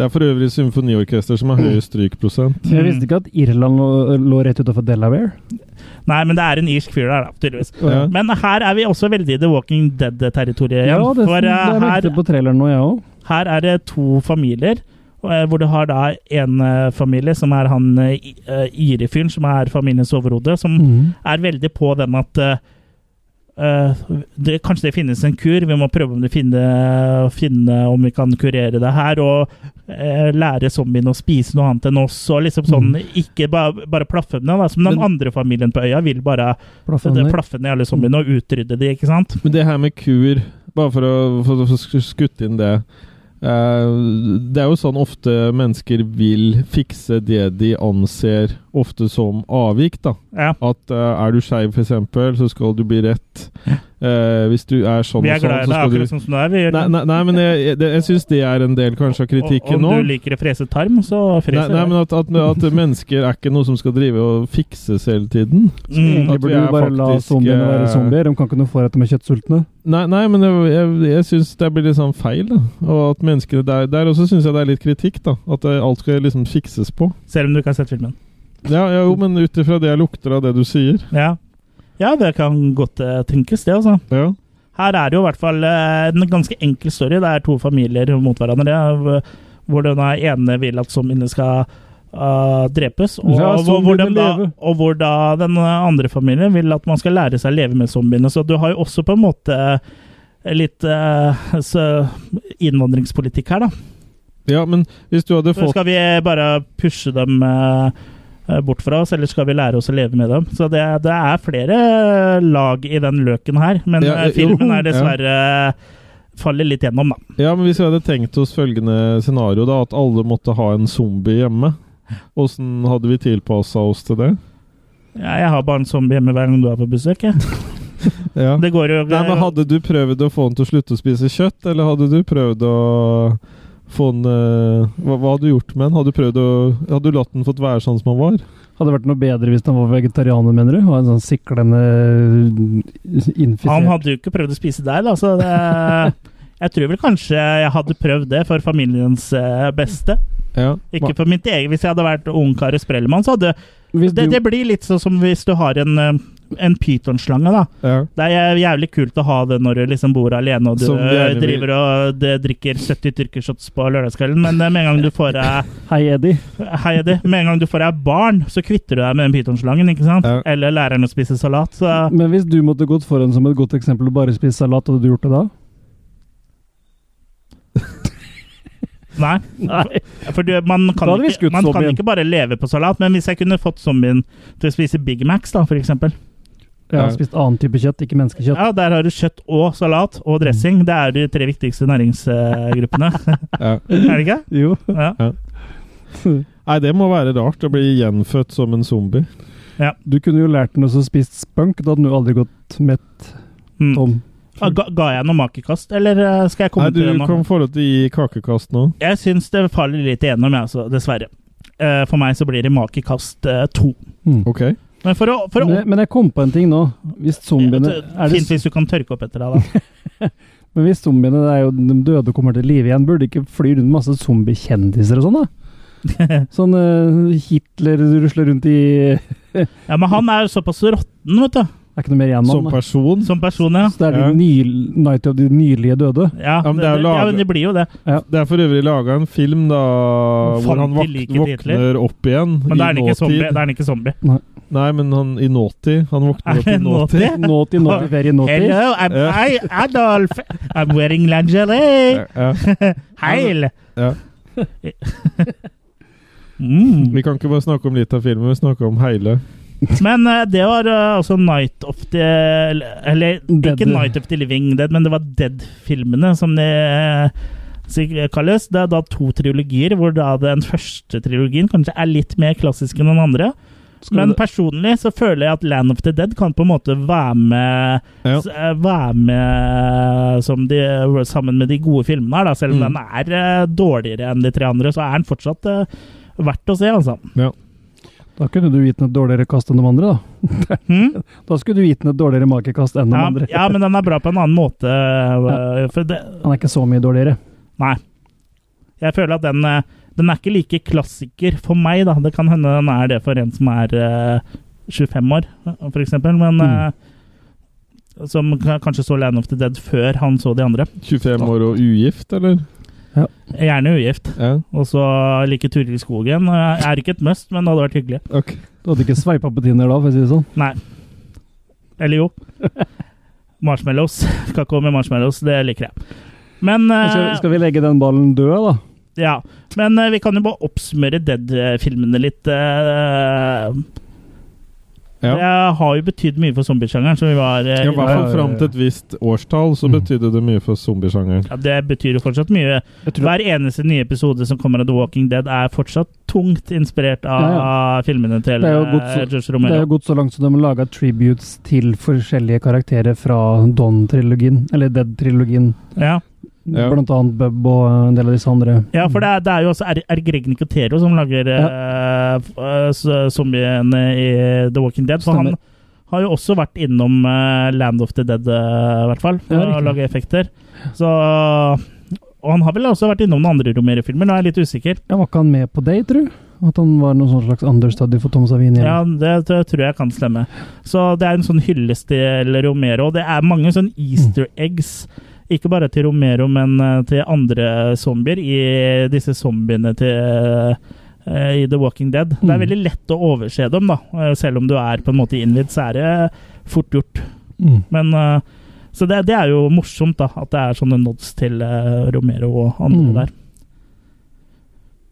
Det er for øvrig symfoniorkester som har høy strykprosent.
Jeg visste ikke at Irland lå, lå rett utenfor Delaware.
Nei, men det er en irsk fyr der, da, tydeligvis.
Ja.
Men her er vi også veldig i The Walking Dead-territoriet.
Ja,
igjen,
det,
for eh,
jeg
her,
merket på traileren nå, jeg òg.
her er det to familier, og, eh, hvor du har da en eh, familie som er han eh, i- eh, irefyren, som er familiens overhode, som
Mm.
Mhm.
er veldig på den at eh, eh, det, kanskje det finnes en kur, vi må prøve om, det finne, finne om vi kan kurere det her. Og eh, lære zombiene å spise noe annet enn oss. Og liksom sånn,
Mm.
Ikke ba, bare plaffe ned, da, som den andre familien på øya vil bare
Plaffe ned.
plaffe ned alle zombiene og liksom utrydde de, ikke sant?
Men det her med kur, bare for å, for å sk- skutte inn det eh, Det er jo sånn ofte mennesker vil fikse det de anser ofte som avvik, da. At eh, er du skeiv, f.eks., så skal du bli rett. Eh, hvis du er sånn
Vi
og
er glad i
sånn, så
deg
skal du
akkurat sånn som du er. Vi gjør
Nei, nei, nei, men jeg, jeg, det- jeg syns det er en del kanskje av
og
kritikken
om
nå.
du liker å frese tarm, så
Nei,
freser
nei, men at, at, at mennesker er ikke noe som skal drive og fikses hele tiden.
Så
Mm.
egentlig
At vi
burde
er
vi bare la
faktisk,
zombiene være
eh,
zombier. De kan ikke noe for at de er kjøttsultne.
Nei, nei men jeg, jeg, jeg syns det blir litt sånn feil. Da. Og at menneskene der, der også syns jeg det er litt kritikk. da At det, alt skal liksom fikses på.
Selv om du ikke har sett filmen.
Ja, ja, jo, men ut ifra det jeg lukter av det du sier.
Ja, ja det kan godt eh, tenkes, det, altså.
Ja.
Her er det jo i hvert fall eh, en ganske enkel story. Det er to familier mot hverandre. eh, Hvor den ene vil at zombiene skal eh, drepes, og,
La
hvor, hvor
zombiene
dem da,
leve.
og hvor da den andre familien vil at man skal lære seg å leve med zombiene. Så du har jo også på en måte litt eh, så innvandringspolitikk her, da.
Ja, men hvis du hadde fått
Skal vi eh, bare pushe dem eh, bort fra oss, eller skal vi lære oss å leve med dem? Så det, det er flere eh, lag i den løken her, men
Ja,
eh, filmen
jo,
er dessverre eh, faller litt gjennom, da.
Ja, men hvis vi hadde tenkt oss følgende scenario, da. At alle måtte ha en zombie hjemme. Åssen hadde vi tilpassa oss til det?
Ja, jeg har bare en zombie hjemme hver gang du er på besøk, jeg.
Ja.
Det går jo
Nei, men Hadde du prøvd å få han til å slutte å spise kjøtt, eller hadde du prøvd å få han eh, hva, hva hadde du gjort med han? Hadde du, prøvd å, hadde du latt han fått være sånn som han var?
Hadde det vært noe bedre hvis de var vegetarianer, mener du? Ha en sånn siklende eh,
eh, Han
infisert
hadde jo ikke prøvd å spise deg, da, så det eh, Jeg tror vel kanskje jeg hadde prøvd det for familiens eh, beste.
Ja.
Ikke for mitt eget. Hvis jeg hadde vært ungkar og sprellemann, så hadde det,
du-
det blir litt sånn som hvis du har en, eh, en pytonslange, da.
Ja.
Det er jævlig kult å ha det når du liksom bor alene og du eh,
Som du gjerne vil.
driver og det drikker 70 tyrkershots på lørdagskvelden, men eh, med en gang du får deg eh,
Hei, Eddie.
Hei, Eddie. Med en gang du får deg barn, så kvitter du deg med den pytonslangen, ikke sant? Eller læreren å spise salat. Så
Men hvis du måtte gått foran som et godt eksempel og bare spist salat, hadde du gjort det da?
nei. For du, man kan,
Da hadde vi
ikke,
skutt
man kan
zombien.
ikke bare leve på salat, men hvis jeg kunne fått zombien til å spise Big Macs, da, for eksempel
Jeg har spist annen type kjøtt, ikke menneskekjøtt.
Ja, der har du kjøtt og salat og dressing. Det er de tre viktigste næringsgruppene. Er det ikke?
Jo.
Ja.
Ja. Nei, det må være rart å bli gjenfødt som en zombie.
Du kunne jo lært den også å spise spunk, da hadde den jo aldri gått mett tom.
Ah, Ga, ga jeg noe makekast, eller eh, skal jeg komme
Nei, du
til det nå?
kan få lov til å gi kakekast nå.
Jeg syns det faller litt igjennom, jeg, altså, dessverre. Eh, for meg så blir det makekast eh, to.
Ok.
Men for å, for å
Mm. Men, men jeg kom på en ting nå. Hvis zombiene er det,
Fint hvis du kan tørke opp etter deg, da.
Men hvis zombiene det er jo de døde og kommer til live igjen, burde ikke fly rundt masse zombiekjendiser og sånn, da? Sånn eh, Hitler rusler rundt i
Ja, Men han er jo såpass råtten, vet du.
Det er ikke noe mer igjen av
Som
den, da.
person.
Som person, ja.
Så det er de nyl- Night of the nylige døde.
Ja,
men det er jo
ja,
laget-
men det blir jo det.
Det er for øvrig laga en film da hvor
Fant
han
de
vak
like
våkner
titler?
opp igjen
Men da er
i
han ikke zombie. Da er han ikke zombie.
Nei.
men han i nåtid. Han
Er
våkner opp i
det
nåtid.
nåtid?
Naughty, naughty, very naughty.
Hello, I'm
Ja.
I, Adolf. I'm wearing lingerie.
Ja.
Heil!
Ja.
Mm.
Vi kan ikke bare snakke om litt av filmen, vi snakker om hele.
Men eh, det var eh, altså Night of the Eller ikke Night of the Living Dead, men det var Dead-filmene som det eh, sikkert kalles. Det er da to trilogier, hvor da den første trilogien kanskje er litt mer klassisk enn den andre.
Skal
men
det-
personlig så føler jeg at Land of the Dead kan på en måte være med, s- eh, være med som de, eh, sammen med de gode filmene her, da. Selv om den er eh, dårligere enn de tre andre, så er den fortsatt eh, verdt å se, altså.
Da kunne du gitt den et dårligere kast enn de andre, da. da skulle du gitt den et dårligere makekast enn de
Hmm? Ja,
andre.
ja, men den er bra på en annen måte. øh, For det,
Han er ikke så mye dårligere.
nei. Jeg føler at den, øh, den er ikke like klassiker for meg, da. Det kan hende den er det for en som er øh, 25 år, øh, for eksempel. Men
Mm.
øh, som k- kanskje så Land of the Dead før han så de andre.
25 år og ugift, eller?
Gjerne ugift.
Ja.
Og så like Turid i skogen. øh, Er ikke et must, men det hadde vært hyggelig.
Ok.
Du hadde ikke sveipa på Tinder da, for å si det sånn.
Nei. Eller jo. Marshmallows. Kakao med marshmallows, det liker jeg. Men øh,
Skal, skal vi legge den ballen død, da?
Ja, men eh, vi kan jo bare oppsummere Dead-filmene litt. eh.
Ja.
Det har jo betydd mye for zombiesjangeren, som vi var eh,
Ja, I hvert fall
inne på.
fram til et visst årstall så betydde det mye for zombiesjangeren.
Ja, det betyr jo fortsatt mye. Hver eneste nye episode som kommer av The Walking Dead, er fortsatt tungt inspirert av
Ja,
filmene til
Det er jo gått
eh, George
så, det er
Romero.
jo gått så langt som de har laga tributes til forskjellige karakterer fra Don-trilogien, eller Dead-trilogien.
Ja.
Blant annet Bub og en del av disse andre.
Ja, for det er, det er jo også R. R. Greg Nicotero som lager eh, f- eh, s- zombiene i The Walking Dead. For
Stemmer.
han har jo også vært innom eh, Land of the Dead, eh, i hvert fall, for
Ja, riktig.
å lage effekter. Så Og han har vel også vært innom noen andre Romero-filmer, nå er jeg litt usikker.
Ja, var ikke han med på det, tror du? At han var noen sånn slags understudy for Tom Savini?
Ja, det t- tror jeg kan stemme. Så det er en sånn hyllest til Romero. Og det er mange sånn easter eggs, ikke bare til Romero, men eh, til andre zombier i disse zombiene til eh, i The Walking Dead. Det er
Mm.
veldig lett å overse dem, da. Eh, Selv om du er på en måte innvidd, så er det fort gjort.
Mm.
Men eh, Så det, det er jo morsomt, da. At det er sånne nods til eh, Romero og andre
Mm.
der.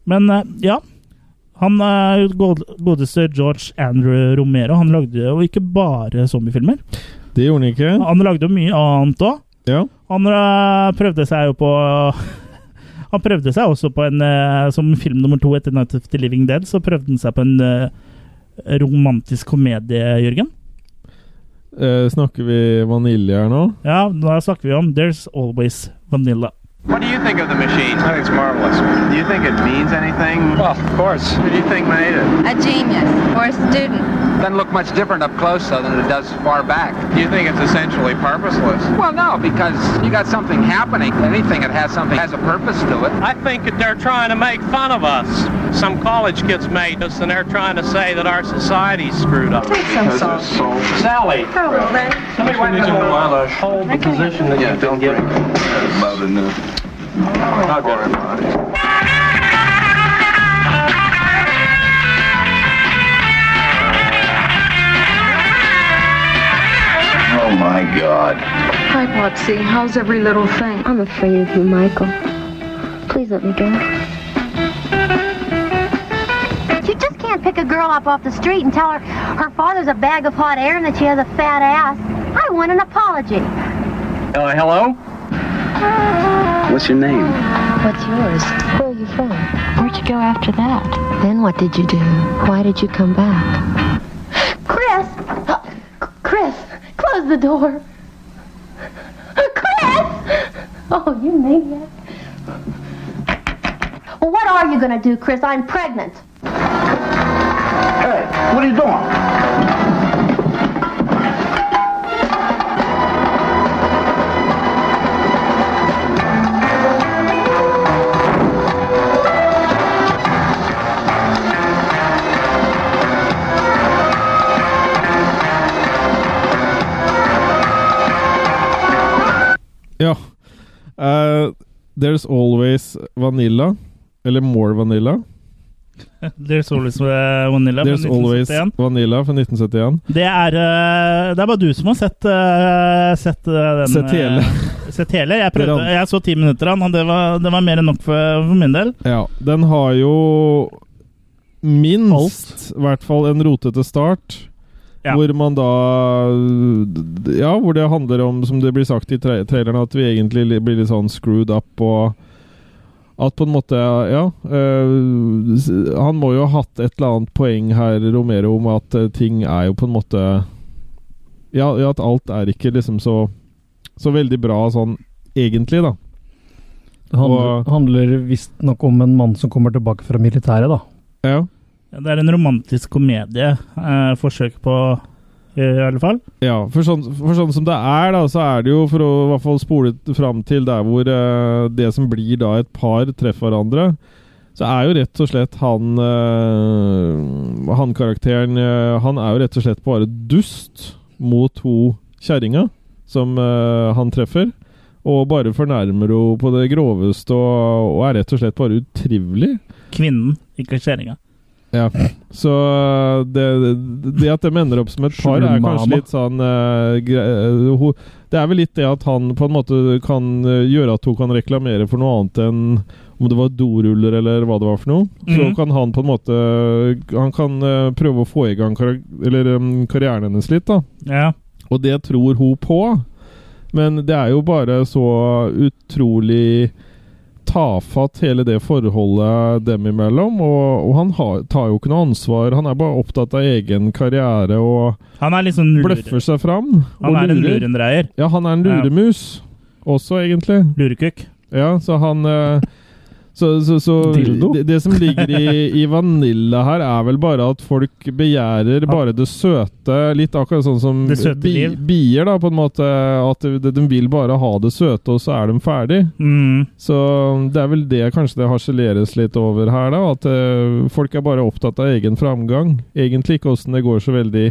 Men eh, ja. Han eh, god- godeste George Andrew Romero han lagde jo ikke bare zombiefilmer.
Det gjorde han ikke.
Han lagde jo mye annet òg.
Ja.
Han eh, prøvde seg jo på Han prøvde seg også på en eh, Som film nummer to etter 'Night of the Living Dead', så prøvde han seg på en eh, romantisk komedie, Jørgen.
Eh, snakker vi vanilje her nå?
Ja, da snakker vi om 'There's Always Vanilla'.
What do you think of the machine? I think it's marvelous. Do you think it means anything? Well, Oh, of course. What do you think made it?
A genius or a student.
Doesn't look much different up close though than it does far back. Do you think it's essentially purposeless? Well, no, because you got something happening. Anything that has something has a purpose to it.
I think that they're trying to make fun of us. Some college kids made us, and they're trying to say that our society's screwed up.
Take some Is salt.
Sally.
Hello there.
Somebody wipe that bowl.
Hold the position that you don't get. About enough. Not very much.
Oh my god.
Hi, Popsy. How's every little thing? I'm afraid of you, Michael. Please let me go.
You just can't pick a girl up off the street and tell her her father's a bag of hot air and that she has a fat ass. I want an apology.
Uh, hello? What's your name?
What's yours? Where are you from? Where'd you go after that? Then what did you do? Why did you come back?
Chris! Uh, C- Chris, close the door. Chris! Oh, you maniac. Well, what are you gonna do, Chris? I'm pregnant.
Hey, what are you doing?
Ja. Eh, there's always vanilla. Eller more vanilla.
There's Always eh, Vanilla fra
There's always
1971.
vanilla fra 1971.
Det er, eh, det er bare du som har sett, eh, sett eh, den
Sett hele.
eh, Sett hele. Jeg, prøvde,
Dere andre.
jeg så ti minutter av den, og det var, det var mer enn nok for, for min del.
Ja. Den har jo minst, i hvert fall, en rotete start.
Ja.
Hvor man da Ja, hvor det handler om, som det blir sagt i tra traileren, at vi egentlig li- blir litt sånn screwed up og at på en måte Ja. øh, s- han må jo ha hatt et eller annet poeng her, Romero, om at eh, ting er jo på en måte Ja, ja at alt er ikke liksom så Så veldig bra sånn egentlig, da.
Det handler, handler visstnok om en mann som kommer tilbake fra militæret, da.
Ja.
Ja, Det er en romantisk komedie. Eh, forsøk på eh, i alle fall.
Ja, for sånn, for sånn som det er, da, så er det jo for å i hvert fall spole t- fram til der hvor eh, det som blir da et par treffer hverandre, så er jo rett og slett han eh, Han karakteren eh, Han er jo rett og slett bare dust mot ho kjerringa som eh, han treffer. Og bare fornærmer henne på det groveste og, og er rett og slett bare utrivelig.
Kvinnen, ikke kjerringa.
Ja. Så eh, det, det at de ender opp som et par, er kanskje
Mama.
litt sånn eh, gre- eh, ho- Det er vel litt det at han på en måte kan eh, gjøre at hun kan reklamere for noe annet enn om det var doruller eller hva det var for noe. Så
Mhm.
kan han på en måte Han kan eh, prøve å få i gang karak eller, em, karrieren hennes litt, da.
Ja.
Og det tror hun på. Men det er jo bare så utrolig tafatt, hele det forholdet dem imellom. Og, og han har, tar jo ikke noe ansvar. Han er bare opptatt av egen karriere og
Han er liksom lurer.
bløffer seg fram.
Han
og
er en
lurer.
lurendreier.
Ja, han er en luremus også, egentlig.
Lurekukk.
Ja, så han eh, så, så, så
Dildo?
Det, det som ligger i, i vanilla her, er vel bare at folk begjærer bare det søte. Litt akkurat sånn som
Det søte liv.
bier, da, på en måte. At de, de vil bare ha det søte, og så er de ferdig.
Mm.
Så det er vel det kanskje det harseleres litt over her, da. At eh, folk er bare opptatt av egen framgang. Egentlig ikke åssen det går så veldig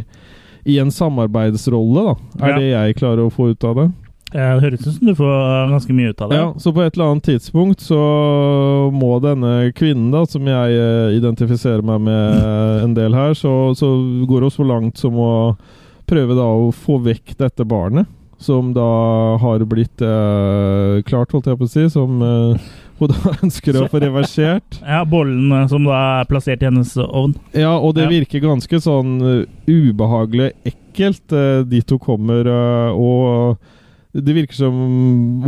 i en samarbeidsrolle, da.
Ja.
Er det jeg klarer å få ut av det.
Ja, Det høres ut som du får eh, ganske mye ut av det.
Ja, så på et eller annet tidspunkt så må denne kvinnen, da, som jeg eh, identifiserer meg med eh, en del her, så, så går hun så langt som å prøve da å få vekk dette barnet. Som da har blitt eh, klart, holdt jeg på å si. Som eh, hun da ønsker å få reversert.
Ja, Bollen eh, som da er plassert i hennes ovn.
Ja, og det
Ja.
virker ganske sånn uh, ubehagelig ekkelt, uh, dit hun kommer, uh, og det virker som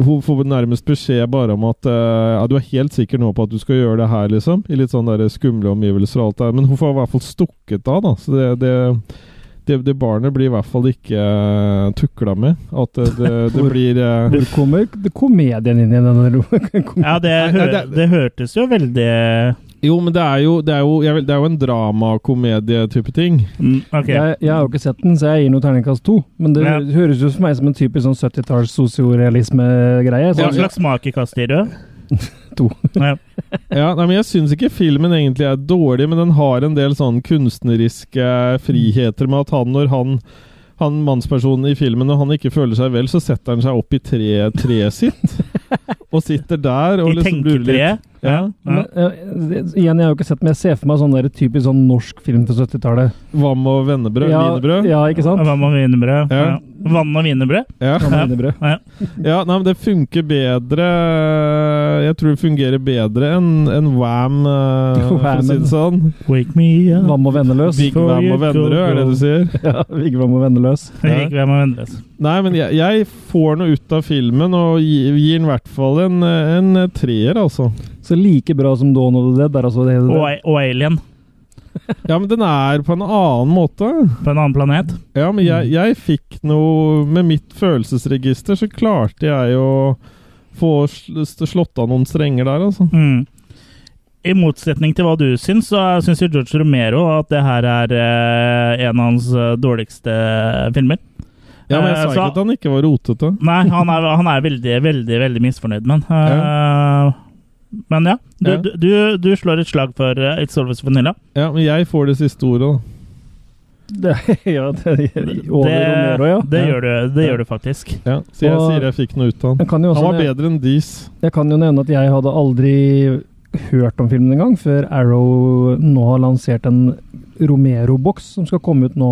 hun får nærmest beskjed bare om at uh, ja, du er helt sikker nå på at du skal gjøre det her, liksom. I litt sånn der skumle omgivelser og alt der. Men hun får i hvert fall stukket av, da. Så det, det, det, det barnet blir i hvert fall ikke uh, tukla med. At det, det, det
Hvor-
blir uh,
Hvor kommer k- komedien inn i denne roen?
Ja, det,
Nei,
hø
nei,
det,
det-
hørtes jo veldig
Jo, men det er jo, det er jo, jeg vil, det er jo en dramakomedie-type ting.
mm, Ok.
Jeg, jeg har jo ikke sett den, så jeg gir noe terningkast to. Men det
Ja.
høres jo for meg som en typisk sånn 70-talls sosiorealisme-greie. Sånn
Hva
så-
slags smak i kastet gir du?
To.
Ja.
Ja, nei, men Jeg syns ikke filmen egentlig er dårlig, men den har en del sånn kunstneriske friheter med at han, når han, han mannspersonen i filmen når han ikke føler seg vel, så setter han seg opp i tre, treet sitt. Og sitter der og
I
liksom lurer
tenketreet?
litt. Ja.
Men, eh, det- igjen, jeg har jo ikke sett, men jeg ser for meg sånn der typisk sånn norsk film fra 70-tallet.
Hva med vennebrød?
Ja,
Wienerbrød?
ja, ikke sant?
Vann og wienerbrød.
Ja.
Ja. Vann og wienerbrød?
Ja.
Ja, wienerbrød.
Ja.
Ja, nei, men det funker bedre Jeg tror det fungerer bedre enn enn Wham, eh, for å si det sånn.
Wake me up
Vam og Venneløs.
Big Wham og Vennerød, er det du sier?
Ja, Vigvam og Venneløs.
Gikk hvem og vendeløs.
Nei, men jeg, jeg får noe ut av filmen, og gir, gir den i hvert fall en, en treer, altså.
Så like bra som Dawn of the Dead er altså det hele
Og,
det.
og Alien
Ja, men den er på en annen måte.
på en annen planet.
Ja, men
Mm.
jeg, jeg fikk noe Med mitt følelsesregister så klarte jeg å få sl- slått av noen strenger der, altså.
Mm. I motsetning til hva du syns, så syns jo George Romero at det her er eh, en av hans eh, dårligste filmer.
Ja, men
Eh,
jeg sa
så-
ikke at han ikke var rotete.
Nei, han er, han er veldig, veldig, veldig misfornøyd med den. Eh, Men ja, du,
Ja.
du- Du, du slår et slag for eh, It's Always Vanilla.
Ja, men jeg får det siste ordet, da.
Det, ja, det, over
Det-
Romero, ja.
det
ja.
gjør du- det gjør du faktisk.
Ja, så jeg
Og- sånn
sier jeg fikk noe ut av
Jeg
den.
kan jo
Han
også
var
nevne-
bedre enn Dees.
Jeg kan jo nevne at jeg hadde aldri hørt om filmen engang, før Arrow nå har lansert en Romero-boks som skal komme ut nå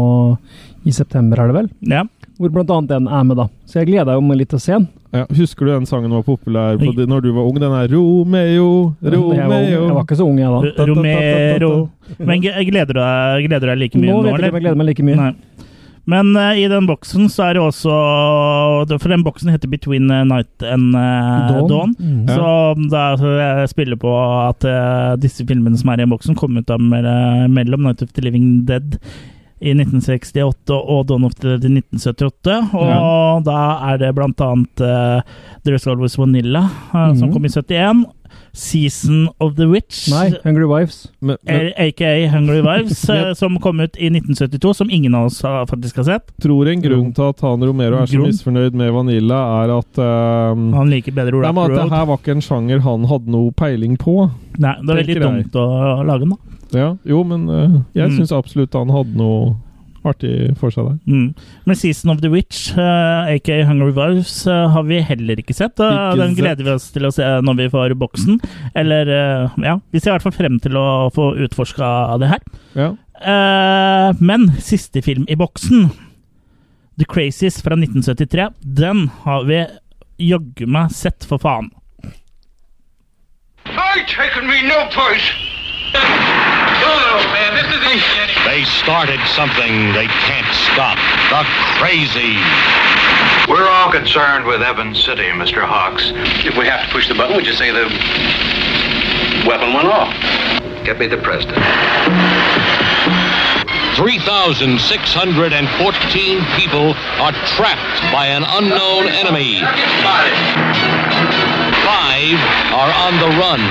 i september, er det vel?
Ja.
Hvor blant annet den er med, da. Så jeg gleder meg litt til å se den.
Ja, husker du den sangen var populær på, når du var ung? Den er Romeo,
Jeg var,
Romeo
jeg var ikke så ung,
Eh,
jeg da.
Romero. Men g- gleder du deg, gleder du deg like mye
Nå
nå,
vet jeg ikke om jeg gleder meg like mye.
Nei. Men eh, i den boksen så er det også For den boksen heter Between Night and eh,
Dawn.
Dawn.
Mm.
Så da så jeg spiller på at eh, disse filmene som er i boksen, kom ut av mell- mellom Night of the Living Dead i 1968 og Dawn of the Dead i 1978. Og
Ja.
da er det blant annet eh, There's Always Vanilla, eh, som
Mhm.
kom i 71. Season of the Witch.
Nei, Hungry Wives.
Er- AKA Hungry Wives, eh,
Yep.
som kom ut i 1972, som ingen av oss har- faktisk har sett.
Tror en grunn til at han Romero er så
Grunn?
misfornøyd med Vanilla, er at ehm,
Han liker bedre
Nei,
Rap
men at det
Road.
her var ikke en sjanger han hadde noe peiling på.
Nei, det er veldig
tenker
dumt
jeg.
å lage den, da.
Ja, jo, men eh, jeg
Mm.
syns absolutt han hadde noe artig for seg der.
Mm. Men Season of the Witch, uh, aka Hungry Wives, eh, har vi heller ikke sett. og
Ikke
den
sett.
gleder vi oss til å se når vi får boksen. Eller eh, ja, vi ser i hvert fall frem til å få utforska det her.
Ja.
Eh, men siste film i boksen, The Crazies fra 1973, den har vi jaggu meg sett, for faen.
I taken me no place. man. This is
They started something they can't stop. The crazy.
We're all concerned with Evan City, Mr. Hawks. If we have to push the button, would you say the weapon went off? Get me the president.
3,614 people are trapped by an unknown enemy. Five are on the run.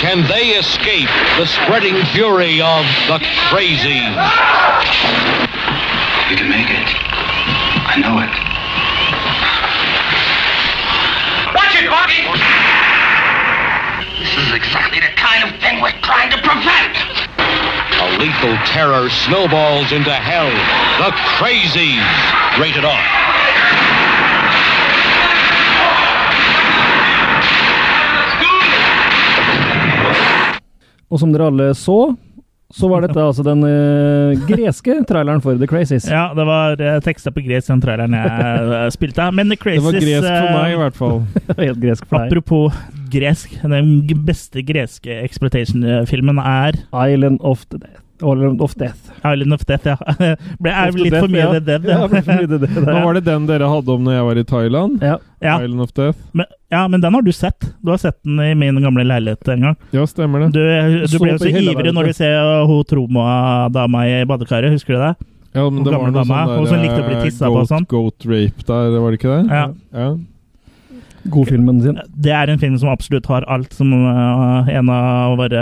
Can they escape the spreading fury of the crazy?
You can make it. I know it.
Watch it, Marty! This is exactly the kind of thing we're trying to prevent!
A lethal terror snowballs into hell. The Crazies. Rated R.
Og som dere alle så, så var dette altså den eh, greske traileren for The Crazies.
Ja, det var uh, teksta på gresk, den traileren jeg eh, spilte. Men The
Det
Crazies
var gresk for
eh,
meg, i hvert fall.
Helt gresk for deg.
Apropos gresk, den g- beste greske exploitation-filmen er
Island of the Death. Island of Death.
Island of Death, ja. Ble er
Of the
litt
Death,
for mye
ja.
The Dead.
Ja, ble for mye The Dead, ja.
Nå var det den dere hadde om når jeg var i Thailand.
Ja.
Ja.
Island of Death.
Men, ja, men den har du sett. Du har sett den i min gamle leilighet en gang.
Ja, stemmer det.
Du, du
Så
ble jo
på
så
hele
ivrig
verden.
når du ser uh, hun Troma-dama i badekaret, husker du det?
Ja, men
Hun
det var
gamle
noe
dama,
sånn
hun
der,
som likte å bli
eh,
tissa på og
goat-
sånn.
Goat rape der, var det ikke det?
Ja.
ja.
Godfilmen sin.
Det er en film som absolutt har alt, som uh, en av våre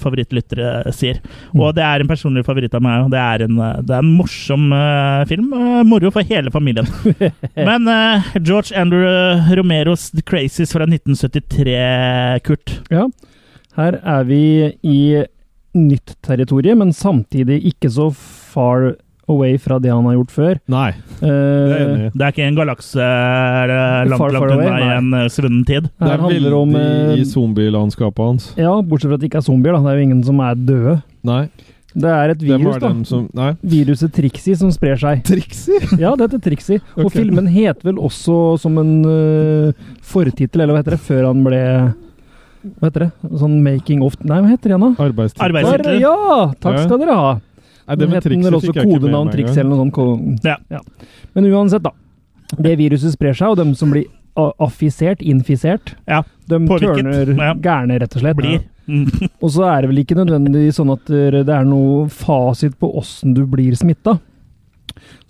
favorittlyttere sier.
Mm.
Og det er en personlig favoritt av meg. og Det er en, uh, det er en morsom uh, film. Uh, moro for hele familien. Men uh, George Andrew Romeros The Crazies fra 1973, Kurt.
Ja. Her er vi i nytt territorium, men samtidig ikke så far away fra det han har gjort før. Eh,
Nei,
det
er enig i.
Det er ikke en galakse eller langt,
Far,
langt
far away,
unna i
nei.
en uh, svunnen tid.
Her
Det er
handler det
veldig
om, eh,
i zombielandskapet hans.
Ja, bortsett fra at det ikke er zombier, da. Det er jo ingen som er døde.
Nei.
Det er et
Hvem
virus,
var
da.
dem som- nei.
Viruset Trixie som sprer seg.
Trixie?
Ja, det heter Trixie. Og
Ok.
filmen het vel også som en eh, fortittel, eller hva heter det, før han ble Hva heter det? Sånn making of Nei, hva heter det igjen, da?
Arbeidstid.
Der, ja! Takk
Ja.
skal dere ha.
Nei, det
Den
med
het den
Trixie
vel
fikk
også
jeg ikke med
kodenavn
meg
Trixie
engang.
eller noe sånt. ko-
Ja.
Men uansett, da. Det viruset sprer seg, og dem som blir a- affisert, infisert,
Ja,
de
påvirket.
tørner
Ja.
gærne, rett og slett.
Blir. Mm.
Og så er det vel ikke nødvendigvis sånn at eh, det er noe fasit på åssen du blir smitta.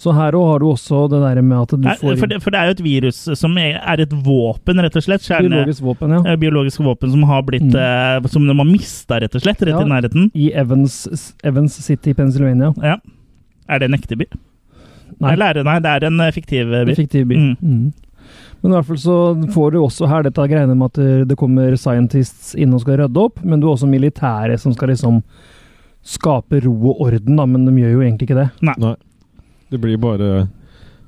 Så her òg har du også det der med at du
Nei,
får
Eh, For det, for det er jo et virus som er er et våpen, rett og slett. Kjerne,
Biologisk våpen, ja.
eh, biologisk våpen som har blitt eh, Som de har mista, rett og slett, rett
Ja,
i nærheten.
I Evans, Evans City, Pennsylvania.
Ja. Er det en ekte by?
Nei.
Eller er det, nei, det er en eh, fiktiv eh, by.
En fiktiv by.
Mm.
Mm. Men i hvert fall så får du også her dette greiene eh, med at det kommer scientists inn og skal rydde opp, men du har også militære som skal liksom skape ro og orden, da, men de gjør jo egentlig ikke det.
Nei.
Det blir bare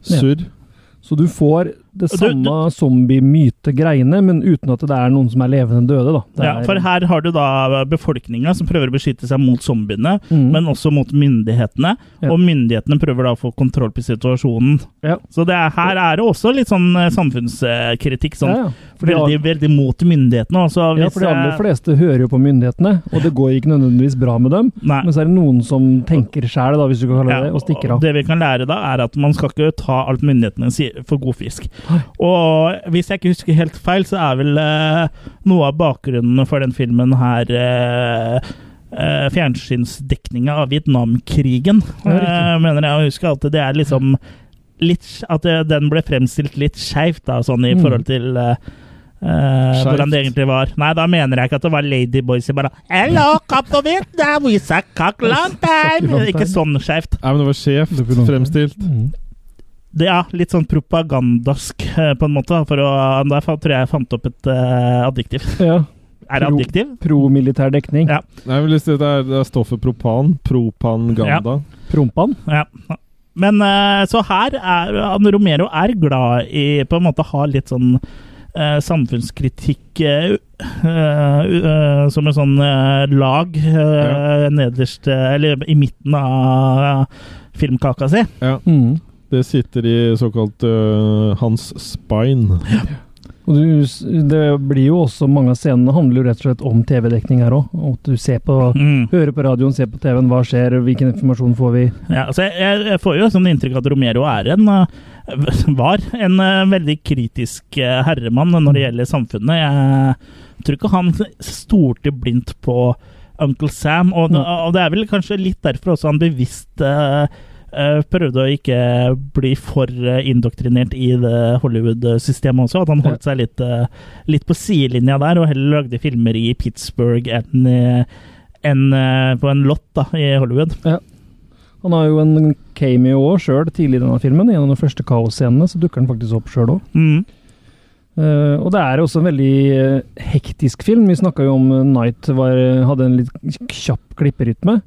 surr.
Så du får det
Du-
samme zombie-myte-greiene, men uten at det er noen som er levende døde, da. Det
Ja,
er,
for her har du da eh, befolkninga som prøver å beskytte seg mot zombiene, men også mot myndighetene.
Mm. Ja.
Og myndighetene prøver da å få kontroll på situasjonen. Så det er, her er det også litt sånn eh, samfunnskritikk. Sånn,
Ja, ja. For de har-
Veldig, veldig mot myndighetene. Også,
ja,
hvis,
for de aller
eh,
fleste hører jo på myndighetene, og det går ikke nødvendigvis bra med dem. Men så er det noen som tenker sjæl, da, hvis du kan kalle det det, og stikker
og
av.
Det vi kan lære da, er at man skal ikke ta alt myndighetene sier for god fisk. Og hvis jeg ikke husker helt feil, så er vel eh, noe av bakgrunnen for den filmen her eh, eh, fjernsynsdekninga av Vietnamkrigen.
Ja, riktig.
Eh, mener jeg å huske at det er liksom litt At eh, den ble fremstilt litt skeivt, da, sånn i
Mm.
forhold til eh, eh, hvordan det egentlig var. Nei, da mener jeg ikke at det var Ladyboys i bare Hello, come to Vietnam, we suck cock long time! Ikke sånn skjevt.
Nei, men det var skjevt fremstilt.
Det er litt sånn propagandask, eh, på en måte. da, For å, der fa- tror jeg jeg fant opp et eh, adjektiv. Er det
Pro-
adjektiv?
Pro-militær dekning.
Ja.
Nei, men det er, det er stoffet propan. Propanganda.
Prompan.
Ja. Men eh, så her er han Romero er glad i på en måte å ha litt sånn eh, samfunnskritikk eh, eh, eh, som en sånn eh, lag eh, nederst eh, Eller i midten av eh, filmkaka si.
Ja.
Mhm.
Det sitter i såkalt øh, hans spine.
Og du, s- det blir jo også Mange av scenene handler jo rett og slett om TV-dekning her òg. At du ser på,
Mm.
hører på radioen, ser på TV-en, hva skjer, hvilken informasjon får vi?
Ja, altså jeg- jeg, jeg får jo sånn inntrykk at Romero er en eh, var en eh, veldig kritisk eh, herremann når det gjelder samfunnet. Jeg tror ikke han stolte blindt på Uncle Sam, og, det- og det er vel kanskje litt derfor også han bevisst eh, eh, prøvde å ikke bli for eh, indoktrinert i det Hollywood-systemet også, at han holdt seg litt, eh, litt på sidelinja der, og heller lagde filmer i Pittsburgh enn i- enn eh, på en lott da, i Hollywood.
Ja. Han har jo en cameo òg sjøl tidlig i denne filmen. I en av de første kaosscenene så dukker han faktisk opp sjøl òg.
Mm.
Eh, og det er også en veldig eh, hektisk film. Vi snakka jo om eh, Night var, hadde en litt kjapp klipperytme,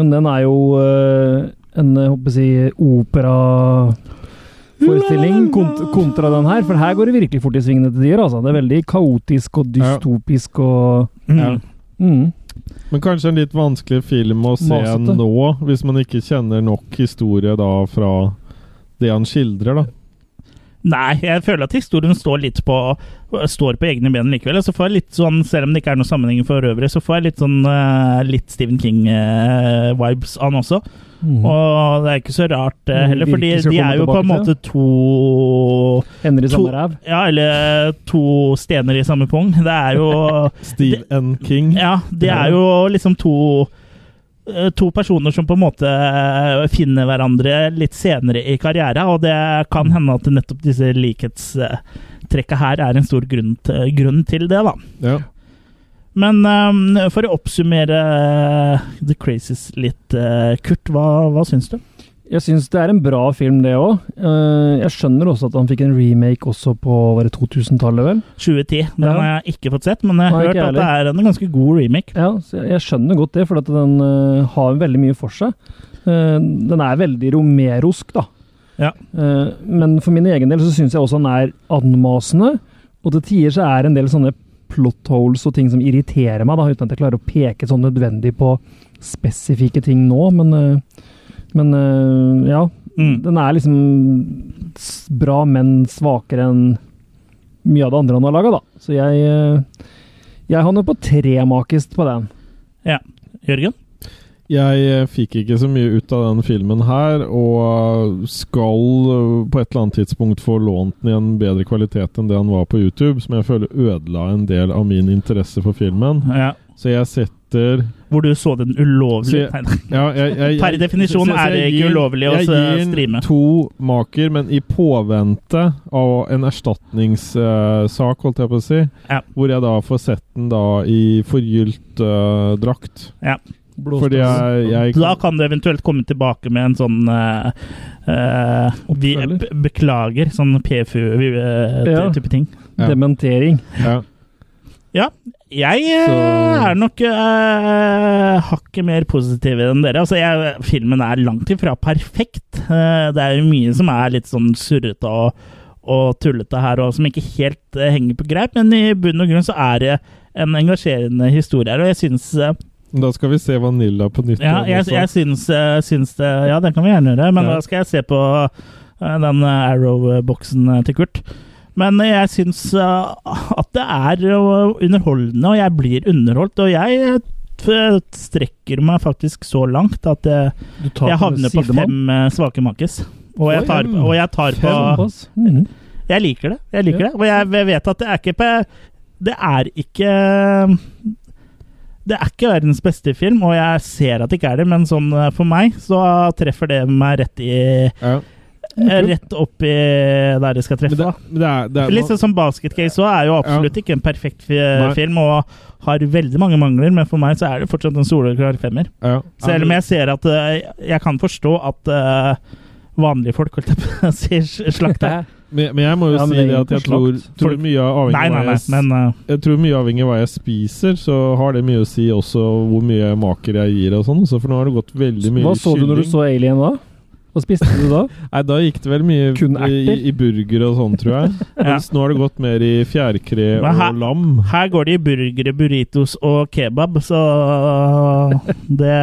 men den er jo eh, en eh, håper jeg å si, operaforestilling kont kontra den her. For her går det virkelig fort i svingene til tider. Altså. Det er veldig kaotisk og dystopisk og
Ja.
Mm.
Men kanskje en litt vanskelig film å se
Masete.
nå, hvis man ikke kjenner nok historie da fra det han skildrer, da.
Nei, jeg føler at historien står litt på Står på egne ben likevel. Og så får jeg litt sånn, selv om det ikke er noen sammenheng for øvrig, så får jeg litt sånn eh, litt Stephen King-vibes av han også.
Mhm.
Og det er ikke så rart eh,
Men
heller,
Mm, virker
fordi
som
de
å komme
er jo på en
tilbake
måte
til.
to
Ender i
to-
samme ræv.
Ja, eller to stener i samme pung. Det er jo
Steve N. King.
Ja, det er jo liksom to eh, To personer som på en måte eh, finner hverandre litt senere i karriere, og det kan hende at nettopp disse likhetstrekka her er en stor grunn, til- grunn til det, da.
Ja.
Men eh, for å oppsummere eh, The Crazies litt, eh, Kurt, hva, hva syns du?
Jeg syns det er en bra film, det òg. Jeg skjønner også at han fikk en remake også på var det 2000-tallet, vel?
2010. Den
Ja.
har jeg ikke fått sett, men jeg
Nei,
har
ikke
hørt
jeg
at det er en ganske god remake.
Ja, så jeg- jeg skjønner godt det, for at den eh, har veldig mye for seg. Eh, Den er veldig romerosk, da.
Ja.
Eh, Men for min egen del så syns jeg også han er anmasende. Og til tider så er det en del sånne plot holes og ting som irriterer meg, da, uten at jeg klarer å peke sånn nødvendig på spesifikke ting nå, men, eh, men eh, ja.
Mm.
Den er liksom s- bra, men svakere enn mye av det andre han har laga, da. Så jeg, eh, jeg havner på tremakist på den.
Ja. Jørgen?
Jeg eh, fikk ikke så mye ut av den filmen her, og skal eh, på et eller annet tidspunkt få lånt den i en bedre kvalitet enn det han var på YouTube, som jeg føler ødela en del av min interesse for filmen.
Ja.
Så jeg setter
Hvor du så den ulovlige
Så jeg- ja, jeg, jeg, jeg,
Per definisjon
så- så
er det
jeg
ikke
gir-
ulovlig å eh,
Jeg gir
streame.
den to maker, men i påvente av en erstatningssak, holdt jeg på å si, hvor jeg da får sett den da i forgylt eh, drakt.
Ja.
Fordi jeg, jeg
da kan du eventuelt komme tilbake med en sånn eh, eh, vi, be- Beklager, sånn
Ja.
PFU-type eh, ting.
Dementering.
Ja.
Ja, jeg eh, er nok eh, hakk hakket mer positive enn dere. Altså, jeg, filmen er langt ifra perfekt. Eh, Det er jo mye som er litt sånn surrete og, og tullete her, og som ikke helt eh, henger på greip, men i bunn og grunn så er det en engasjerende historie her, og jeg syns eh,
Da skal vi se Vanilla på nytt.
ja, jeg,
også.
jeg syns, eh, syns det Ja, den kan vi gjerne gjøre, men
Ja.
da skal jeg se på eh, den eh, Arrow-boksen eh, til Kurt. Men eh, jeg syns eh, at det er eh, underholdende, og jeg blir underholdt. Og jeg eh, f- strekker meg faktisk så langt at jeg,
tar
jeg
på
havner på
sidemann?
fem eh, svake makis. Og jeg
Oi,
tar, og jeg tar på
Såpass. Mhm.
jeg liker det. Jeg liker det. Og jeg vet at det er ikke på Det er ikke Det er ikke verdens beste film, og jeg ser at det ikke er det, men sånn eh, for meg så treffer det meg rett i eh, Rett opp i der det skal treffe. da. Litt sånn som Basket Case også er jo absolutt ikke en perfekt fi
Nei.
film og har veldig mange mangler, men for meg så er det fortsatt en soleklar femmer.
Ja.
Selv om jeg ser at eh, jeg kan forstå at eh, vanlige folk, holdt jeg på å si, slakter.
Men, men jeg må jo
Ja, men
si
det er
det
jo
at jeg
ikke
tror,
slakt.
tror
Folk-
mye av avhengig
Nei,
av
nei,
hva
nei,
jeg s-
men, eh,
Jeg tror mye avhengig av hva jeg spiser, så har det mye å si også hvor mye maker jeg gir og sånn. Så for nå har det gått veldig mye
Hva så du når du så Alien da? Hva spiste du da?
Nei, da gikk det vel mye
Kun
i, i,
erter?
i burger og sånn, tror jeg. Mens nå har det gått mer i fjærkre
Men her-
og lam.
Her går det i burgere, burritos og kebab, så det,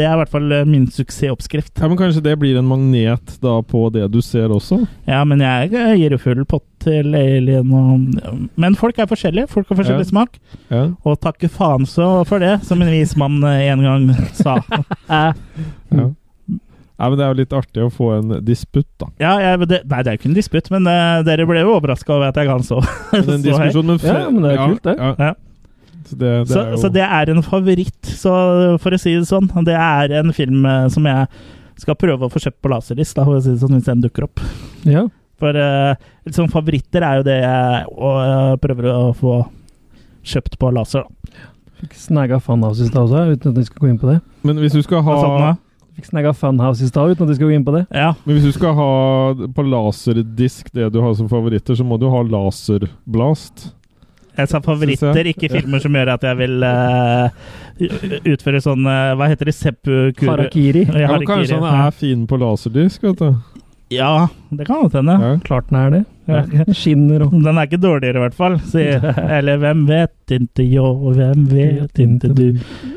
det er i hvert fall min suksessoppskrift.
Ja, Men kanskje det blir en magnet da på det du ser også?
Ja, men jeg gir jo full pott til Alien og Men folk er forskjellige. Folk har forskjellig
Ja.
smak.
Ja.
Og takke faen så for det, som en vis mann eh, en gang sa.
Ja.
Mm.
Nei, men det er jo litt artig å få en disputt, da.
Ja, jeg, det, nei, det er jo ikke en disputt, men eh, dere ble jo overraska over at jeg ga den så
Men en
så høy.
diskusjon, men fre- Ja, men det er ja, kult, det. ja.
Ja.
Så det, det
så,
er jo
så det er en favoritt, så for å si det sånn. Det er en film eh, som jeg skal prøve å få kjøpt på laserlist, da, for å si det sånn, hvis den dukker opp.
Ja.
For eh, litt sånn favoritter er jo det jeg og, jeg prøver å få kjøpt på laser. Da.
Fikk snagga Funhouse i stad også, uten at vi skal gå inn på det.
Men hvis du skal ha
Hva sa den da?
Fikk snagga Funhouse i stad, uten at vi skal gå inn på det.
Sånn, Ja.
Men hvis du skal ha på laserdisk det du har som favoritter, så må du ha laserblast.
Jeg sa
Synes
favoritter,
jeg.
ikke filmer som gjør at jeg vil eh, utføre sånn eh, Hva heter det? Seppuku...
Harakiri.
Ja,
Ja, men
harakiri.
kanskje han er fin på laserdisk, vet du.
ja, det kan godt hende.
Klart den er det.
Ja.
Den skinner og
Den er ikke dårligere, i hvert fall. sier- Eller hvem vet ikke jo, og hvem vet ikke du.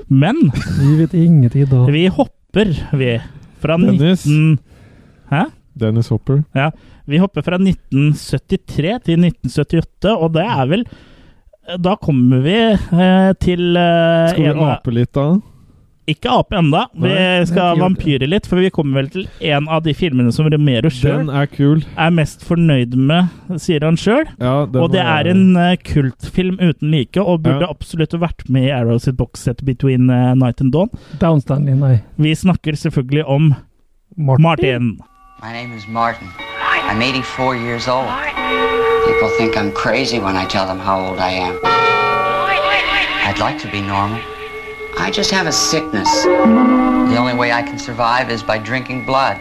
Men
Vi vet ingenting i dag.
vi hopper, vi, fra
Dennis.
19... Hæ?
Dennis Hopper.
Ja, Vi hopper fra 1973 til 1978, og det er vel Da kommer vi eh, til eh,
Skal vi
en av-
ape litt, da?
Ikke ape enda, vi
Nei,
skal
jeg har ikke
vampyre litt, for vi kommer vel til en av de filmene som Romero
Den
sjøl
er kul.
er mest fornøyd med, sier han sjøl.
Ja, den
Og det er en eh, kultfilm uten like, og burde
Ja.
absolutt vært med i Arrow sitt boxset Between eh, Night and Dawn.
Downstanley, nei.
Vi snakker selvfølgelig om Martin.
My name is Martin. I'm 84 years old. People think I'm crazy when I tell them how old I am. I'd like to be normal. I just have a sickness. The only way I can survive is by drinking blood.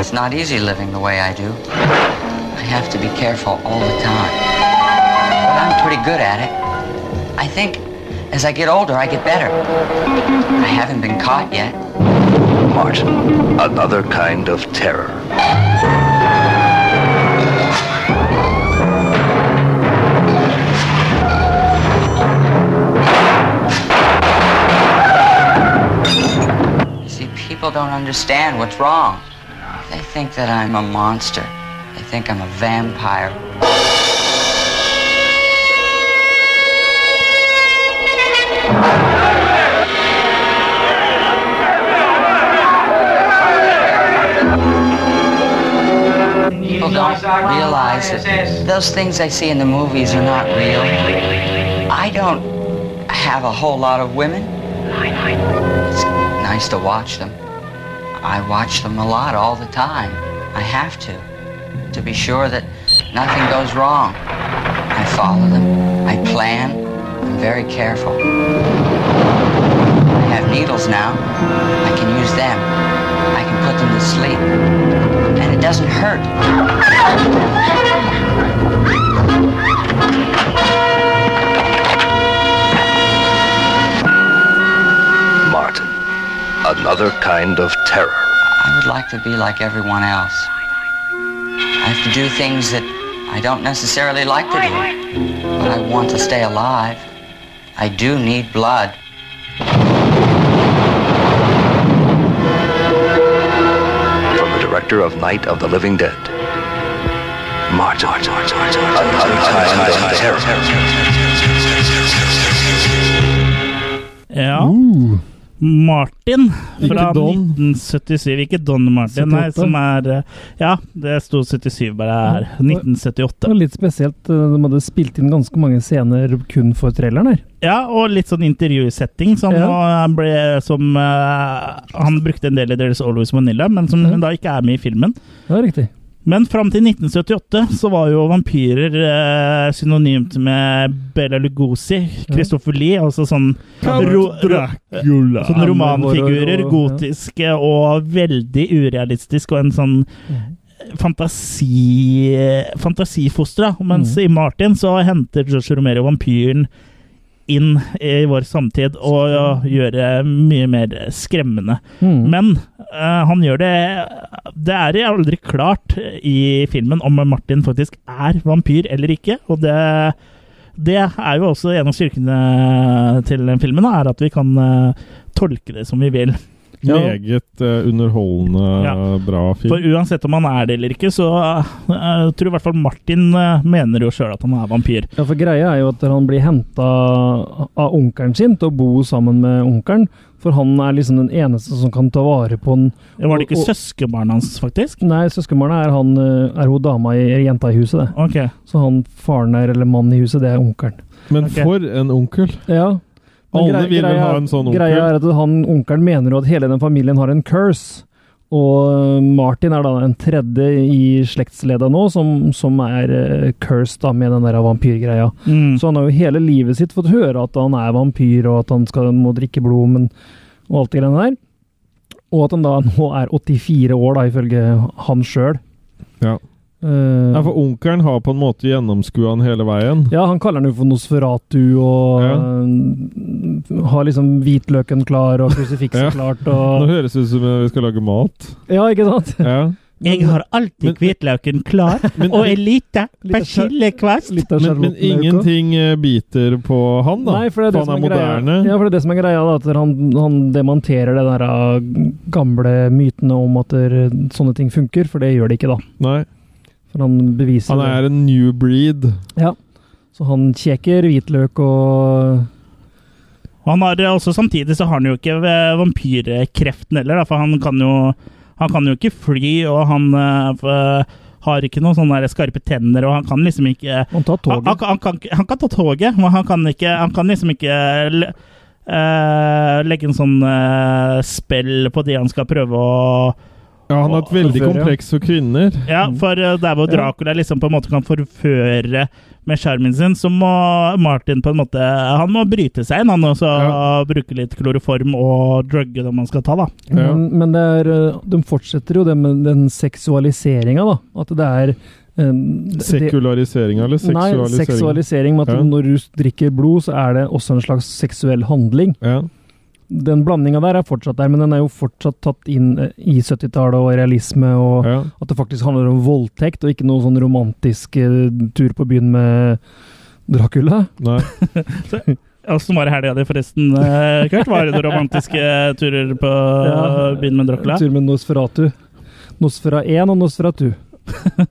It's not easy living the way I do. I have to be careful all the time. But I'm pretty good at it. I think as I get older, I get better. I haven't been caught yet.
Martin, another kind of terror.
See, people don't understand what's wrong. They think that I'm a monster. They think I'm a vampire. People don't realize that those things I see in the movies are not real. I don't have a whole lot of women. It's nice to watch them. I watch them a lot all the time. I have to, to be sure that nothing goes wrong. I follow them. I plan. I'm very careful. I have needles now. I can use them. I can put them to sleep. And it doesn't hurt.
Martin, another kind of terror.
I would like to be like everyone else. I have to do things that I don't necessarily like to do. But I want to stay alive. I do need blood.
From the director of Night of the Living Dead. Martin, another kind of
Ja. Martin fra
Uh. Ikke Don.
1977. Ikke Don Martin, nei,
78.
som er eh, Ja, det sto 77 bare her. 1978.
Det var litt spesielt. eh, De hadde spilt inn ganske mange scener kun for traileren her.
Ja, og litt sånn intervjusetting som,
Ja.
han, ble, som eh, han brukte en del i deres Always Manila, men som da ikke er med i filmen.
Ja, riktig.
Men fram til 1978 så var jo vampyrer eh, synonymt med Bela Lugosi, Christopher Lee, altså sånn
Count Dracula.
Sånne sånn romanfigurer,
Ja.
gotiske og veldig urealistiske, og en sånn
Mm.
fantasi, fantasifostre. da. Mens
Mm.
i Martin så henter Josh Romero vampyren inn i vår samtid og ja, gjør det mye mer skremmende.
Mm.
Men eh, han gjør det Det er aldri klart i filmen om Martin faktisk er vampyr eller ikke, og det det er jo også en av styrkene til den filmen, da, er at vi kan eh, tolke det som vi vil.
Meget eh, underholdende, bra film.
For uansett om han er det eller ikke, så eh, jeg tror i hvert fall Martin eh, mener jo sjøl at han er vampyr.
Ja, for greia er jo at han blir henta av onkelen sin til å bo sammen med onkelen. For han er liksom den eneste som kan ta vare på han.
Var det ikke søskenbarnet hans, faktisk?
Nei, søskenbarnet er, han, eh, er hun dama i eller jenta i huset, det.
Ok.
Så han faren der, eller mannen i huset, det er onkelen.
Men for en onkel!
Ja. Men
Alle
grei-
vil vel
greia-
ha en sånn onkel.
Greia er at han onkelen mener jo at hele den familien har en curse. Og eh, Martin er da den tredje i slektsledda nå som, som er eh, cursed da med den der vampyrgreia.
Mm.
Mm.
Så han har jo hele livet sitt fått høre at han er vampyr, og at han skal, må drikke blod men, og alt det greiene der. Og at han da nå er 84 år, da, ifølge han sjøl. Eh,
Ja. Nei, for onkelen har på en måte gjennomskua han hele veien.
Ja, han kaller den jo for Nosferatu og eh, har liksom hvitløken klar og krusifikset
Ja.
klart
Nå
og
høres det ut som eh, vi skal lage mat.
Ja, ikke sant?
Ja.
Jeg har alltid hvitløken klar, og en liten persillekvast.
Men, men ingenting eh, biter på han, da.
Nei, for det er det
han
som
er
er greia.
moderne.
Ja, for det er det som er greia, da, at han, han demonterer det der eh, gamle mytene om at der, sånne ting funker, for det gjør det ikke, da.
Nei.
For han beviser
Han er en new breed.
det. Ja. Så han kjeker hvitløk og
Han har eh, også Samtidig så har han jo ikke eh, vampyrkreften heller, da, for han kan jo Han kan jo ikke fly, og han eh, f- har ikke noen sånne der skarpe tenner, og han kan liksom ikke
Han tar
toget. Han, han, kan, ikke- han kan ta toget, men han kan, ikke, han kan liksom ikke le- eh, legge en sånn eh, spill på det han skal prøve å
Ja, han har et veldig
Forføre.
kompleks for kvinner.
ja, for eh, der hvor
Mm. Ja.
Dracula liksom på en måte kan forføre med skjermen sin, så må Martin på en måte Han må bryte seg inn, han også, og bruke litt kloroform og drugge det man skal ta, da.
Men, men det er, eh, de fortsetter jo det med den seksualiseringa, da. At det er eh, det-
Sekulariseringa, eller seksualiseringa?
Nei, seksualisering med at
Ja.
når du drikker blod, så er det også en slags seksuell handling. Den blandinga der er fortsatt der, men den er jo fortsatt tatt inn eh, i 70-tallet og realisme, og at det faktisk handler om voldtekt, og ikke noen sånn romantisk eh, tur på byen med Dracula.
Nei.
Åssen var det helga di, forresten, eh, Kurt? Var det noen romantiske turer på
Ja.
byen med Dracula?
Tur med Nosferatu. Nosfera 1 og Nosferatu.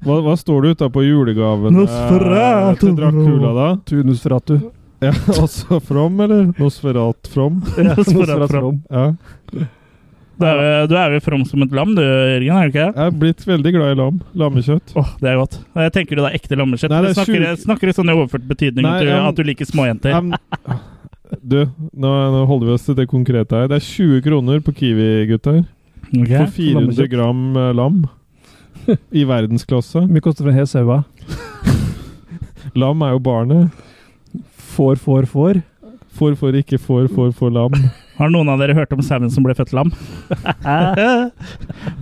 Hva, hva står det utapå julegavene eh,
Nosferatu.
til Dracula, da?
Tu Nosferatu.
Ja, altså From, eller? Nosferat From?
Ja, Nosferat From.
Ja.
Du er, jo- du er jo from som et lam, du, Jørgen? er du ikke?
Jeg er blitt veldig glad i lam. Lammekjøtt.
Åh, det er godt. Jeg tenker du da ekte lammekjøtt?
Nei,
Eller
det er
Snakker,
sjuk-
snakker du sånn i overført betydning
Nei,
at, du,
em,
at du liker småjenter?
Du, nå, nå holder vi oss til det konkrete her. Det er 20 kroner på Kiwi, gutter.
Ok.
For 400
Lammekjøtt.
gram eh, lam. I verdensklasse.
Mye koster for en hel sau, hva?
Lam er jo barnet.
Får, får, får.
Får, får, ikke får, får, får lam.
Har noen av dere hørt om sauen som ble født lam? Eh,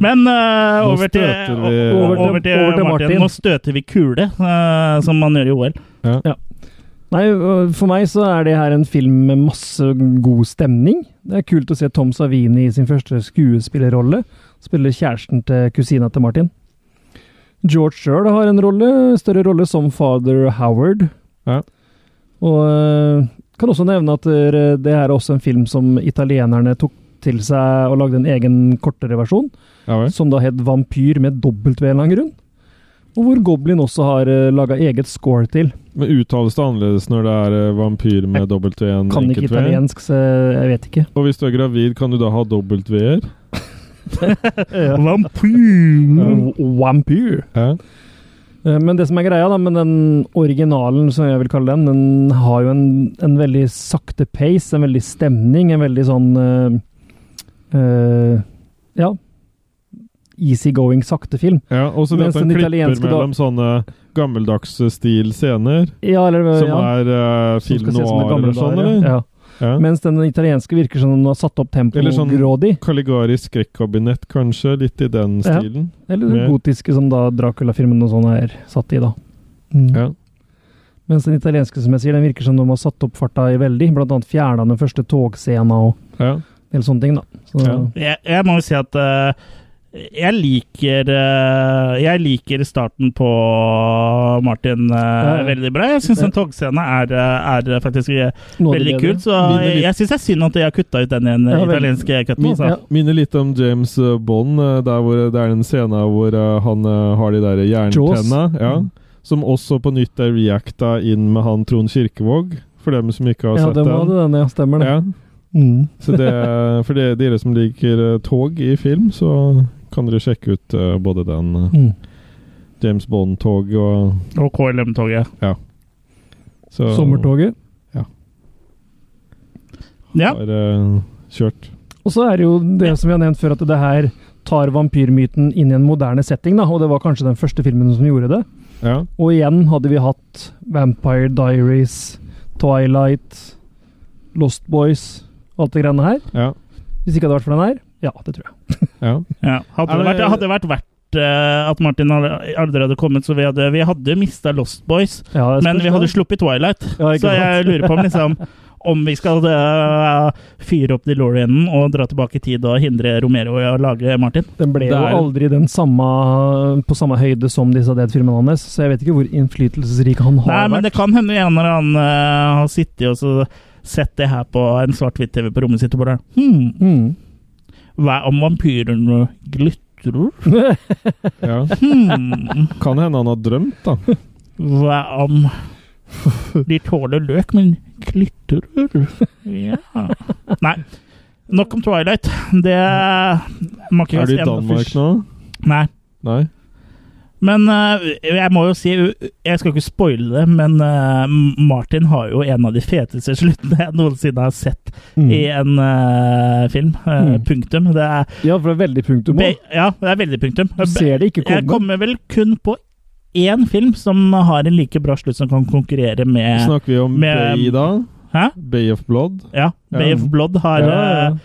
Men eh,
Nå
over, til,
støter
over,
vi-
til, over, til, Martin. Nå støter vi kule, eh, som man gjør i OL.
Ja. Nei, øh, for meg så er det her en film med masse god stemning. Det er kult å se Tom Savini i sin første skuespillerrolle. Spiller kjæresten til kusina til Martin. George sjøl har en rolle, større rolle som father Howard. Og øh, kan også nevne at øh, det her er også en film som italienerne tok til seg og lagde en egen kortere versjon. Som da het Vampyr med dobbelt V en eller annen grunn. Og hvor Goblin også har uh, laga eget score til.
Men uttales det annerledes når det er eh, vampyr med dobbelt V enn
Kan ikke
enkelt V?
italiensk, så jeg vet ikke.
Og hvis du er gravid, kan du da ha dobbelt V-er?
Vampyr! Vampyr. Mm. Eh, Men det som er greia da, med den originalen, som jeg vil kalle den, den har jo en, en veldig sakte pace, en veldig stemning, en veldig sånn eh, eh, Ja. Easygoing, sakte film.
Ja, og så det
Mens
at han
den
klipper
italienske sånn da-
mellom sånne gammeldags stil scener,
Ja, eller,
som
ja.
er eh,
Som
film
skal se ut som det
noir
gamle
eller sånn,
der, ja.
eller?
Ja. Mens den italienske virker som den har satt opp tempoet
Eller sånn
grådig.
Caligari skrekkabinett, kanskje. Litt i den
Ja.
stilen.
Eller den
Mer.
gotiske som da Dracula-filmen og sånn er satt i, da. Mm.
Ja.
Mens den italienske, som jeg sier, den virker som de har satt opp farta i veldig. Blant annet fjerna den første togscena og
ja.
del sånne ting, da. Så,
Jeg, jeg må jo si at eh, jeg liker eh, Jeg liker starten på Martin eh,
Ja.
veldig bra. Jeg syns
Ja.
en togscene er, eh, er faktisk eh,
Noe av det
veldig
bedre.
kult. Så
Vinner
jeg,
litt.
jeg syns det er synd at jeg har kutta ut den i den
Ja, vel.
italienske cutten.
Min,
Altså.
Minner litt om James eh, Bond, eh, der hvor det er den scenen hvor eh, han eh, har de der jerntenna.
Jaws. Mm.
Ja, som også på nytt er reacta inn med han Trond Kirkevåg, for dem som ikke har
ja,
sett
det
den.
var det, den, ja. Stemmer det.
Ja.
Mm.
Så det, er- for det, dere som liker eh, tog i film, så kan dere sjekke ut eh, både den eh,
Mm.
James Bond-tog og
Og KLM-toget.
Ja. Så-
Sommertoget.
Ja.
Ja.
Har eh, kjørt.
Og så er det jo det som vi har nevnt før, at det her tar vampyrmyten inn i en moderne setting, da. Og det var kanskje den første filmen som gjorde det.
Ja.
Og igjen hadde vi hatt Vampire Diaries, Twilight, Lost Boys, alt det greiene her.
Ja.
Hvis ikke hadde vært for den her, ja, det tror jeg.
Ja.
Ja. Hadde
Er
det vært,
det-
hadde det vært verdt eh, at Martin hadde- aldri hadde kommet, så vi hadde, vi hadde mista Lost Boys.
Ja, det
men
spørs
vi hadde
det.
sluppet Twilight.
Ja, ikke
så jeg
sant?
lurer på om, liksom, om vi skal eh, fyre opp DeLoreanen og dra tilbake i tid og hindre Romero i å lage Martin.
Den ble
Det er-
jo aldri den samme, på samme høyde som disse dead-filmene hans, så jeg vet ikke hvor innflytelsesrik han har
Nei, men
vært.
det kan hende en eller annen eh, har sittet og så sett det her på en svart-hvitt-TV på rommet sitt og bare hmm,
Mm.
Hva om vampyrene glitrer?
Ja.
Hmm.
Kan hende han har drømt, da.
Hva om de tåler løk, men klitrer? Ja Nei. Nok om Twilight. Det må ikke
Er
kaste
du i
en
Danmark
fysj.
nå?
Nei.
Nei.
Men eh, jeg må jo si Jeg skal ikke spoile det, men eh, Martin har jo en av de feteste sluttene jeg noensinne har sett
Mm.
i en eh, film. Eh,
Mm.
Punktum. Det er
Ja, for det er veldig punktum
Be-
også.
Ja, det er veldig punktum.
Du ser det ikke komme.
Jeg kommer vel kun på én film som har en like bra slutt som kan konkurrere Eh, med
Snakker vi om Bay, da?
Hæ?
Bay of Blood?
Ja. Bay
Ja.
of Blood har,
Ja, ja, ja.
eh,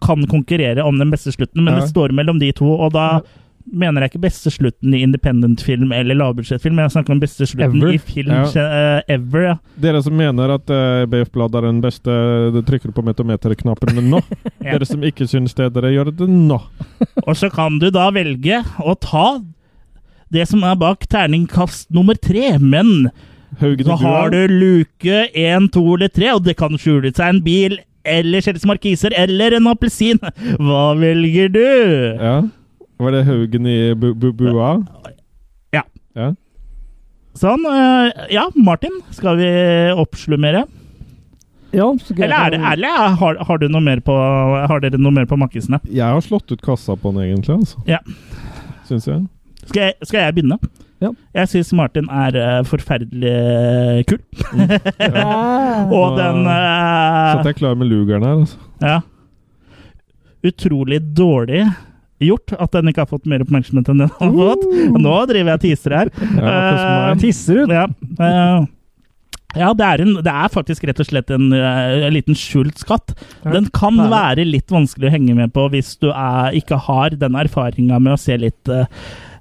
kan konkurrere om den beste slutten, men
Ja.
det står mellom de to. og da Mener jeg ikke beste slutten i independent-film eller lavbudsjettfilm, jeg snakker om beste slutten
Ever.
i film
Ja.
eh, ever. Ja.
Dere som mener at eh, Bay of Blood er den beste, du trykker på metometerknappen nå.
Ja.
Dere som ikke syns det, dere gjør det nå.
Og så kan du da velge å ta det som er bak terningkast nummer tre, men
Haugen
så
og
har du
Gua.
luke én, to eller tre, og det kan skjule seg en bil eller skjelles markiser eller en appelsin. Hva velger du?
Ja. Var det Haugen i Bu- Bu- Bua?
Ja.
Ja.
Sånn. eh, Ja, Martin, skal vi oppslummere?
Ja,
Eller er det ærlig? Har, har, du noe mer på, har dere noe mer på makkisene?
Jeg har slått ut kassa på den, egentlig, altså.
Ja.
Syns jeg.
Skal jeg, skal jeg begynne?
Ja.
Jeg syns Martin er eh, forferdelig kul. Og den eh,
Så at jeg er klar med lugeren her, altså.
Ja. Utrolig dårlig gjort at den ikke har fått mer oppmerksomhet enn den har fått. Nå driver jeg og teaser her.
Ja, det er
Eh,
som meg.
teaser ut? Ja. Eh, Ja, det er, en, det er faktisk rett og slett en, eh, liten skjult skatt. Den kan være litt vanskelig å henge med på hvis du er, ikke har den erfaringa med å se litt eh,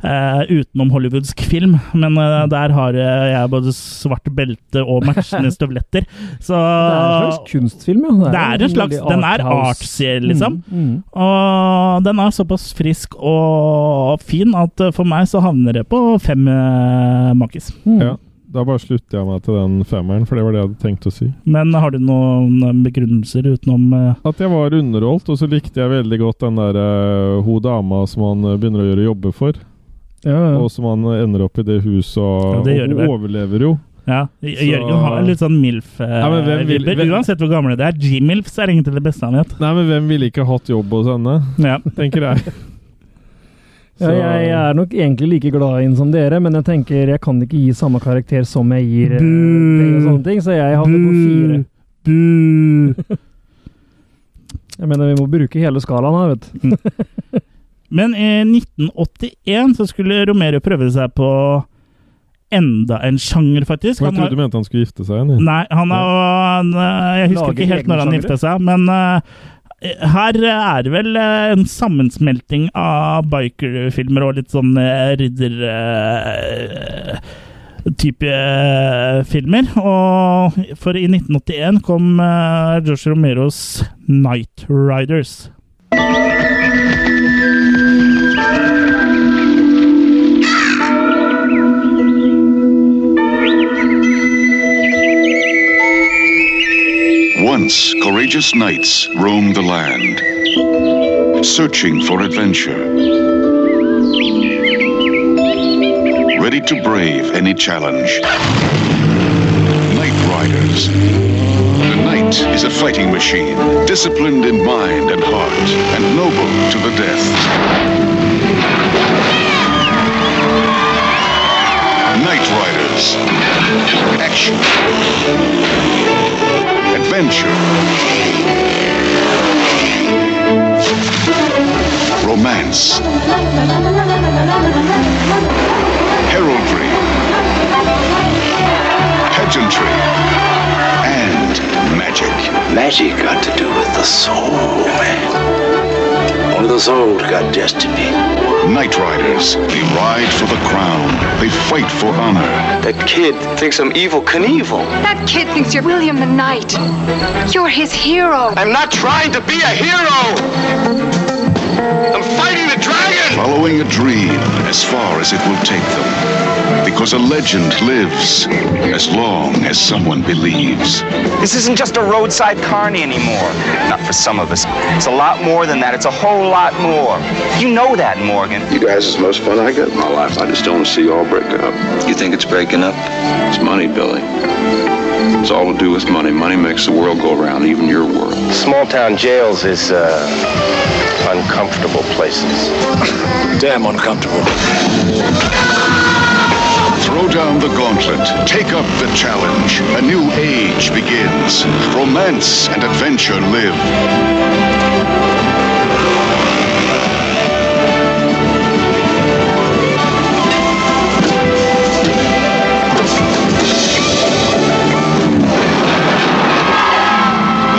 eh, utenom hollywoodsk film, men
Mm.
eh, der har eh, jeg både svart belte og matchende støvletter. Så
Det er en slags kunstfilm, ja.
det er en slags,
veldig
den er
arthouse.
artsy, liksom.
Mm, mm.
Og den er såpass frisk og fin at eh, for meg så havner det på fem eh, makis.
mm.
Ja, da bare slutter jeg meg til den femmeren, for det var det jeg hadde tenkt å si.
Men har du noen eh, begrunnelser utenom eh,
At jeg var underholdt, og så likte jeg veldig godt den der eh, hun dama som han eh, begynner å gjøre jobber for.
ja.
Og som han eh, ender opp i det huset, og,
Ja, det gjør
og
det
hun
vel.
overlever jo.
Ja, J- Jørgen har litt sånn
Ja, men hvem vil-
MILF-vibber.
hvem-
Uansett hvor gamle det er. G-MILFs er egentlig det beste han vet.
Nei, men hvem ville ikke hatt jobb hos henne?
Ja.
Tenker jeg.
Ja, jeg, jeg er nok egentlig like glad i den som dere, men jeg tenker jeg kan ikke gi samme karakter som jeg gir eh, det og sånne ting, så jeg havner på fire. Jeg mener, vi må bruke hele skalaen her, vet du.
Men i 1981 så skulle Romero prøve seg på enda en sjanger, faktisk.
For jeg
Han har-
trodde du mente han skulle gifte seg igjen. jeg.
Nei, han er, han, eh, jeg husker
Lager
ikke helt
egne
når han
sjangre.
gifta seg, men eh, her er det vel eh, en sammensmelting av bikerfilmer og litt sånn eh, ridder... eh, type eh, filmer, og for i 1981 kom eh, Josh Romeros Night Riders.
Once courageous knights roamed the land, searching for adventure, ready to brave any challenge. Knight Riders. The knight is a fighting machine, disciplined in mind and heart, and noble to the death. Knight Riders. Action. Adventure. Romance. Heraldry. Pageantry. And magic.
Magic got to do with the soul, man. Only the soul got destiny.
Knight Riders. They ride for the crown. They fight for honor. That kid thinks I'm evil Knievel.
That kid thinks you're William the Knight. You're his hero. I'm not trying to be a hero.
Following a dream as far as it will take them. Because a legend lives as long as someone believes.
This isn't just a roadside carny anymore. Not for some of us. It's a lot more than that. It's a whole lot more. You know that, Morgan.
You guys is the most fun I got in my life. I just don't see y'all breaking up. You think it's breaking up? It's money, Billy. It's all to do with money. Money makes the world go around, even your world.
Small town jails is uh, uncomfortable places. Damn uncomfortable.
Throw down the gauntlet. Take up the challenge. A new age begins. Romance and adventure live.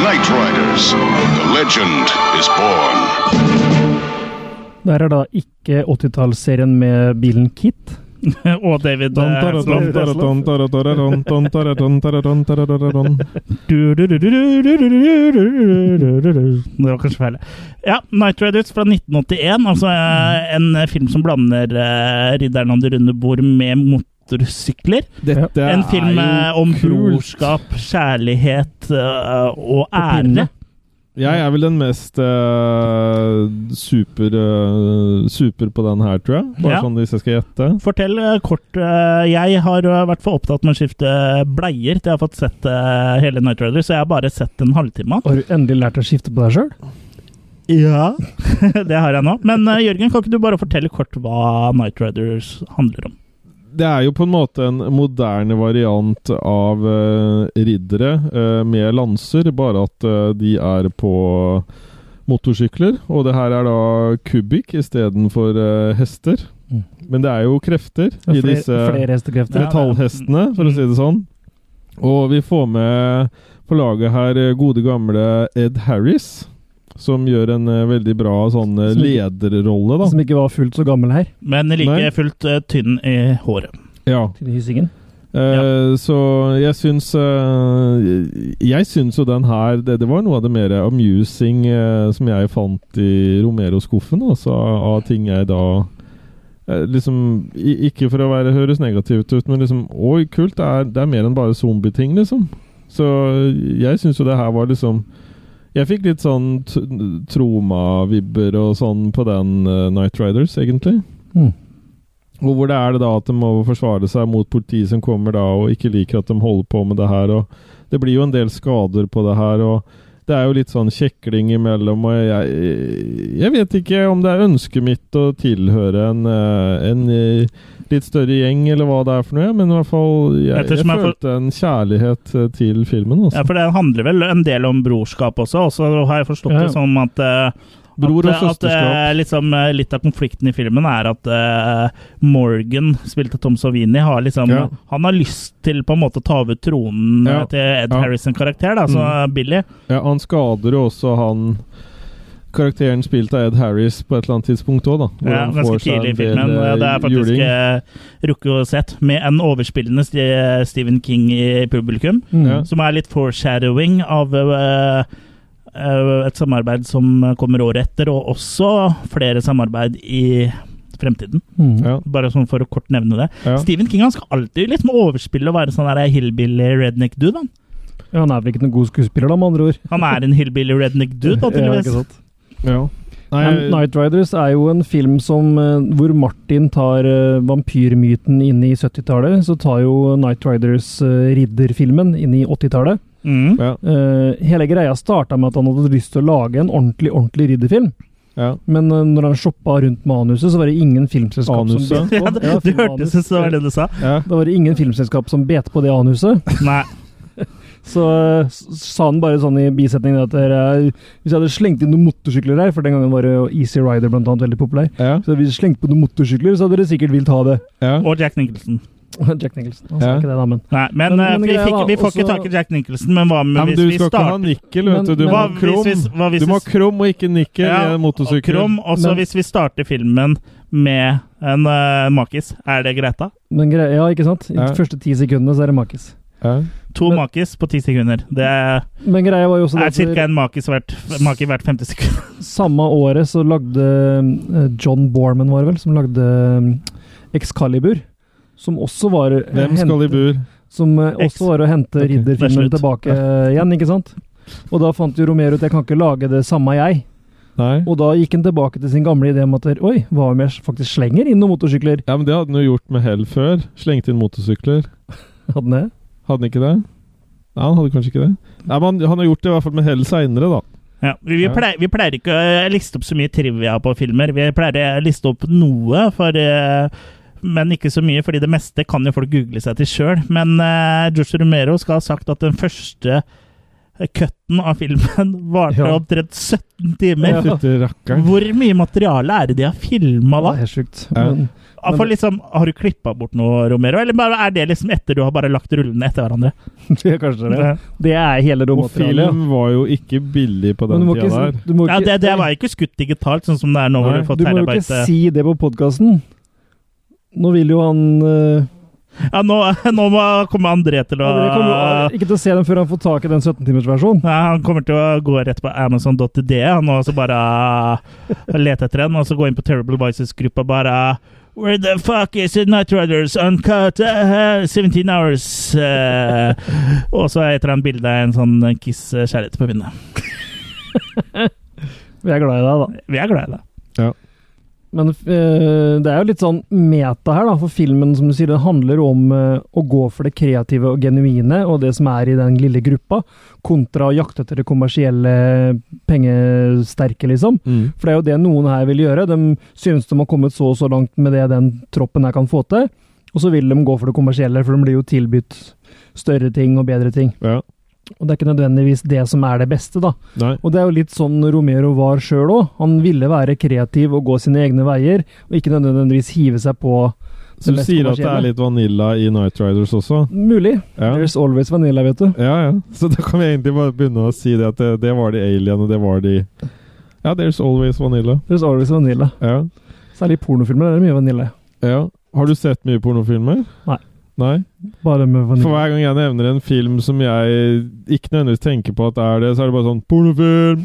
Knight Riders. The legend is born.
Der er da ikke 80-tallsserien med bilen Kit.
og David
Don,
eh,
don,
Hasselhoff.
don, don, don,
Det var kanskje feil. Ja, Night Riders fra 1981. Altså eh, en film som blander eh, Ridderen om det runde bord med motorsykler.
Dette
en film eh,
er jo
om
kult.
brorskap, kjærlighet eh, og ære.
Jeg er vel den mest eh, super, eh, super på den her, tror jeg. Bare
Ja.
sånn hvis jeg skal gjette.
Fortell eh, kort. eh, Jeg har eh, vært for opptatt med å skifte bleier til jeg har fått sett eh, hele Night Rider, så jeg har bare sett en halvtime.
Har du endelig lært å skifte på deg sjøl?
Ja. det har jeg nå. Men eh, Jørgen, kan ikke du bare fortelle kort hva Night Riders handler om?
Det er jo på en måte en moderne variant av eh, riddere eh, med lanser, bare at eh, de er på motorsykler. Og det her er da kubikk istedenfor uh, hester. Men det er jo krefter
Mm. Ja,
i
flere- Mm.
disse
flere hestekrefter.
metallhestene, for å si det sånn. Og vi får med på laget her eh, gode gamle Ed Harris, som gjør en eh, veldig bra sånn eh,
Som ikke-
lederrolle, da.
Som ikke var fullt så gammel her.
Men like
Nei.
fullt eh, tynn i håret.
Ja.
Til hyssingen.
Eh, Så jeg syns eh, Jeg syns jo den her det, det var noe av det mer amusing eh, som jeg fant i Romero-skuffen. Altså av av ting jeg da eh, Liksom i- Ikke for å være, høres negativt ut, men liksom Oi, kult! Det er, det er mer enn bare zombieting, liksom. Så jeg syns jo det her var liksom Jeg fikk litt sånn t- Troma-vibber og sånn på den uh, Night Riders, egentlig.
Mm.
Og hvor det er det da at de må forsvare seg mot politiet som kommer da, og ikke liker at de holder på med det her. Og det blir jo en del skader på det her, og det er jo litt sånn kjekling imellom. Og jeg, jeg vet ikke om det er ønsket mitt å tilhøre en, eh, en eh, litt større gjeng, eller hva det er for noe, ja, men i hvert fall Jeg, jeg
Ettersom jeg for-
følte en kjærlighet eh, til filmen. Altså.
Ja, for det handler vel en del om brorskap også, og så har jeg forstått
Ja, ja.
det som at eh, at,
Bror og
at, eh,
søsterskap.
liksom, eh, Litt av konflikten i filmen er at eh, Morgan, spilt av Tom Savini, har liksom,
Ja.
han har lyst til på en måte å ta over tronen eh,
Ja.
til Ed
Ja.
Harrison-karakter, da, så
Mm.
Billy. eh,
Ja, han skader jo også han Karakteren spilt av Ed Harris på et eller annet tidspunkt òg, da. hvor
Ja,
han
ganske
får seg
tidlig i
en del,
filmen.
eh,
Ja, det er faktisk
juling.
eh, rukket og sett. Med en overspillende St- Stephen King i publikum,
Mm. Ja.
som er litt foreshadowing av eh, eh, et samarbeid som kommer året etter, og også flere samarbeid i fremtiden.
Mm.
Ja.
Bare sånn for å kort nevne det.
Ja.
Stephen King han skal alltid liksom overspille og være sånn der hillbilly redneck dude. Han,
Ja, han er vel ikke noen god skuespiller, da, med andre ord.
han er en hillbilly redneck dude, da,
Ja,
tydeligvis.
ikke sant.
Ja. Nei,
Men Night Riders er jo en film som, eh, hvor Martin tar eh, vampyrmyten inn i 70-tallet. Så tar jo Night Riders eh, ridderfilmen inn i 80-tallet.
Mm.
Ja.
Eh, hele greia starta med at han hadde lyst til å lage en ordentlig ordentlig ridderfilm.
Ja.
Men eh, når han shoppa rundt manuset, så var det ingen filmselskap som
Anuset?
bet
Ja,
på
det, det hørtes ut som det var det du sa.
Ja.
Da var det ingen filmselskap som bet på det anuset.
Nei.
Så eh, s- sa han bare sånn i bisetningen at det er, hvis jeg hadde slengt inn noen motorsykler her, for den gangen var det jo Easy Rider blant annet veldig populær,
Ja.
så hvis jeg slengte på noen motorsykler, så hadde dere sikkert villet ha det.
Ja.
Og Jack Nicholson.
Jack Nicholson. Han sa
Ja.
ikke det, da, men.
Nei, men,
Men-
eh,
men
vi,
greia
fikk,
var
vi får
også-
ikke tak i Jack Nicholson, men hva med
Nei, men
hvis
du
vi
skal ikke ha
starter
nikkel, vet du. Du
Men-
må ha
Hva hvis
krom.
vi- hva hvis
du må
vi-
ha krom og ikke nikkel
Ja,
i en
og
motorsykkel.
Krom, også
Men-
hvis vi starter filmen med en eh, makis, er det greit da?
men greia, ja, ikke sant? I
Ja.
de første ti sekundene så er det makis.
Ja.
To makis på ti sekunder. Det er,
Men greia var jo også det
er
at
ca. en makis hvert, maki hvert femte sekund.
Samme året så lagde eh, John Borman, var det vel, som lagde eh, Excalibur. Som også var
Hvem skal i bur?
Som eh,
Ex.
også var å hente ridderfilmen
det er slutt.
tilbake eh, igjen, ikke sant? Og da fant jo Romero ut jeg kan ikke lage det samme jeg.
Nei.
Og da gikk han tilbake til sin gamle idé om at oi, hva om jeg faktisk slenger inn noen motorsykler?
Ja, men det hadde han jo gjort med hell før. Slengt inn motorsykler.
Hadde han det?
Hadde han ikke det? Nei, han hadde kanskje ikke det. Nei, men han, han har gjort det i hvert fall med hell seinere, da.
Ja, vi, vi,
Ja.
pleier, vi pleier ikke å liste opp så mye trivia på filmer. Vi pleier å liste opp noe, for, eh, men ikke så mye, fordi det meste kan jo folk google seg til sjøl. Men uh, George Romero skal ha sagt at den første eh, cutten av filmen varte
Ja.
omtrent 17 timer.
Ja.
Fytti rakkeren.
Hvor mye materiale er det de har filma da?
Det er helt sjukt.
Ja.
Men,
Ja, For liksom, Har du klippa bort noe, Romero, eller bare er det liksom etter du har bare lagt rullene etter hverandre?
det er kanskje det.
Ja.
Det er hele
Og
råmaterialet.
film var jo ikke billig på den
Men du må
tida der.
ikke, du må
Ja,
ikke,
det, det var ikke skutt digitalt, sånn som det er nå. hvor
Nei.
du får
du må jo ikke
terabyte-
si det på podkasten. Nå vil jo han eh,
Ja, nå, nå må- kommer André til å
André kommer jo ikke til å se den før han får tak i den 17-timersversjonen.
Nei, han kommer til å gå rett på Amazon.de han, og så bare uh, lete etter den, og så gå inn på Terrible Vices-gruppa bare uh, Where the fuck is it Night Riders uncut uh, 17 hours? Uh, og så etter han bildet av en sånn kiss-kjærlighet på vinduet.
Vi er glad i deg, da.
Vi er glad i det.
Men eh, det er jo litt sånn meta her, da. For filmen som du sier, den handler om eh, å gå for det kreative og genuine, og det som er i den lille gruppa, kontra å jakte etter det kommersielle, pengesterke, liksom.
Mm.
For det er jo det noen her vil gjøre. De synes de har kommet så og så langt med det den troppen her kan få til, og så vil de gå for det kommersielle, for de blir jo tilbudt større ting og bedre ting.
Ja.
Og det er ikke nødvendigvis det som er det beste, da.
Nei.
Og det er jo litt sånn Romero var sjøl òg. Han ville være kreativ og gå sine egne veier, og ikke nødvendigvis hive seg på
Så du
mest
sier at det
kommersielle.
er litt vanilla i Night Riders også?
Mulig. There's always vanilla, vet du.
Ja, ja. Så da kan vi egentlig bare begynne å si det at det, det var de alien, og det var de Ja, there's always vanilla.
There's always vanilla.
Ja.
Særlig i pornofilmer er det mye vanilla.
ja. Har du sett mye pornofilmer?
Nei.
Nei?
Bare med
For
vanilla.
hver gang jeg nevner en film som jeg ikke nødvendigvis tenker på at er det, så er det bare sånn Pornofilm!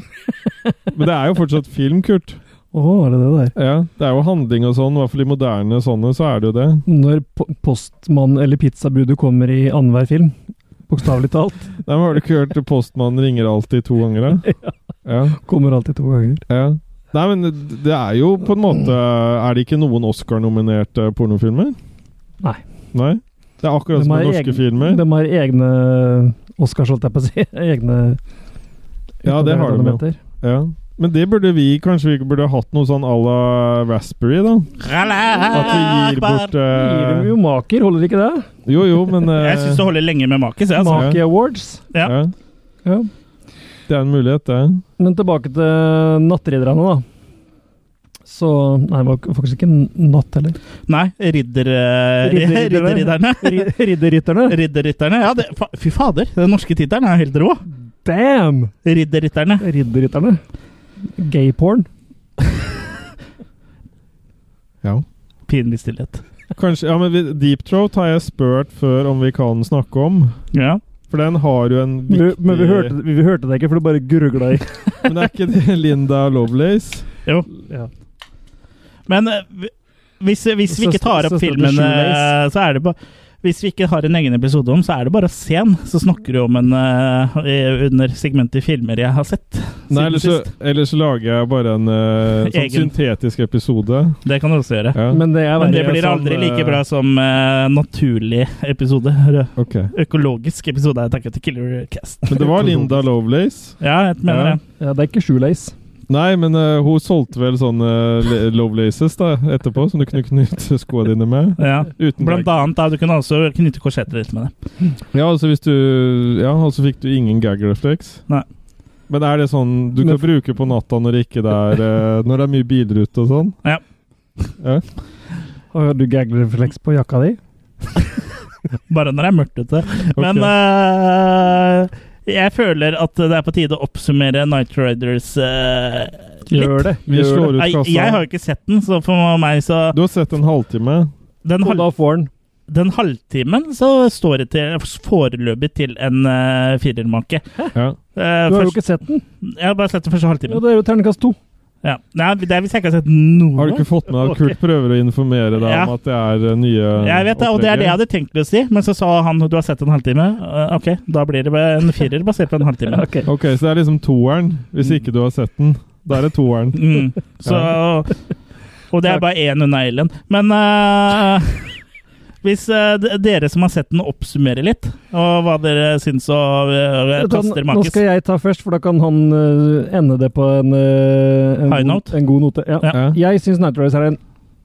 Men det er jo fortsatt film, Kurt.
Å, er det det der?
Ja, Det er jo handling og sånn. I hvert fall i moderne sånne, så er det jo det.
Når po- postmann eller pizzabudet kommer i annenhver film, bokstavelig talt,
Nei, men Har du ikke hørt postmannen ringer alltid to ganger, da? Ja.
kommer alltid to ganger.
ja. Nei, men det er jo på en måte Er det ikke noen Oscar-nominerte pornofilmer?
Nei.
Nei? Det er akkurat som med
har
norske
egen-
filmer.
De har egne Oscars, holdt jeg på å si. Egne
Ja, det har de jo.
elementer.
Ja. Men det burde vi Kanskje vi burde hatt noe sånn à la Raspberry, da? At vi gir bort
Gir
eh,
dem jo maker, holder ikke det?
Jo, jo, men eh,
Jeg syns det holder lenge med makis. jeg, Altså.
Maki Awards.
Ja.
ja.
Ja.
Det er en mulighet, det.
Men tilbake til Nattridderne, da. Så Nei, det var faktisk ikke natt heller.
Nei, ridder... eh,
Ridderridderne.
Ridderridderne.
Rid- Ridderrytterne.
Ridderrytterne. Ja, det, fa fy fader, den norske tittelen er helt rå.
Damn!
Ridderrytterne.
Ridderrytterne. Gayporn.
Ja.
Pinlig stillhet.
Kanskje, ja, men vi- Deep Throat har jeg spurt før om vi kan snakke om.
Ja.
For den har jo en
Vi,
viktig
men vi hørte, vi, vi hørte det ikke, for det bare gurgla i.
Men det er ikke det Linda Lovelace?
Jo.
Ja.
Men eh, vi- hvis, hvis vi ikke tar opp
Søster- søster til
filmen,
Shoelace.
eh, så er det bare Hvis vi ikke har en egen episode om, så er det bare å se den. Så snakker du om en eh, i- under segmentet filmer jeg har sett.
Nei,
siden
ellers så,
sist.
ellers så lager jeg bare en eh, sånn
Egen.
syntetisk episode.
Det kan du også gjøre.
Ja.
Men det er
Men det
verre
blir
som,
aldri like
eh,
bra som eh, naturlig episode. Rød.
Ok.
Økologisk episode er takket til Killer Cast.
Men det var Linda Lovelace.
Ja, jeg mener
Ja.
det.
Ja, det er ikke shoelace.
Nei, men eh, hun solgte vel sånne eh, le- Lovelaces da, etterpå, som du kunne knytte skoene dine med.
Ja.
Uten
Blant annet, da, du kunne også knytte korsetter litt med det.
Ja, altså hvis du Ja, altså fikk du ingen gag reflex.
Nei.
Men er det sånn du kan bruke på natta når det ikke det er eh, Når det er mye biler ute og sånn?
Ja.
Ja.
Har du gaglerefleks på jakka di?
Bare når det er mørkt ute. Men eh, jeg føler at det er på tide å oppsummere Night Riders eh, litt.
Gjør det.
Vi
Gjør
slår
det.
ut
Nei,
kassa.
jeg har jo ikke sett den, så for meg så
Du har sett en halvtime.
Den,
Og
hal
da får den.
den halvtimen så står det til, foreløpig til en uh, firermake. Eh,
Ja.
Du har jo ikke sett den.
Jeg har bare sett den første
Ja,
halvtimen.
det er jo terningkast to.
Ja. Nei, det er hvis jeg ikke har sett noe.
Har du ikke fått med deg at
Ok.
Kurt prøver å informere deg
Ja.
om at det er eh, nye
Jeg vet det, og det er det jeg hadde tenkt å si, men så sa han du har sett en halvtime. Eh, ok, da blir det bare en firer basert på en halvtime.
Ok.
Ok, så det er liksom toeren, hvis ikke du har sett den. Da er det toeren.
Mm. Så Og det er bare én unna Alien. Men eh, hvis eh, d- dere som har sett den, oppsummerer litt, og hva dere syns og eh,
Vet du hva,
kaster
Nå
makis
skal jeg ta først, for da kan han øh, ende det på en, øh, en,
High
god-
note.
en god note. Ja.
Ja.
Jeg syns Night Riders er en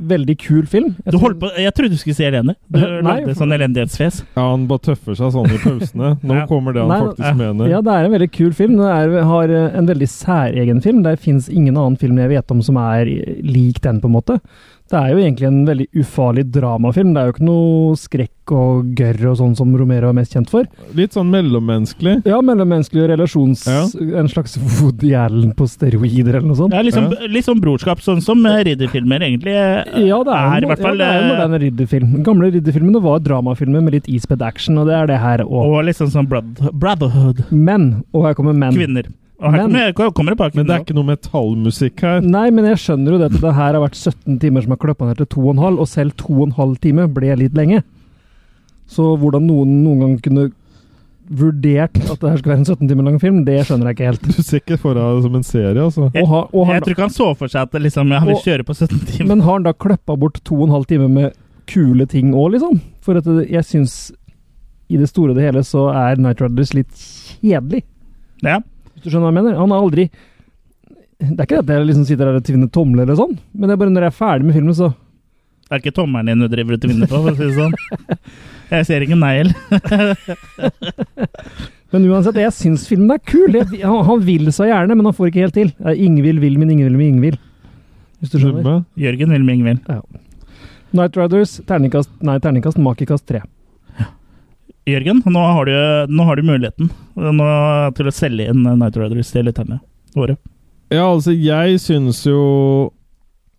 veldig kul film. Jeg
Du
syns-
holdt på, Jeg trodde du skulle si Elene. Du
Nei,
lagde
for-
sånn elendighetsfjes.
Ja, han bare tøffer seg sånn i pausene. Nå
Ja.
kommer det han
Nei, nå-
faktisk mener.
Ja, det er en veldig kul film. Det er, har eh, en veldig særegen film. Det fins ingen annen film jeg vet om som er eh, lik den, på en måte. Det er jo egentlig en veldig ufarlig dramafilm. Det er jo ikke noe skrekk og gørr og sånn som Romero er mest kjent for.
Litt sånn mellommenneskelig.
Ja, mellommenneskelig relasjons... En slags Woody Allen på steroider, eller noe sånt.
Ja, litt sånn- litt sånn brorskap, sånn som eh, ridderfilmer egentlig eh,
Ja, det er,
i hvert fall.
ja, det er en
eh,
moderne ridderfilm. Den gamle ridderfilmene var dramafilmer med litt ispedd action, og det er det her òg.
og liksom sånn brad brotherhood.
Men, og her kommer men.
Kvinner. Og her
Men-
kommer, her kommer det bare
Men det
kvinner.
er ikke noe metallmusikk her.
Nei, men jeg skjønner jo det at det her har vært 17 timer som har kløppa ned til 2,5, og selv 2,5 time ble litt lenge. Så hvordan noen noen gang kunne vurdert at det her skulle være en 17 timer lang film, det skjønner jeg ikke helt.
Du ser ikke for deg det som en serie, altså.
Jeg,
Og har- og har-
jeg tror ikke han så for seg at det liksom, jeg vil
Og-
kjøre på 17 timer.
Men har han da kløppa bort 2,5 timer med kule ting òg, liksom? For at det- jeg syns i det store og det hele så er Night Riders litt kjedelig.
Ja.
Hvis du skjønner hva jeg mener? Han har aldri Det er ikke det at jeg liksom sitter her og tvinner tomler eller sånn, men det er bare når jeg er ferdig med filmen, så
Det er ikke tommelen din du driver ut i vinduet på, for å si det sånn. Jeg ser ikke negl.
Men uansett, jeg syns filmen er kul. Jeg, han, han vil så gjerne, men han får ikke helt til. Det er Ingvild vil min Ingvild min Ingvild. Hvis du skjønner.
Skjønner.
Jørgen vil med Ingvild.
Night Riders, terningkast Nei, terningkast makikast tre.
Jørgen, nå har, du, nå har du muligheten nå, til å selge inn Night Riders til lytterne våre.
Ja, altså, jeg syns jo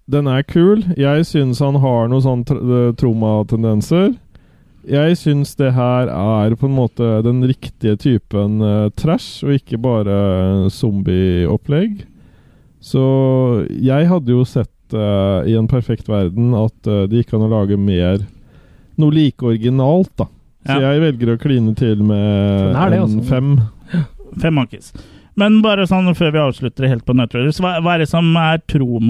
den er kul. Jeg syns han har noen sånne tr eh, traumatendenser. Jeg syns det her er på en måte den riktige typen eh, trash, og ikke bare eh, zombieopplegg. Så jeg hadde jo sett eh, i en perfekt verden at eh, det gikk an å lage mer noe like originalt, da. Så jeg velger å kline til med
Den er det,
en
altså.
fem.
Fem monkeys. Men bare sånn før vi avslutter helt på Night Riders, hva, hva er det som er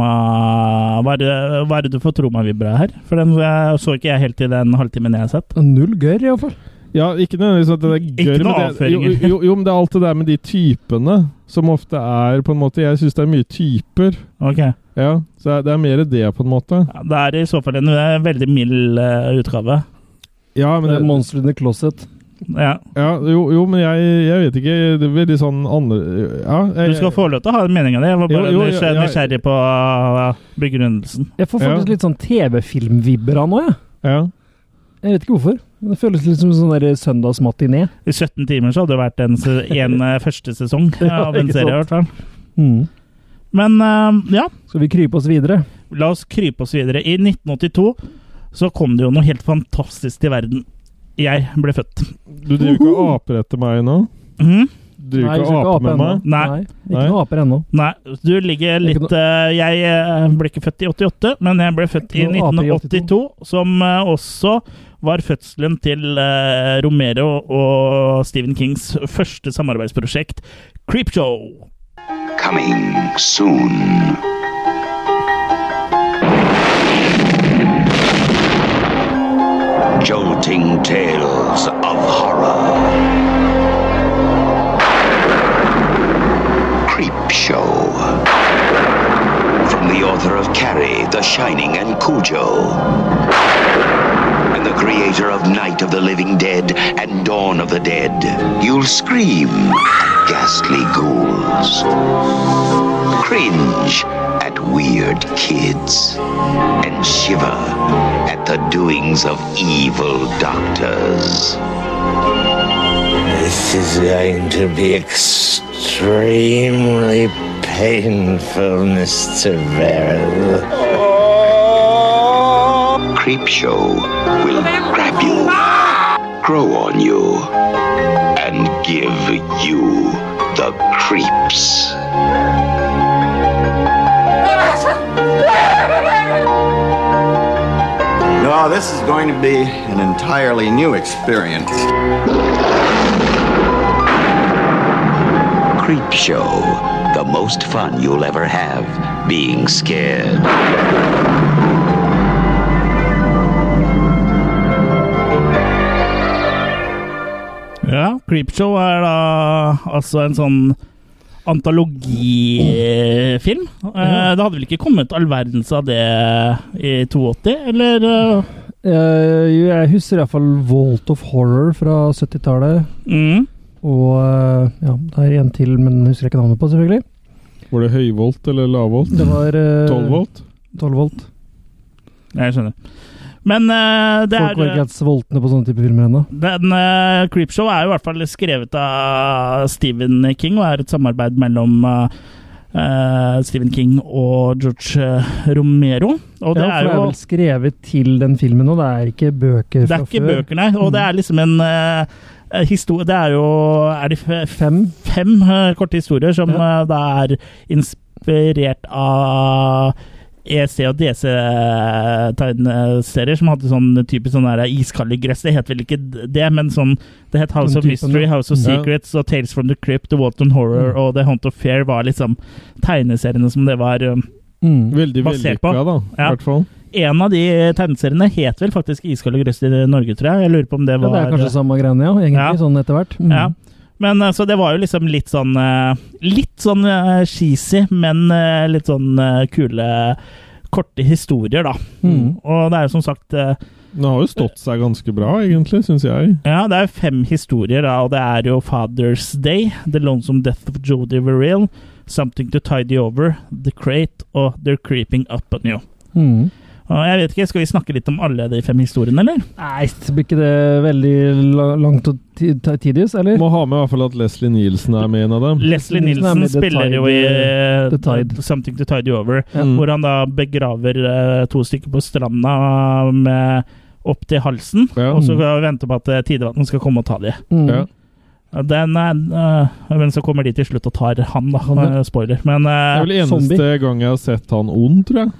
troma Hva er det, hva er det du får tromavibra her? For den eh, så ikke jeg helt i den halvtimen jeg har sett.
Null gørr, iallfall.
Ja, ikke nødvendigvis at det er
noe
gørr, men det, jo,
avføringer.
jo, jo, men det er alt det der med de typene som ofte er på en måte Jeg syns det er mye typer.
Ok.
Ja, Så det er- det er mer det, på en måte.
Det er i så fall en eh, veldig mild eh, utgave.
Ja, men
Det er
Monster in the Closet.
Ja.
Eh, jo, jo, men jeg, jeg vet ikke. Det er veldig sånn andre ja, jeg,
Du skal få lov til å ha en mening av det. Jeg var
Jo,
bare
jo,
nysgjer-
ja, ja.
nysgjerrig på eh, begrunnelsen.
Jeg får faktisk litt sånn TV-filmvibber av nå, jeg.
Ja.
Jeg vet ikke hvorfor. Men det føles litt som en sånn der søndagsmatiné.
I 17 timer så hadde det vært en, se- en eh, første sesong
Ja,
av en
ikke
serie. i
sant.
hvert fall.
Mm.
Men eh, ja.
Skal vi krype oss videre?
La oss krype oss videre. I 1982 så kom det jo noe helt fantastisk til verden. Jeg ble født.
Du driver ikke og aper etter meg nå?
Mhm.
Driver ikke og aper med meg?
Nei.
Nei.
noe aper ennå.
Nei, du ligger litt eh, Jeg eh, ble ikke født i 88, men jeg ble født i
Ikke noe ape i
1982, som eh, også var fødselen til eh, Romero og Stephen Kings første samarbeidsprosjekt, Creepshow.
Coming soon.
Jolting tales of horror. Creep Show. From the author of Carrie, The Shining, and Cujo. And the creator of Night of the Living Dead and Dawn of the Dead. You'll scream at ghastly ghouls. Cringe at weird kids. And shiver at the doings of evil doctors.
This is going to be extremely painful, Mr. Verrill.
Creep Show will grab you, grow on you, and give you the creeps.
No, oh, this is going to be an entirely new experience.
Creep Show, the most fun you'll ever have being scared.
Ja, Creepshow er da altså en sånn antologifilm. Eh, Det hadde vel ikke kommet all verdens av det i 82, eller? eh,
Eh, jo, jeg husker iallfall Vault of Horror fra 70-tallet.
Mm.
Og eh, ja, det er en til, men jeg husker ikke navnet på, selvfølgelig.
Var det høyvolt eller lavvolt?
Det var eh,
12 volt?
12 volt.
Jeg skjønner. Men eh, det
Folk var
er
ikke helt sultne på sånne type filmer ennå.
den, eh, Creepshow er jo i hvert fall skrevet av Stephen King, og er et samarbeid mellom eh, eh, Stephen King og George eh, Romero. Og det
ja,
er
for det er
jo
vel skrevet til den filmen nå, det er ikke bøker
Det
fra
er ikke
før. Mm.
bøker, nei. Og det er liksom en eh, historie Det er jo Er det fe- fem, eh, korte historier som eh, da er inspirert av EC og DC-tegneserier som hadde sånn typisk sånn der iskalde gress. Det het vel ikke det, men sånn Det het House
Den
of
typen,
Mystery,
ja. Mm.
House of
Ja.
Secrets og Tales from the Crypt og Walton Horror og The Hunt of Fair var liksom tegneseriene som det var eh,
Mm.
Veldig
basert på.
vellykka, da. I
Ja.
hvert fall.
En av de tegneseriene het vel faktisk Iskald og grøss i Norge, tror jeg. Jeg lurer på om det
Ja,
var
det er kanskje samme greiene, ja. Egentlig, sånn etter hvert. Mm.
Ja. Men eh, så det var jo liksom litt sånn eh, Litt sånn eh, cheesy, men eh, litt sånn eh, kule, korte historier, da. Og det er jo som sagt eh,
Den har jo stått seg ganske bra, egentlig, syns jeg.
ja, det er fem historier, da, og det er jo Father's Day, The Lonesome Death of Jodie Verrill,
Mm.
Something to Tidy Over, The Crate og They're Creeping Up On You. Og jeg vet ikke, Skal vi snakke litt om alle de fem historiene, eller?
Nei, blir ikke det veldig la- langt og ti- ti- tidligst, eller?
Må ha med i hvert fall at Leslie Nielsen er med i en av dem.
Leslie Nielsen spiller jo i eh,
The Tide.
Something to Tide You Over,
Ja.
Mm.
hvor han da begraver eh, to stykker på stranda med opp til halsen, og så venter på at eh, tidevannet skal komme og ta dem.
Mm. Ja.
Den er, eh, men så kommer de til slutt og tar han, da. Eh, Spoiler. Men
Det
eh,
er vel eneste gang jeg har sett han ond, tror jeg.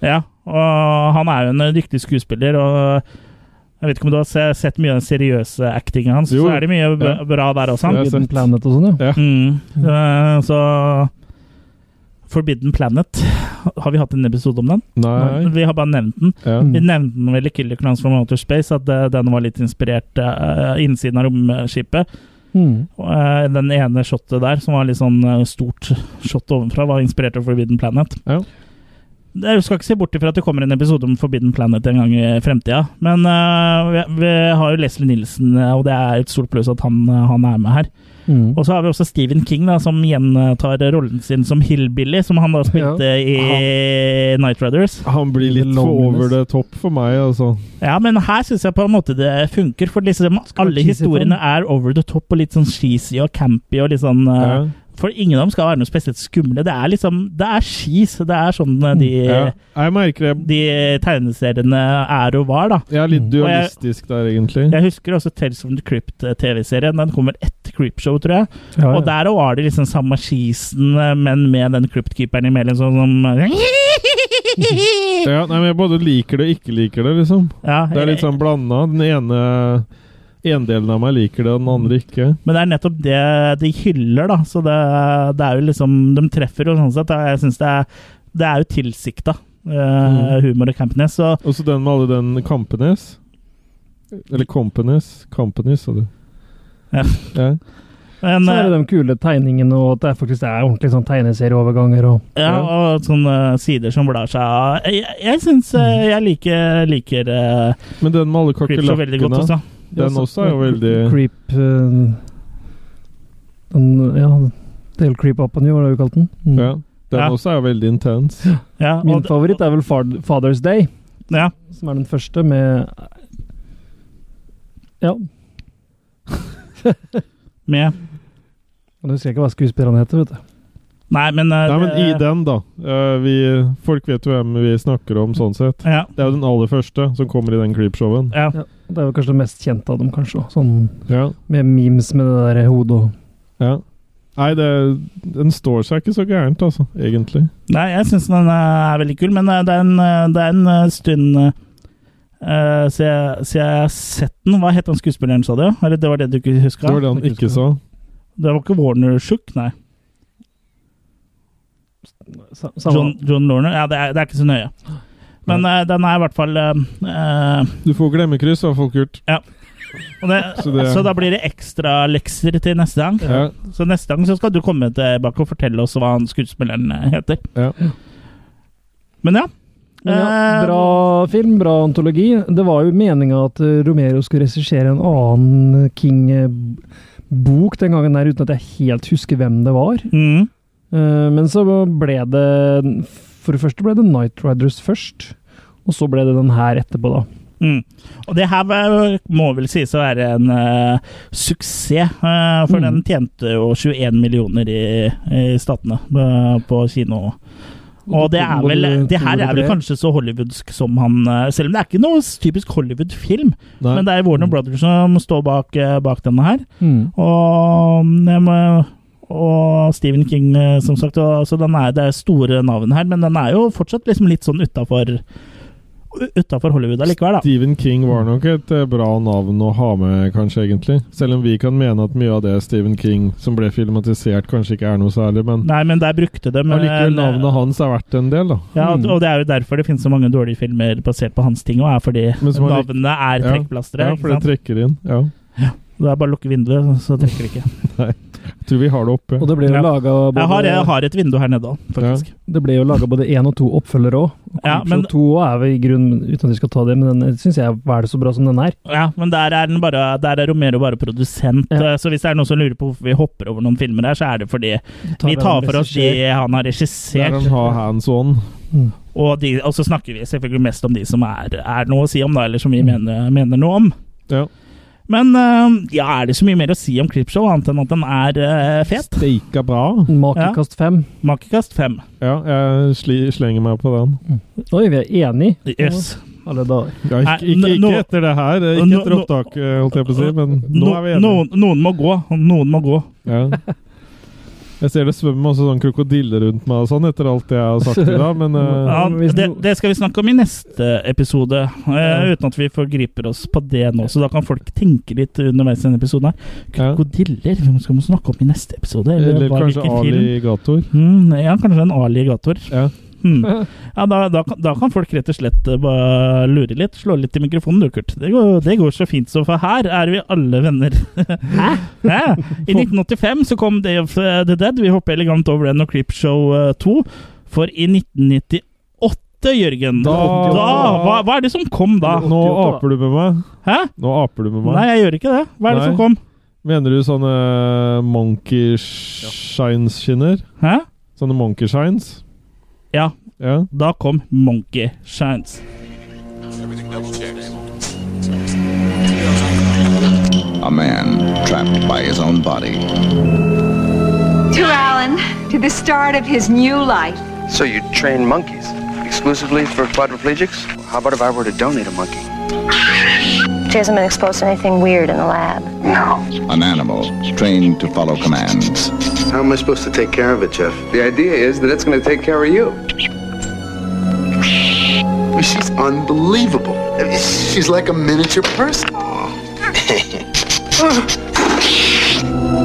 Ja, og han er jo en eh, dyktig skuespiller, og jeg vet ikke om du har se- sett mye av den seriøse actinga hans,
Jo,
så er det mye b-
ja.
bra der også.
Forbidden
Han.
Planet og sånn, ja.
Mm. Eh, Så Forbidden Planet Har vi hatt en episode om den?
Nei.
Vi har bare nevnt den.
Mm.
Vi nevnte den vel i Killer Clowns from Outer Space, at eh, den var litt inspirert eh, innsiden av romskipet.
Mm.
Og, eh, den ene shotet der, som var litt sånn eh, stort shot ovenfra, var inspirert av Forbidden Planet. Jeg skal ikke se bort ifra at det kommer en episode om Forbidden Planet en gang i fremtida, men eh, vi, vi har jo Leslie Nilsen, eh, og det er et stort pluss at han, eh, han er med her.
Mm.
Og så har vi også Stephen King, da, som gjentar rollen sin som Hillbilly, som han da spilte i Night Riders.
Han blir litt for over the top for meg, altså.
Ja, men her syns jeg på en måte det funker, for liksom alle
cheesy
historiene er over the top og litt sånn cheesy og campy og litt sånn eh, For ingen av dem skal være noe spesielt skumle. Det er liksom Det er skis. Det er sånn eh, de
Mm, Ja, Jeg merker det.
De tegneseriene er og var, da.
Jeg er litt
Mm. Og jeg-
dualistisk der, egentlig.
jeg husker også Tales from the Crypt-TV-serien. Den kommer etter Creepshow, tror jeg.
Ja, ja.
Og der var det liksom samme skisen, men med den Crypt-keeperen imellom, sånn som
Ja, nei, men jeg både liker det og ikke liker det, liksom.
Ja,
det er litt sånn blanda. Den ene en delen av meg liker det, og den andre ikke.
Men det er nettopp det de hyller, da. Så det, det er jo liksom De treffer jo sånn sett. da. Jeg synes det er Det er jo tilsikta
Mm.
eh, humor og campiness. Så
Og så den med alle den Kampenes. Eller Kompenes. Kampenes, sa du.
Ja.
så er
eh,
det de kule tegningene, og at det er faktisk det er ordentlig sånn tegneserieoverganger og
eh, ja, og sånne sider som blar seg av. Jeg, jeg syns eh,
Mm.
jeg liker, liker eh,
Men den med alle
Creepshow veldig godt
kakerlakkene,
også.
den også er jo veldig
Creep eh, den, Ja, Del Creep Up on You, var det du kalte den? Mm.
Ja. Den
Ja.
også er jo veldig intens.
Ja,
Min
og det-
favoritt er vel Fad- Father's Day,
Ja.
som er den første med Ja.
med
Nå husker jeg ikke hva skuespillerne heter, vet du.
Nei, men eh,
Nei, men i
det-
den, da. Eh, Vi, folk vet jo hvem vi snakker om, sånn sett.
Ja.
Det er jo den aller første som kommer i den creepshowen.
Ja.
Det er vel kanskje det mest kjente av dem, kanskje. også. Sånn
Ja.
med memes med det der hodet og
ja. Nei, det, den står seg ikke så gærent, altså, egentlig.
Nei, jeg syns den er veldig kul, men eh, det er en, eh, det er en eh, stund eh, eh, siden jeg- siden jeg har sett den. Hva het han skuespilleren, sa du? Eller det var det du ikke huska?
Det var det han ikke sa.
Det var ikke Warner Shook, nei.
sa- samme-
John, John Lorner? Ja, det er, det er ikke så nøye. Men eh, den er i hvert fall eh, eh,
Du får glemmekryss, har folk gjort.
Ja. Og det, så,
Så det-
da blir det ekstra lekser til neste gang.
Ja.
Så neste gang så skal du komme tilbake og fortelle oss hva han skuespilleren eh, heter. Men ja.
Men ja,
Eh,
bra film, bra antologi. Det var jo meninga at eh, Romero skulle regissere en annen King-bok den gangen der, uten at jeg helt husker hvem det var.
mm.
Eh, Men så ble det For det første ble det Night Riders først, og så ble det den her etterpå, da.
Mm. Og det her var- må vel sies å være en eh, suksess, eh, for den tjente jo 21 millioner i, i statene eh, på kino. Og det er vel Det her er vel kanskje så hollywoodsk som han eh, Selv om det er ikke noe typisk Hollywood-film,
Nei.
men det er Warner Brothers som står bak, eh, bak denne her.
Mm.
Og, mm, jeg må- og Stephen King, eh, som sagt. Og, så den er, det er store navn her, men den er jo fortsatt liksom litt sånn utafor Utafor Hollywood allikevel, da.
Stephen King var nok et eh, bra navn å ha med, kanskje, egentlig. Selv om vi kan mene at mye av det Stephen King som ble filmatisert, kanskje ikke er noe særlig, men
Nei, men eh, der brukte de
allikevel navnet hans er verdt en del, da.
Ja, og
Mm.
og det er jo derfor det finnes så mange dårlige filmer basert på hans ting, og er fordi
Men som han lik-
navnene er
Ja.
trekkplastere.
Ja, for det trekker inn. Ja.
Det er bare å lukke vinduet, så trekker det ikke.
Nei, jeg tror vi har det oppe.
Og det ble jo
Ja.
laget både-
Jeg har, jeg har et vindu her nede òg, faktisk.
Det ble jo laga både én og to oppfølgere òg.
Ja, men-
to er vel i grunnen, uten at vi skal ta det, men den syns jeg var det så bra som den er.
Ja. men der er, den bare, der er Romero bare produsent, eh, så hvis det er noen som lurer på hvorfor vi hopper over noen filmer her, så er det fordi
tar
vi
det
tar
han
for oss de
regisserer.
han har
Der
regissert.
han har hands on.
Og, de, og så snakker vi selvfølgelig mest om de som er, er noe å si om, da, eller som vi
Mm.
mener, mener noe om. Men eh, ja, er det så mye mer å si om Clipshow, annet enn at den er eh, fet?
Steika bra.
Makekast fem.
Makekast fem.
Ja, jeg sli, slenger meg på den.
Oi, vi er enige.
Yes.
Alle dager.
Ja,
Nei,
ikke, ikke,
nå-
ikke etter det her, ikke
nå-
etter
nå-
opptaket, holdt jeg på å si, men nå
No,
er vi enige.
noen, noen må gå. Noen må gå.
Ja. Jeg ser det svømmer masse sånn krokodiller rundt meg og sånn etter alt jeg har sagt i dag, men eh,
Ja, det, det skal vi snakke om i neste episode, eh,
Ja.
uten at vi forgriper oss på det nå. Så da kan folk tenke litt underveis i denne episoden. her. Krokodiller vi skal vi snakke om i neste episode.
eh, Eller
hva-
kanskje
hvilken film?
alligator.
Mm, ja, kanskje en alligator.
Ja.
Hmm. Ja, da, da, kan- da kan folk rett og slett eh, bare lure litt. Slå litt i mikrofonen, du, Kurt. Det går, det går så fint, så for her er vi alle venner. Hæ? I 1985 så kom Day of eh, the Dead. Vi hopper elegant over den og Creepshow eh, 2. For i 1998, Jørgen Da, hva, hva er det som kom da?
Nå aper du med meg.
Hæ?
Nå aper du med meg.
Nei, jeg gjør ikke det. Hva er det
Nei.
som kom?
Mener du sånne monkey shines-skinner?
Hæ?
Sånne monkey shines?
Ja.
ja.
Da kom Monkey Shines.
A man trapped by his own body.
To Alan, to the start of his new life.
So you train monkeys exclusively for quadriplegics? How about if I were to donate a monkey?
She hasn't been exposed to anything weird in the lab.
An animal trained to follow commands.
How am I supposed to take care of it, Jeff? The idea is that it's going to take care of you.
She's unbelievable. She's like a miniature person.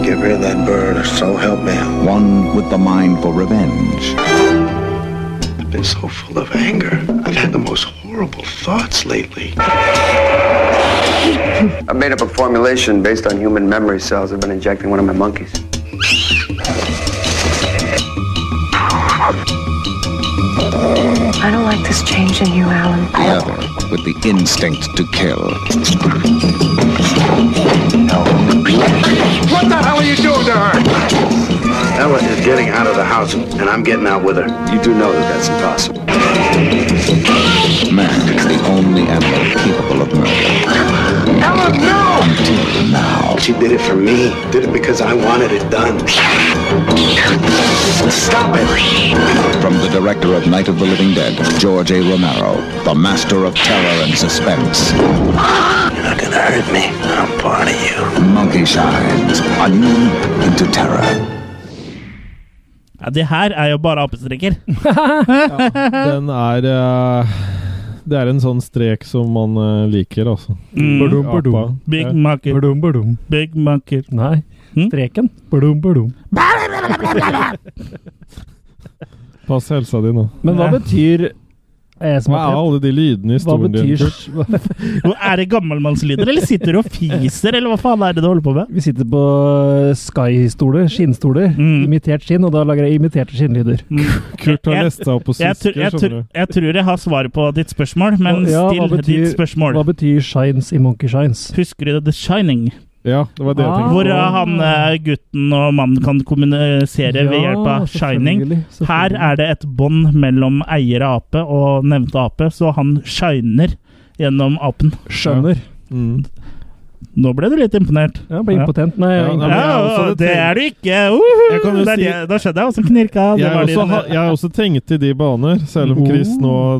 Get rid of that bird, or so help me. One with the mind for revenge.
I've been so full of anger. I've had the most horrible thoughts lately. I made up a formulation based on human memory cells I've been injecting one of my monkeys.
I don't like this change in you, Alan.
The other with the instinct to kill.
What the hell are you doing to her? Ella is getting out of the house, and I'm getting out with her. You do know that that's impossible.
Man is the only animal capable of murder.
Ella, no! Until now. She did it for me. Did it because I wanted it done. Stop it!
From the director of Night of the Living Dead, George A. Romero, the master of terror and suspense. You're not gonna hurt me. I'm part of you. Monkey shines, a new into terror.
Ja, det her er jo bare apestreker.
Den er eh, Det er en sånn strek som man eh, liker, altså.
Mm. Badum, badum.
Apa.
Big
Ja.
Mac-er.
Badum, badum.
Big Mac-er.
Nei. Streken. Badum, badum.
Pass helsa di nå.
Men hva betyr er jeg som
Hva
har
er
trent?
alle de lydene i
Hva
stolen din?
betyr
Kurt?
er det gammelmannslyder, eller sitter du og fiser, eller hva faen er det du holder på med?
Vi sitter på Sky-stoler, skinnstoler, imitert skinn, og da lager jeg imiterte skinnlyder.
Kurt har lest seg opp på
Jeg, tror-
svensker,
jeg,
skjønner
tror-
du.
jeg tror jeg har svaret på ditt spørsmål, men
Ja, hva
still
betyr-
ditt spørsmål.
Hva betyr shines i Monkey Shines?
Husker du The Shining?
Ja, det var det jeg tenkte
Hvor eh,
på.
han, eh, gutten og mannen kan kommunisere ved
Ja,
hjelp av Shining.
selvfølgelig, selvfølgelig.
Her er det et bånd mellom eier av ape og nevnte ape, så han shiner gjennom apen.
Skjønner.
Mm.
Nå ble du litt imponert.
Ja, ble impotent. Nei,
ja,
jeg-
ja,
jeg-
det er du ikke! Uhu!
Jeg kan jo
Det er
si-
det- Da skjønner jeg åssen knirka. Det
Jeg har
var de
også,
der-
ha- jeg har også tenkt i de baner, selv om Chris nå
Oh.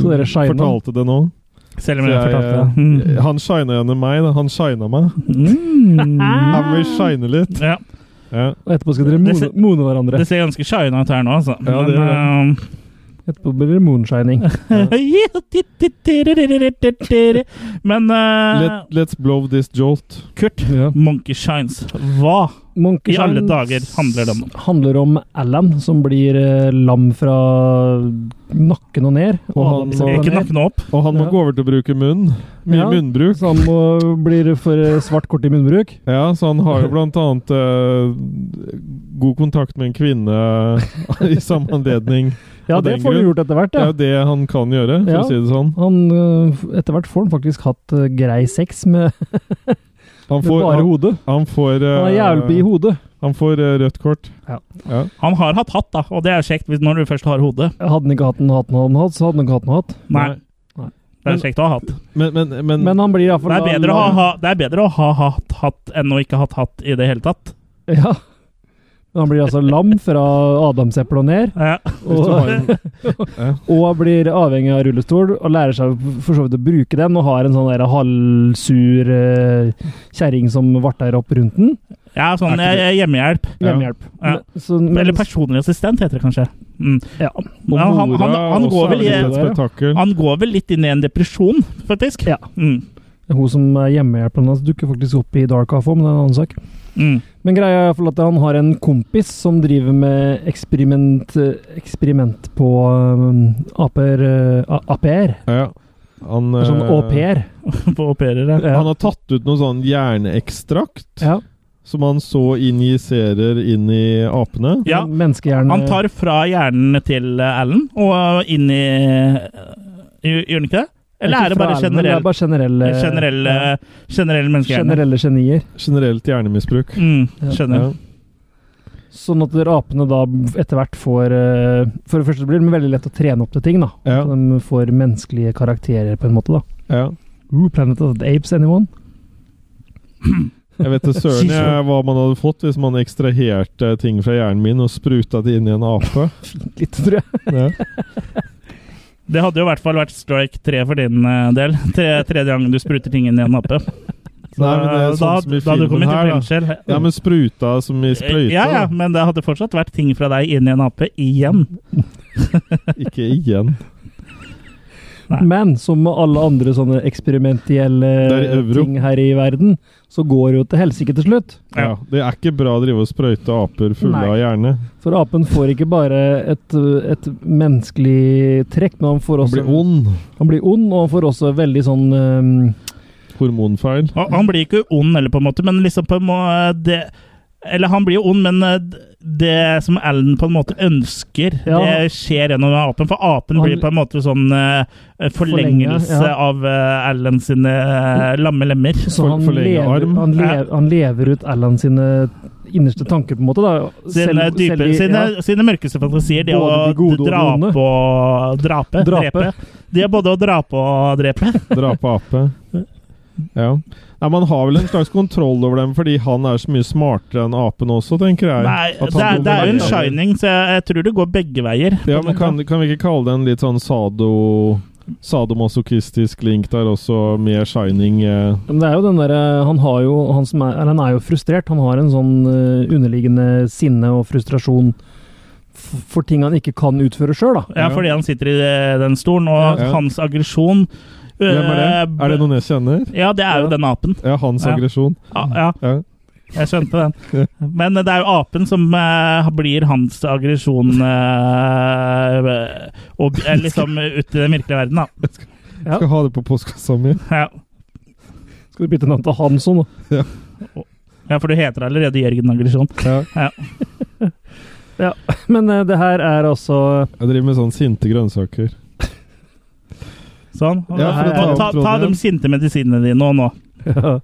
Så
eh,
dere shiner.
fortalte det nå.
Selv om
Så
jeg fortalte det. Mm.
eh, Han shina gjennom meg. da. Han shina meg. Han vil shine litt.
Mm. Ja.
Og etterpå skal dere
Det
mone,
ser-
mone hverandre.
Det ser ganske shiny ut her nå, altså.
Ja, det
Men,
Etterpå blir det moonshining.
eh, Men eh,
Let, let's blow this jolt.
Kurt, Monkey Shines, hva
Monkey
i alle
Shines
dager handler det om?
handler om Alan, som blir eh, lam fra nakken og ned.
Og han,
Adamsen og ned.
opp.
Og han må gå over til å bruke munn. Mye
Ja,
munnbruk.
Så han må, blir for eh, svart kort i munnbruk.
Ja, så han har jo blant annet eh, god kontakt med en kvinne eh, i samme anledning.
Ja,
av
det
den
får vi
grunn.
gjort etter hvert,
Det
ja.
er jo det han kan gjøre, for
Ja.
å si det sånn.
Han, eh, etter hvert får han faktisk hatt eh, grei sex med
Han
Med bare
han,
hodet.
Han får
Han er
eh,
jævlig i hodet.
Han får eh, rødt kort.
Ja.
Han har hatt hatt, da, og det er kjekt hvis- når du først har hodet.
Hadde han ikke hatt en hatt, hadde han hatt, så hadde han ikke hatt en hatt.
Nei. Det er kjekt å ha hatt.
Men,
Men han blir i hvert
Det er
fall
bedre å ha, ha, det er bedre å ha hatt hatt enn å ikke ha hatt hatt i det hele tatt.
Ja. Men han blir altså lam fra adamseplet og ned.
Hvis du har
Og, og blir avhengig av rullestol, og lærer seg for så vidt å bruke den, og har en sånn der halvsur eh, kjerring som varter opp rundt den.
Ja, sånn
Er ikke
eh, hjemmehjelp.
Hjemmehjelp.
Ja. Eller personlig assistent, heter det kanskje. Mm.
Ja.
Ja, han, han, han, går vel i,
spetakkel.
han går vel litt inn i en depresjon, faktisk. Mm,
Ja. Hun som er hjemmehjelpen hans, dukker faktisk opp i Dark Half òg, men det er en annen sak.
mm.
Men greia er i hvert fall at han har en kompis som driver med eksperiment, eh, eksperiment på um, aper, uh, aper.
Ja. Han,
Det er sånn
eh,
au pair.
på au pairer,
Han har tatt ut noe sånn jernekstrakt. Som han så injiserer inn i apene.
Ja.
Menneskehjerne
Han tar fra hjernen til eh, Alan og inn i eh, Gjør han ikke det? Eller er det
Ikke
bare
fra Erlend, men Det
generell,
er bare generelle,
generelle,
ja.
generell menneskehjerne?
generelle genier.
Generelt hjernemisbruk.
Mm, skjønner.
Sånn at apene da etter hvert får eh, For det første blir det veldig lett å trene opp til ting. da.
Ja.
Så De får menneskelige karakterer, på en måte. da.
Ja.
Ooh, Planet of the Apes, anyone?
Jeg vet det søren jeg, hva man hadde fått hvis man ekstraherte ting fra hjernen min og spruta det inn i en ape.
Fint lite, tror jeg.
Det hadde jo i hvert fall vært strike tre for din eh, del. Tre, tredje gangen du spruter ting inn i en mappe. Så
Nei, men det er
da-
sånn som i
da hadde du
filmen
kommet i
her,
fengsel.
da. Ja, men spruta som i sprøyta.
Ja, ja, men det hadde fortsatt vært ting fra deg inn i en ape igjen.
Ikke igjen.
Men som med alle andre sånne
Det er
eksperimentielle
euro.
ting her i verden, så går det jo til helsike til slutt.
Ja, Det er ikke bra å drive og sprøyte aper fulle
Nei.
av hjerne.
For apen får ikke bare et, et menneskelig trekk, men han får
Han
også
blir ond.
Han blir ond, og han får også veldig sånn ehm,
Hormonfeil.
Og Han blir ikke ond, eller på en måte, men liksom på en måte det, Eller han blir jo ond, men eh, d- det som Alan på en måte ønsker,
Ja.
det skjer gjennom apen. For apen
Han-
blir på en måte sånn eh, forlengelse
Forlenge, ja.
av eh, Alan sine eh, lamme lemmer.
Så han lever, han, lever, han lever ut Allan sine innerste tanker, på en måte. da.
Sine,
Selv-
dype,
selv i-
sine,
ja.
sine mørkeste fantasier. Det
Både de
å
gode og de
drape
onde.
og drape.
Drape.
Drepe. De er både å drape og drepe.
Drape ape. Ja. Nei, Man har vel en slags kontroll over dem fordi han er så mye smartere enn apen også, tenker jeg.
Nei,
At
det er,
han
det er jo en
dominerer.
shining, så jeg, jeg tror det går begge veier. på
Ja,
en
men
måte.
kan, kan vi ikke kalle det en litt sånn sado, sadomasochistisk link der også, med shining eh,
Men det er jo den derre Han har jo han som er, eller han er jo frustrert. Han har en sånn eh, underliggende sinne og frustrasjon f- for ting han ikke kan utføre sjøl, da.
Ja, fordi han sitter i eh, den stolen, og
Ja.
hans aggresjon eh,
Hvem er det? Er det noen jeg kjenner?
Ja, det er jo den apen.
Ja, hans
Eh, Ja.
aggresjon.
Ja, ja.
Ja.
Jeg skjønte den. Men eh, det er jo apen som eh, blir hans aggresjon eh, og eh, liksom ut i den virkelige verden, da.
Skal ha det på postkassa mi.
Ja.
Skal du bytte navn til Hansson, da?
Ja.
ja, for du heter allerede Jørgen Aggresjon. Ja.
Ja, men eh, det her er altså
Jeg driver med sånn sinte grønnsaker.
Sånn.
Ja, for å ta
ta,
opp
ta, ta
tråden
de
igjen.
sinte medisinene dine og nå.
Ja.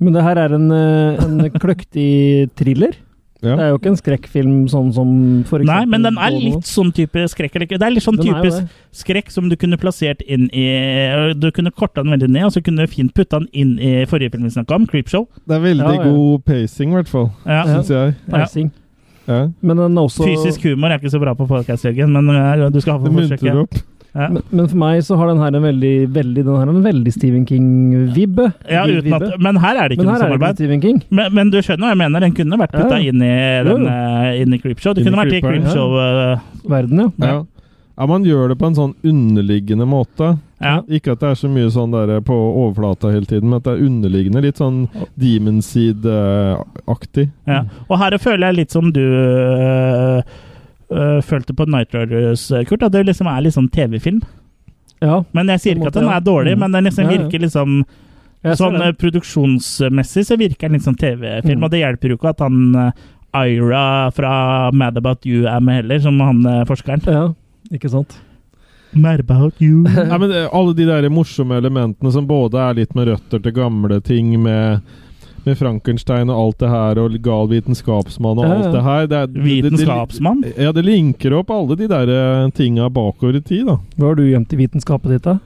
Men det her er en, eh, en kløktig thriller.
Ja.
Eh,
Det er jo ikke en skrekkfilm sånn som
Liksom,
for
Nei, men den er
Bono.
litt sånn type skrekk. Eller ikke? Det er litt sånn
Den er jo det.
typisk skrekk som du kunne plassert inn i eh, Du kunne korta den veldig ned, og så kunne du fint putta den inn i forrige film vi snakka om, Creepshow.
Det er veldig
Ja, ja.
god pacing, i hvert fall.
Ja.
Syns jeg.
Pacing.
Ja.
Men den er også
Fysisk humor er ikke så bra på podcast, Jørgen, men eh, du skal ha
Det
for
muntrer
forsøket.
opp.
Ja.
Men, men for meg så har den her en veldig, veldig, den har en veldig Stephen King-vibbe.
Ja, uten at, men her er det ikke
Men
noe
her er det ikke
samarbeid.
Stephen King.
Men, men du skjønner hva jeg mener? Den kunne vært putta
Ja, ja.
inn i, den,
Jo, jo.
eh, inn i Creepshow. Det
Inn i
kunne vært i
Creeperen, ja.
Creepshow. eh,
Verden, ja.
Ja. ja, man gjør det på en sånn underliggende måte.
Ja.
Ikke at det er så mye sånn der på overflata hele tiden, men at det er underliggende. Litt sånn Demon eh, Seed-aktig.
Ja. Og her føler jeg litt som du øh, øh, følte på Night Riders, Kurt, at det liksom er litt sånn TV-film.
Ja.
Men jeg sier
På
ikke
en
at
måte,
den
ja.
er dårlig,
Mm.
men den liksom
Ja, ja.
virker liksom
Jeg ser
Sånn
den.
øh, produksjonsmessig så virker den litt sånn TV-film,
Mm.
og det hjelper jo ikke at han øh, Ira fra Mad About You er med heller, som han øh, forskeren.
Ikke sant?
Mad About You.
Nei, men eh, alle de der morsomme elementene som både er litt med røtter til gamle ting, med med Frankenstein og alt det her, og gal vitenskapsmann og
Ja, ja.
alt det her. Det er- det- det- det-
Vitenskapsmann?
Ja, det linker opp alle de der eh, tinga bakover i tid, da.
Hva har du gjemt i vitenskapet ditt, da?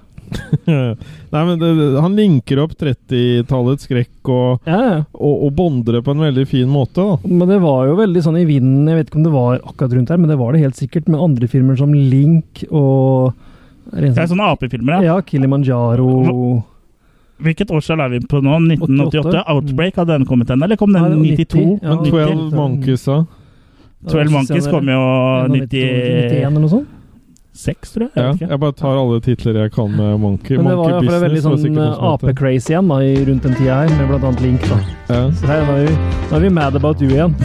Nei, men det, det- han linker opp 30-tallets skrekk og, og, og bonder det på en veldig fin måte, da.
Men det var jo veldig sånn i vinden, jeg vet ikke om det var akkurat rundt her, men det var det helt sikkert med andre filmer som Link og sånn-
Det er sånne apefilmer,
ja. Ja, Kilimanjaro
Hvilket årstall er vi på nå? 1988?
88?
Outbreak, hadde den kommet ennå? Eller kom den i 92?
12 Monkeys, da.
12 Monkeys kom jo
91 eller noe sånt?
96, tror jeg.
Ja, jeg bare tar alle titler jeg kan med Monkey.
Men det var i
monkey
hvert fall veldig
Business var
sånn
sikkert noe som het det.
ape-crazy igjen da, i- rundt den tida her, med blant annet Link. da. Så her var vi, nå er vi mad about you igjen.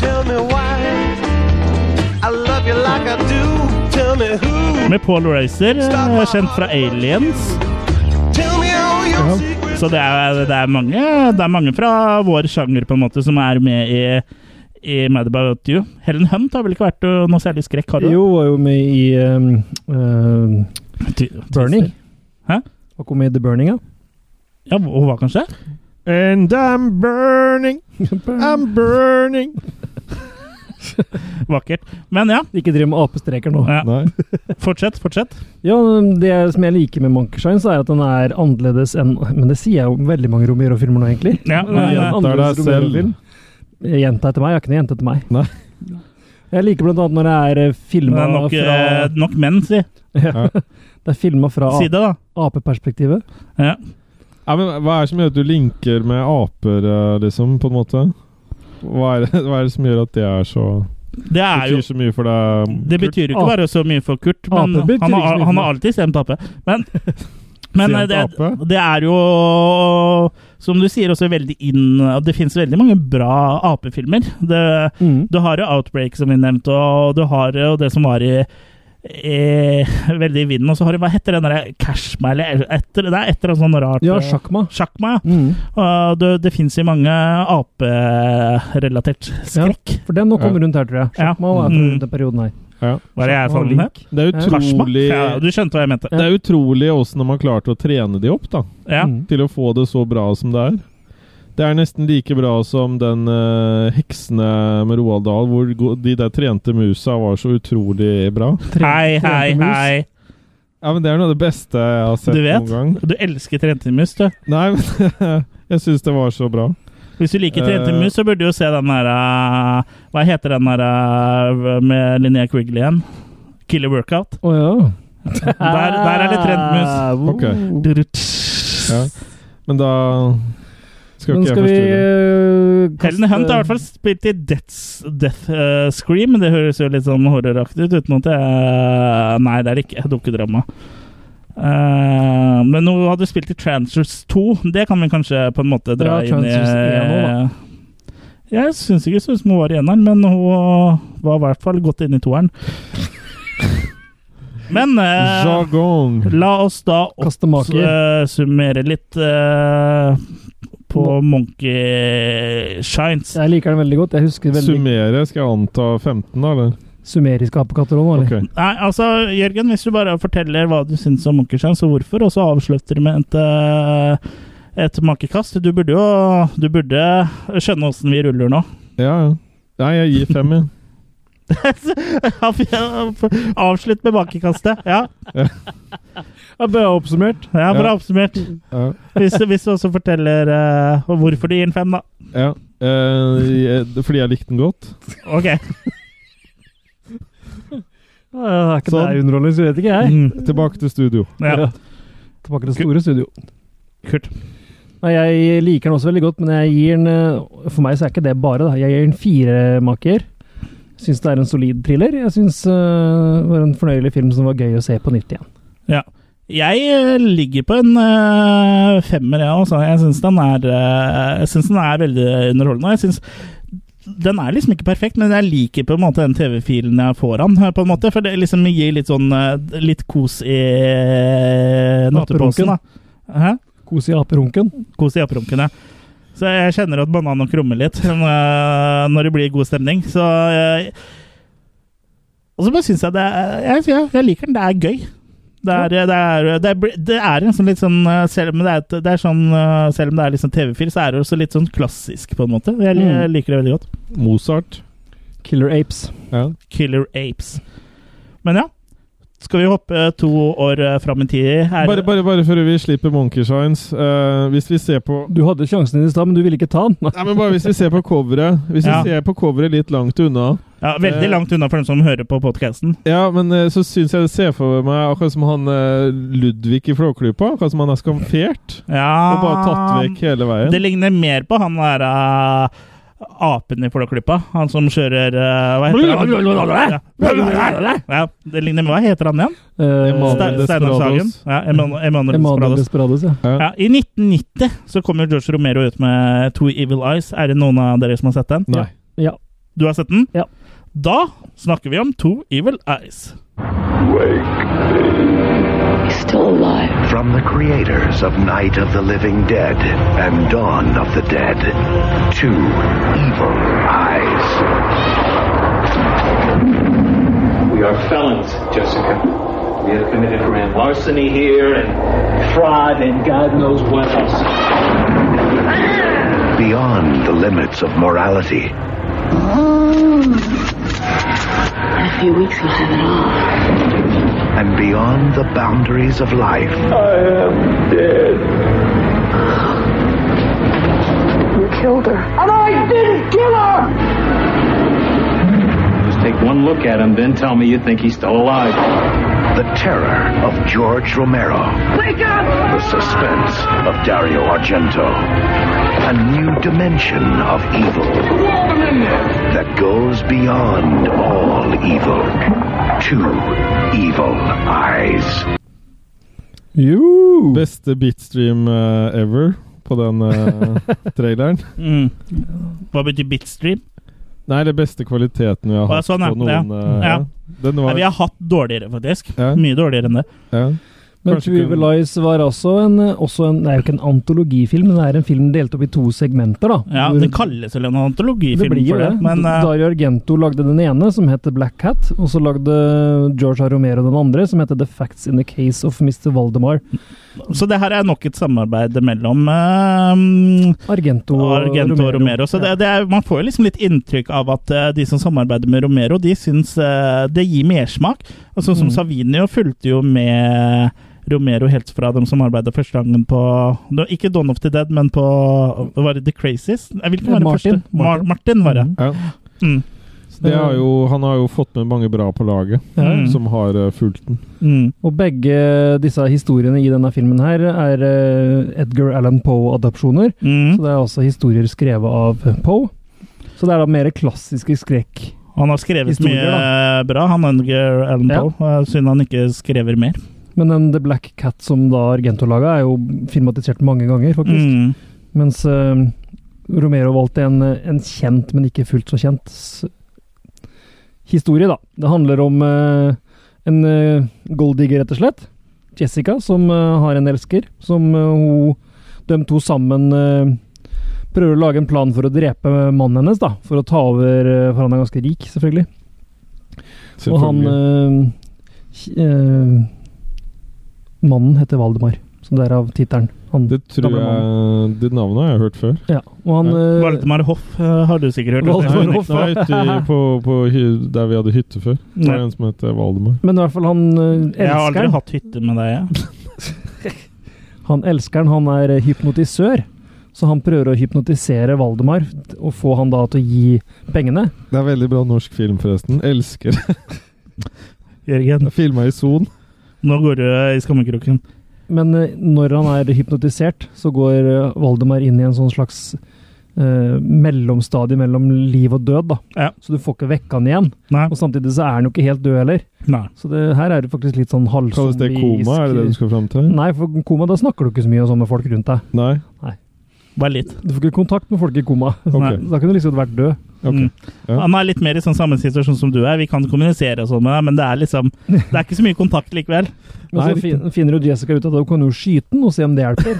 Tell me why I love you like I do. Tell me who.
Med Paul Racer, eh, kjent fra Aliens.
Tell me all your
Så det er, det, er mange, det er mange fra vår sjanger på en måte som er med i, i Mad About You. Helen Hunt har vel ikke vært eh, noe særlig skrekk, har du?
Jo, var jo med i ehm, ehm, Burning.
Hæ?
Var ikke hun med i The Burning, ja?
Ja, hun var kanskje
And I'm burning, I'm burning
Vakkert. Men ja.
Ikke driv med apestreker nå.
Ja. Fortsett, fortsett.
Ja, Det som jeg liker med Monkershine, så er at den er annerledes enn Men det sier jeg jo veldig mange Romero-filmer nå, egentlig.
Ja,
Den er
men- eh,
en
Gjentar deg
annerledes
selv.
Romero-film. Jenta etter meg? Jeg har ikke noe jente etter meg. Jeg liker blant annet når det er eh,
Det
filma
er nok,
fra
eh, nok menn, si.
Ja. Det er filma fra
Si det, da.
apeperspektivet.
Ja.
Ja, men Hva er det som gjør at du linker med aper, eh, liksom, på en måte? Hva er det, hva er det som gjør at det er så
Det er jo
betyr så mye for deg?
Det betyr jo ikke bare så mye for Kurt, men
Ape betyr
han
ikke så mye
har,
for
han
meg.
har alltid stemt Ape. Men, men eh,
Stemt
det, det er jo, som du sier, også veldig inn at Det finnes veldig mange bra apefilmer. Det- Du har jo Outbreak, som vi nevnte, og du har jo det som var i i- veldig i vinden, og så har du Hva heter den der Cashma, eller etter, Det er et eller annet sånn rart
Ja, Mm. Sjakma.
Sjakma, ja. Og det, det fins jo mange aperelatert skrekk.
For den nå kommer rundt her, tror jeg. Sjakma var fra
Mm.
rundt den perioden her.
Hva er det jeg sa
Sjakma og
om
Link.
det?
Det er utrolig
Eh, Ja, du skjønte hva jeg mente.
Det er utrolig åssen de har klart å trene de opp, da.
Ja.
Mm.
Til å få det så bra som det er. Det er nesten like bra som den eh, heksene med Roald Dahl, hvor go- de der trente musa var så utrolig bra.
Hei, hei,
trente mus.
hei.
Ja, men Det er noe av det beste jeg har sett
Du vet,
noen gang.
du elsker trentemus, du.
Nei, men jeg syns det var så bra.
Hvis du liker
Eh.
trentemus, så burde du jo se den der eh, Hva heter den der eh, med Linnea Quigley igjen? Killer Workout.
Å ja.
Der, der er det
Ah,
trentmus.
Ok. Ja. Men da skal
Men
ikke
skal
jeg
vi,
forstyrre.
eh,
Helen Hunt har i hvert fall spilt i Death's, Death eh, Scream. Det høres jo litt sånn horroraktig ut, uten at det er Nei, det er ikke dukkedrama. Eh, men hun hadde spilt i Transfers 2. Det kan vi kanskje på en måte dra
Ja,
inn i eh,
Transfers 1 også,
Jeg syns ikke så ut som hun var i eneren, men hun var i hvert fall godt inne i toeren. Men eh,
Jargon.
la oss da eh,
maker.
oppsummere litt eh, på Monkey Shines.
Jeg liker den veldig godt. Jeg husker veldig
Summere, skal jeg anta 15, da? eller?
Summeriske apekatter også, nå, eller?
Nei, altså, Jørgen, hvis du bare forteller hva du syns om Monkey Shines og hvorfor, og så avslutter du med et, eh, et makekast Du burde jo du burde skjønne åssen vi ruller nå.
Ja, ja. Nei, jeg gir fem, jeg.
Avslutt med makekastet. Ja.
Ja, bra oppsummert.
Ja, bra
Ja.
oppsummert.
Ja.
Hvis, du- hvis du også forteller eh, hvorfor du gir den fem, da.
Ja. Eh, jeg- fordi jeg likte den godt.
Ok.
Ja, er ikke
Sånn.
det underholdning, så vet ikke jeg.
Tilbake til studio.
Ja. Tilbake til det store studio.
Kult.
Nei, jeg liker den også veldig godt, men jeg gir den eh, For meg så er ikke det bare, da. Jeg gir den fire maker. Syns det er en solid thriller. Jeg syns eh, det var en fornøyelig film som var gøy å se på nytt igjen.
Ja. Jeg eh, ligger på en eh, femmer, jeg også. Jeg syns den, er, eh, jeg synes den er veldig underholdende. Jeg synes den er liksom ikke perfekt, men jeg liker på en måte den TV-filen jeg får han, eh, på en måte, for det liksom gir litt sånn eh, litt kos i eh, nattepåsen.
Aperunken.
da. Hæ?
Kos i aperunken.
Kos i aperunkene. Så jeg kjenner at bananen krummer litt eh, når det blir god stemning. Så eh, Og så bare syns jeg det er jeg, jeg liker den. Det er gøy. Det er, det er, det er, det er en sånn litt sånn eh, Selv om det er, et- det er sånn eh, Selv om det er litt sånn TV-film, så er det også litt sånn klassisk, på en måte. Jeg, li-
Mm.
liker det veldig godt.
Mozart.
Killer Apes.
Killer Apes. Men ja. Skal vi hoppe to år eh, fram i tid? Er-
Bare, bare, bare før vi slipper Monkey Shines eh, Hvis vi ser på
Du hadde sjansen din i stad, men du ville ikke ta den.
Nei, men bare hvis vi ser på coveret Hvis
Ja.
vi ser på coveret litt langt unna
ja, veldig
eh,
langt unna for dem som hører på podkasten.
Ja, men eh, så syns jeg det ser for meg akkurat som han eh, Ludvig i Flåklypa. Akkurat som han er skamfert.
Ja
Og bare tatt vekk hele veien.
Ah, Det ligner mer på han der eh, apen i Flåklypa. Han som kjører eh, Hva heter han? Ja, det ligner Hva heter han igjen? Ste- Steinar Sagen. Ja, Eman- Emanuel
Eh, Emanuel
Desperados.
Desperados, ja.
Ja, I 1990 så kom jo George Romero ut med Two Evil Eyes. Er det noen av dere som har sett den?
Nei.
Ja.
Du har sett den?
Ja.
Da snakker vi om Two Evil Eyes.
Still alive. From the creators of Night of the Living Dead and Dawn of the Dead, two evil eyes.
We are felons, Jessica. We have committed grand larceny here and fraud and God knows what else.
Beyond the limits of morality,
A few weeks will have it all.
and beyond the boundaries of life. I am dead.
You killed her.
And I didn't kill her!
Just take one look at him, then tell me you think he's still alive.
The terror of George Romero.
Wake up!
The suspense of Dario Argento. A new dimension of evil that goes beyond all evil. Two evil eyes.
Jo! Beste bitstream eh, ever på den eh, traileren.
Mm. Hva betyr bitstream?
Nei, det beste kvaliteten vi har
Å,
hatt
sånn, ja.
på noen
Ja.
eh,
Ja.
Den
Nei,
var,
vi har hatt dårligere, faktisk.
Ja.
Mye dårligere enn det.
ja.
Men
Kanskje
True Evil Eyes var også en, også en Det er jo ikke en antologifilm, men det er en film delt opp i to segmenter, da.
Ja,
Hvor-
Den kalles vel en
det
antologifilm
blir jo
for det,
det.
men eh,
Dario Argento lagde den ene, som het Black Hat. Og så lagde George A. Romero den andre, som heter The Facts in the Case of Mr. Valdemar.
Så det her er nok et samarbeid mellom eh,
Argento og
Argento og Romero. Så det, det er, man får jo liksom litt inntrykk av at eh, de som samarbeider med Romero, de syns eh, det gir mersmak. Og sånn som
Mm.
Savinio fulgte jo med Romero helt fra dem som arbeidet første gangen på no, Ikke Don of the Dead, men på var det The Crazies? Nei, Hvilken var det
Martin.
første? Mar Martin, var det. Mm.
Så Det har jo, han har jo fått med mange bra på laget,
Mm.
Ja.
som har eh, fulgt den.
Og begge disse historiene i denne filmen her er eh, Edgar Allan Poe-adopsjoner.
Mm.
Så det er også historier skrevet av Poe. Så det er da mer klassiske skrekk.
Han har skrevet
Historier,
mye eh, bra, han Edgar Allan Poe. Eh, Synd han ikke skrever mer.
Men den The Black Cat som da Argento laga, er jo filmatisert mange ganger, faktisk.
Mm.
Mens eh, Romero valgte en, eh, en kjent, men ikke fullt så kjent s- historie, da. Det handler om eh, en uh, golddigger, rett og slett. Jessica, som eh, har en elsker, som eh, hun De to sammen eh, prøver å lage en plan for å drepe mannen hennes, da. For å ta over, eh, for han er ganske rik, selvfølgelig. Og han eh, ki- eh, Mannen heter Valdemar, så derav tittelen. Han
Tror
gamle mannen.
jeg, det navnet har jeg hørt før.
Ja, og han eh,
Valdemar Hoff eh, har du sikkert hørt.
Valdemar
Henrik.
Hoff,
Nei, ute i, på, på hy- der vi hadde hytte før. Det
Nei.
var en som het eh, Valdemar.
Men i hvert fall han eh,
Jeg har aldri
elskeren.
hatt hytte med deg, jeg.
Han elskeren, han er eh, hypnotisør. Så han prøver å hypnotisere Valdemar og få han da til å gi pengene.
Det er veldig bra norsk film, forresten. Elsker.
Jørgen,
Filma i Son.
nå går du eh, i skammekroken.
Men eh, når han er hypnotisert, så går eh, Valdemar inn i en sånn slags eh, mellomstadie mellom liv og død, da. Så du får ikke vekke han igjen. Og samtidig så er han jo ikke helt død heller.
Nei.
Så det her er det faktisk litt sånn
Kalles
halvzombisk
det koma? Er det det du skal fram til?
Nei, for koma, da snakker du ikke så mye og sånn med folk rundt deg.
Nei.
Nei.
Bare litt.
Du får ikke kontakt med folk i koma.
Ok.
Da kunne du liksom vært død.
Mm. Han er litt mer i sånn samme situasjon som du er. Vi kan kommunisere og sånn med deg, men det er liksom Det er ikke så mye kontakt likevel.
Men så fin, finner jo Jessica ut at hun kan jo skyte den og se om det hjelper.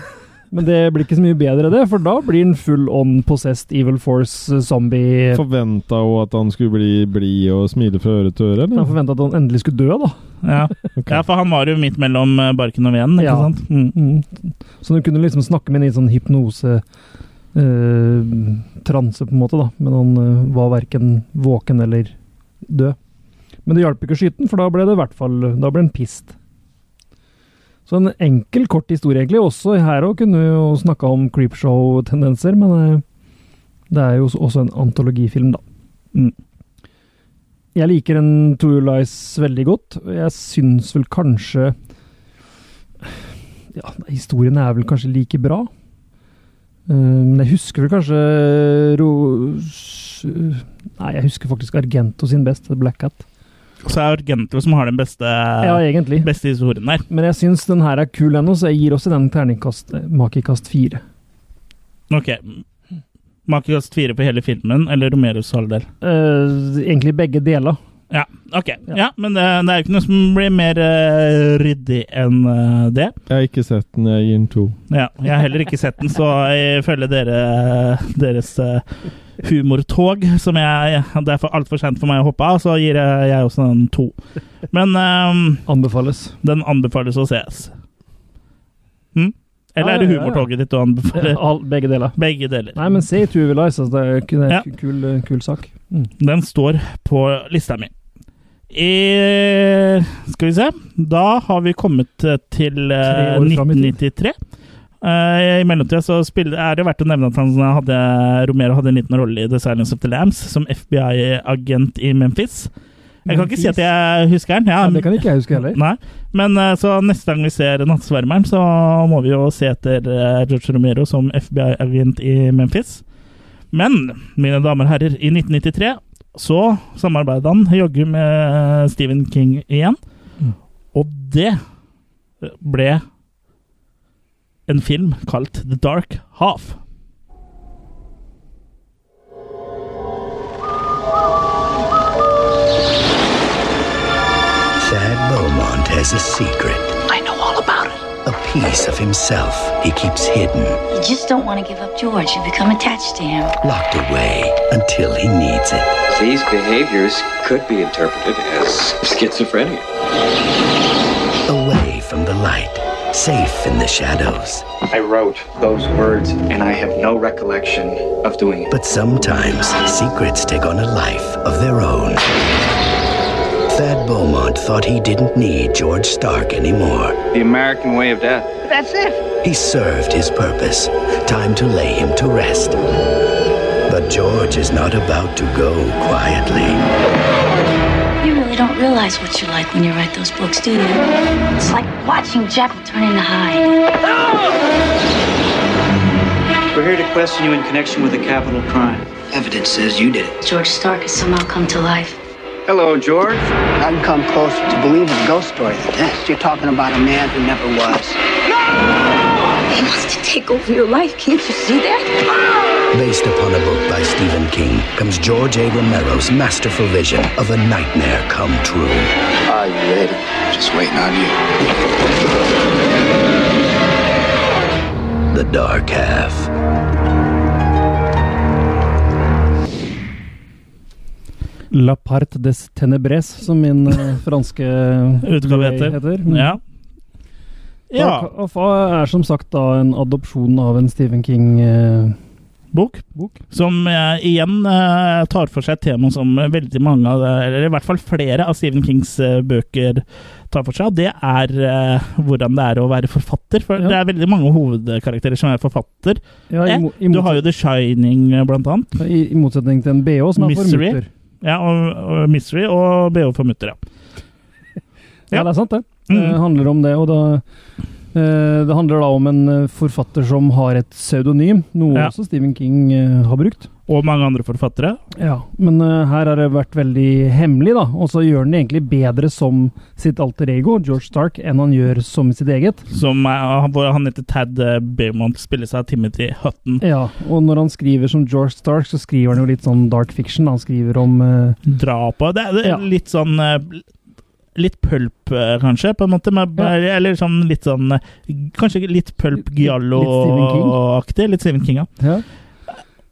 Men det blir ikke så mye bedre, det, for da blir han full on possessed Evil Force-zombie.
Forventa hun at han skulle bli blid og smile fra øre til øre,
Han
eller?
forventa at han endelig skulle dø, da.
Ja. ja, for han var jo midt mellom eh, barken og veden, ikke
Ja.
sant?
Mm. Så du kunne liksom snakke med en i sånn hypnose-transe, på en måte, da. Men han eh, var verken våken eller død. Men det hjalp ikke å skyte den, for da ble det i hvert fall Da ble den pist. Så en enkel, kort historie, egentlig. Også her òg kunne vi jo snakka om creepshow-tendenser, men eh, det er jo også en antologifilm, da. Mm. Jeg liker en Two Lies veldig godt. Jeg syns vel kanskje Ja, historien er vel kanskje like bra. Eh, Men jeg husker vel kanskje eh, ro... s- Nei, jeg husker faktisk Argento sin best, Black Cat.
Så er Argento som har den beste,
Ja, egentlig.
beste historien der.
Men jeg syns den her er kul ennå, så jeg gir også den terningkast eh, makekast fire.
Ok. Makekast fire på hele filmen, eller Romeros halvdel?
Eh, egentlig begge deler.
Ja, ok. Ja, Men det, det er jo ikke noe som blir mer eh, ryddig enn eh, det.
Jeg har ikke sett den, jeg gir den to.
Ja, jeg har heller ikke sett den, så jeg følger dere, deres eh, humortog, som jeg, det er for altfor sent for meg å hoppe av, så gir jeg, jeg også den to. Men ehm,
Anbefales.
Den anbefales å ses. Hm? Eller
Ja,
er det
ja, ja.
humortoget ditt du anbefaler?
Eh, all- Begge deler.
Begge deler.
Nei, men se Two Lies, altså. Det er jo ikke- det er
Ja.
en kul, eh, kul sak.
Den står på lista mi. I, skal vi se Da har vi kommet eh, til eh,
Tre år fram i tid.
1993. Eh, I mellomtida så spiller, er det verdt å nevne at han eh, hadde, Romero hadde en liten rolle i The Silence of the Lambs som FBI-agent i Memphis. Jeg kan ikke si at jeg husker den. Ja,
Nei, det kan ikke jeg huske heller.
Nei. Men eh, så neste gang vi ser Nattsvermeren, så må vi jo se etter eh, George Romero som FBI-agent i Memphis. Men, mine damer og herrer, i 1993 så samarbeidet han jaggu med eh, Stephen King igjen.
Mm.
Og det ble en film kalt The Dark Half.
Thad Beaumont has a secret. I know all about it. A piece of himself he keeps hidden,
You just don't want to give up George. You become attached to him.
locked away until he needs it.
These behaviors could be interpreted as schizophrenia.
Away from the light, safe in the shadows.
I wrote those words, and I have no recollection of doing it.
But sometimes secrets take on a life of their own. Thad Beaumont thought he didn't need George Stark anymore.
The American way of death.
That's it.
He served his purpose. Time to lay him to rest. But George is not about to go quietly.
You really don't realize what you like when you write those books, do you? It's like watching Jekyll turn into Hyde.
We're here to question you in connection with a capital crime. Evidence says you did it.
George Stark has somehow come to life.
Hello, George.
I'd come closer to believing a ghost story than this. You're talking about a man who never was.
He wants to take over your life. Can't you see that?
Based upon a book by Stephen King comes George A. Romero's masterful vision of a nightmare come true. Are you ready? Just waiting on you. The Dark Half.
La part des tenebres, som min eh, franske
Utgave heter.
Mm.
Ja. Ja.
Dark Half er som sagt da en adopsjon av en Stephen King eh,
bok, som eh, igjen eh, tar for seg et tema som veldig mange av, eh, eller i hvert fall flere av Stephen Kings eh, bøker tar for seg, og det er eh, hvordan det er å være forfatter. For det er veldig mange hovedkarakterer som er forfatter.
Ja, i
Eh,
mo- i
du har jo The Shining, eh, blant annet.
I, i motsetning til en BH som er for
Misery.
mutter.
Ja, og, og Misery og BH for mutter, ja.
Ja. det er sant, det.
Mm.
Det handler om det. Og da, eh, det handler da om en eh, forfatter som har et pseudonym, noe
Ja.
også Stephen King eh, har brukt.
Og mange andre forfattere.
Ja, men eh, her har det vært veldig hemmelig, da. Og så gjør han det egentlig bedre som sitt alter ego, George Stark, enn han gjør som sitt eget.
Som er, hvor han heter Tad eh, Beaumont, spilles av Timothy Hutton.
Ja, og når han skriver som George Stark, så skriver han jo litt sånn dark fiction. da. Han skriver om eh,
Drap og Det er det er litt sånn eh, litt pulp, eh, kanskje, på en måte. Med, Eller sånn litt sånn eh, Kanskje litt pulp Giallo-aktig. Litt Stephen King, ja.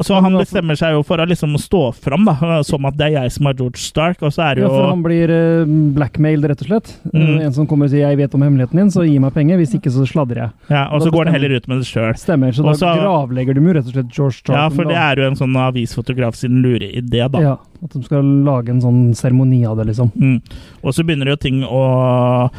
Så han bestemmer seg jo for å liksom stå fram, da, som at det er jeg som er George Stark, og så er det
Ja,
jo
for han blir eh, blackmailed, rett og slett. Eh,
Mm.
En som kommer og sier 'jeg vet om hemmeligheten din, så gi meg penger', hvis ikke så sladrer jeg.
ja, Og
Da
så går han
bestemmer-
heller ut med det sjøl.
Stemmer, så da gravlegger de jo rett og slett George Charlton.
Ja, for det
da.
er jo en sånn avisfotograf sin lure idé, da.
Ja, At de skal lage en sånn seremoni av det, liksom.
Mm. Og så begynner jo ting å,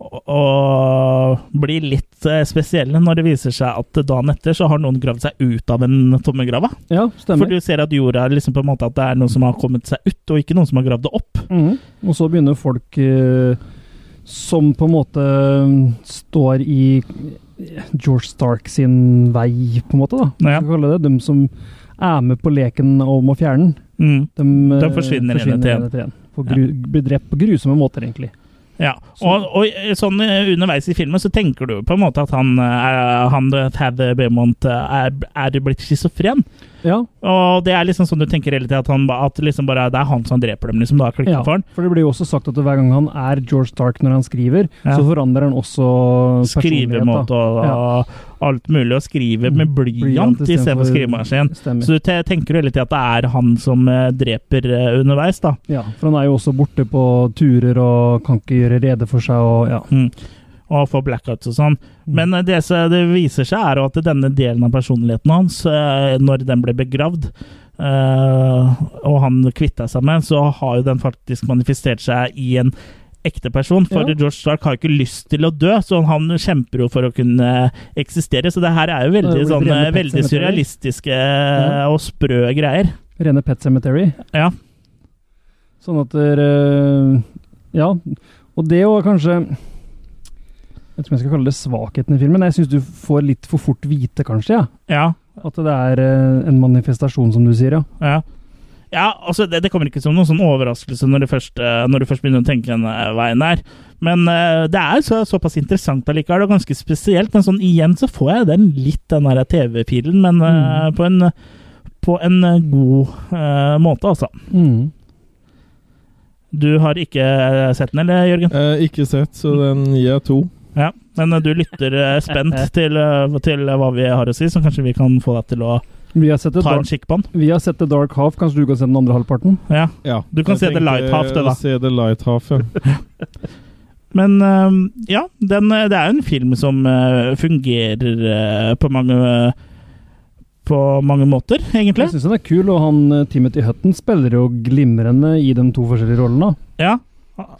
å, å bli litt eh, spesielle når det viser seg at dagen etter så har noen gravd seg ut av en tommegrava.
Ja, stemmer.
For du ser at jorda liksom på en måte at det er noen som har kommet seg ut, og ikke noen som har gravd det opp.
Mhm. Og så begynner folk eh, som på en måte eh, står i eh, George Stark sin vei, på en måte. da. Hva skal vi kalle det? De som er med på leken om å fjerne den.
Mm.
De, eh,
De forsvinner en etter en.
en etter en. På gru, Blir drept på grusomme måter, egentlig.
Ja, og, og sånn eh, underveis i filmen så tenker du jo på en måte at han, eh, han eh, Thad Beaumont eh, er, er blitt schizofren. Og det er liksom sånn du tenker hele tiden, at, han, ba- at liksom bare, det er han som dreper dem, liksom. Da klikker
Ja,
for han.
for det blir jo også sagt at hver gang han er George Stark når han skriver,
Ja.
så forandrer han også personlighet.
skrivemåte
da.
og,
Ja. Mm.
og alt mulig. Å skrive med blyant
Blyant i stedet
istedenfor
for-
skrivemaskin.
Stemmer.
Så du te tenker jo hele tiden at det er han som eh, dreper eh, underveis, da.
Ja, for han er jo også borte på turer og kan ikke gjøre rede for seg og ja.
Mm. Og får blackouts og sånn. Men eh, det, som det viser seg, er jo at denne delen av personligheten hans, eh, når den ble begravd, eh, og han kvitta seg med, så har jo den faktisk manifestert seg i en ekte person, for
Ja.
George Stark har jo ikke lyst til å dø, så han kjemper jo for å kunne eksistere. Så det her er jo veldig,
Det er jo
sånn,
rene
eh, veldig
pet cemetery.
surrealistiske eh, og sprø greier.
Rene Pet Cemetery.
Ja.
Sånn at der, eh, Ja. Og det var kanskje Jeg vet ikke om jeg skal kalle det svakheten i filmen. Jeg syns du får litt for fort vite, kanskje. Ja.
Ja.
At det er eh, en manifestasjon, som du sier, ja.
Ja. Ja, altså det, det kommer ikke som noen sånn overraskelse når du først, eh, når du først begynner å tenke den eh, veien der. Men eh, det er så, såpass interessant allikevel, og ganske spesielt. Men sånn igjen så får jeg den litt den der TV-filen, men eh, på, en, på en eh, god eh, måte, altså.
Mm.
Du har ikke eh, sett den, eller, Jørgen?
ikke sett, så den gir jeg to.
Ja, Men eh, du lytter eh, spent til, eh, til hva vi har å si, så kanskje vi kan få deg til å
Vi har sett The
Ta en
Dark-
kikk på den.
Vi har sett The Dark Half. Kanskje du kan se den andre halvparten?
Ja. Du kan
Jeg
se The
tenkte
Light Half, det, da.
å Se The Light Half, ja.
Men øhm, ja, den, øh, det er jo en film som øh, fungerer øh, på mange øh, på mange måter, egentlig.
Jeg syns den er kul, og han eh, Timothy Hutton spiller jo glimrende i de to forskjellige rollene.
Ja,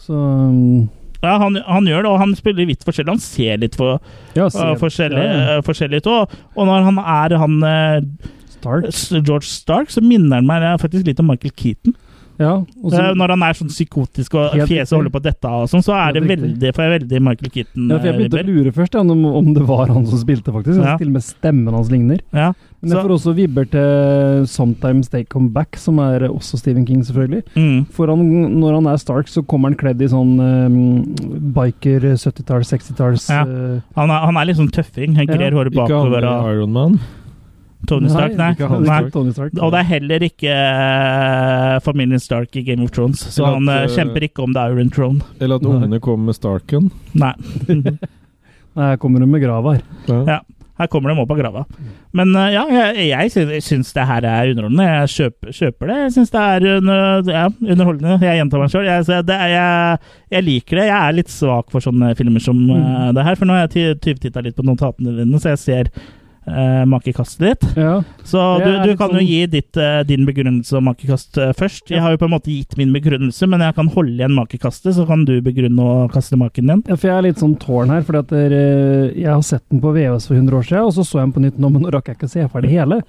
Så mm,
ja han, han gjør det, og han spiller litt forskjellig. Han ser litt for,
Ja,
øh,
ser-
forskjellig,
ja, ja.
øh, forskjellig ut. Og, og når han er han øh, S- George Stark, så minner han meg eh, faktisk litt om Michael Keaton.
og så-
Eh, når han er sånn psykotisk og
Helt
fjeset
riktig.
holder på å dette av og sånn, så er det
Helt riktig.
veldig, for jeg er veldig Michael Keaton.
ja, for jeg
eh,
begynte å lure først ja, om, om det var han som spilte, faktisk.
Ja.
Jeg synes Til og med stemmen hans ligner.
Ja,
Men jeg får også vibber til eh, 'Sometimes They Come Back', som er også Stephen King, selvfølgelig.
Mm.
For han, når han er Stark, så kommer han kledd i sånn eh, biker eh, 70-talls, 60-talls
Ja. Han er, han er liksom tøffing. Han grer håret
Ikke han
bakover.
i
og-
Iron Man.
Tony
Nei,
Stark, nei.
ikke han
nei.
Stark. Tony Stark, nei.
Og det er heller ikke eh, familien Stark i Game of Thrones, så
Eller at,
han eh,
eh,
kjemper ikke om The Iron Throne.
Eller at ungene kommer med Starken.
Nei.
Nei, her kommer hun med grava her.
Ja. Her kommer de opp av grava. Men eh, ja, jeg, jeg sy- syns det her er underholdende. Jeg kjøper, kjøper det. Jeg syns det er under, ja, underholdende. Jeg gjentar meg sjøl. Jeg, så det er- jeg, jeg liker det. Jeg er litt svak for sånne filmer som eh, det her, for nå har jeg tyvtitta litt på notatene dine, så jeg ser uh, makekastet ditt. Så
Det
du,
er
du
litt
kan
sånn-
jo gi ditt, eh, din begrunnelse om makekast eh, først. Jeg har jo på en måte gitt min begrunnelse, men jeg kan holde igjen makekastet, så kan du begrunne og kaste maken din.
Ja, for jeg er litt sånn tårn her, fordi at der, eh, jeg har sett den på VHS for 100 år siden, og så så jeg den på nytt nå, men nå rakk jeg ikke å se ferdig hele.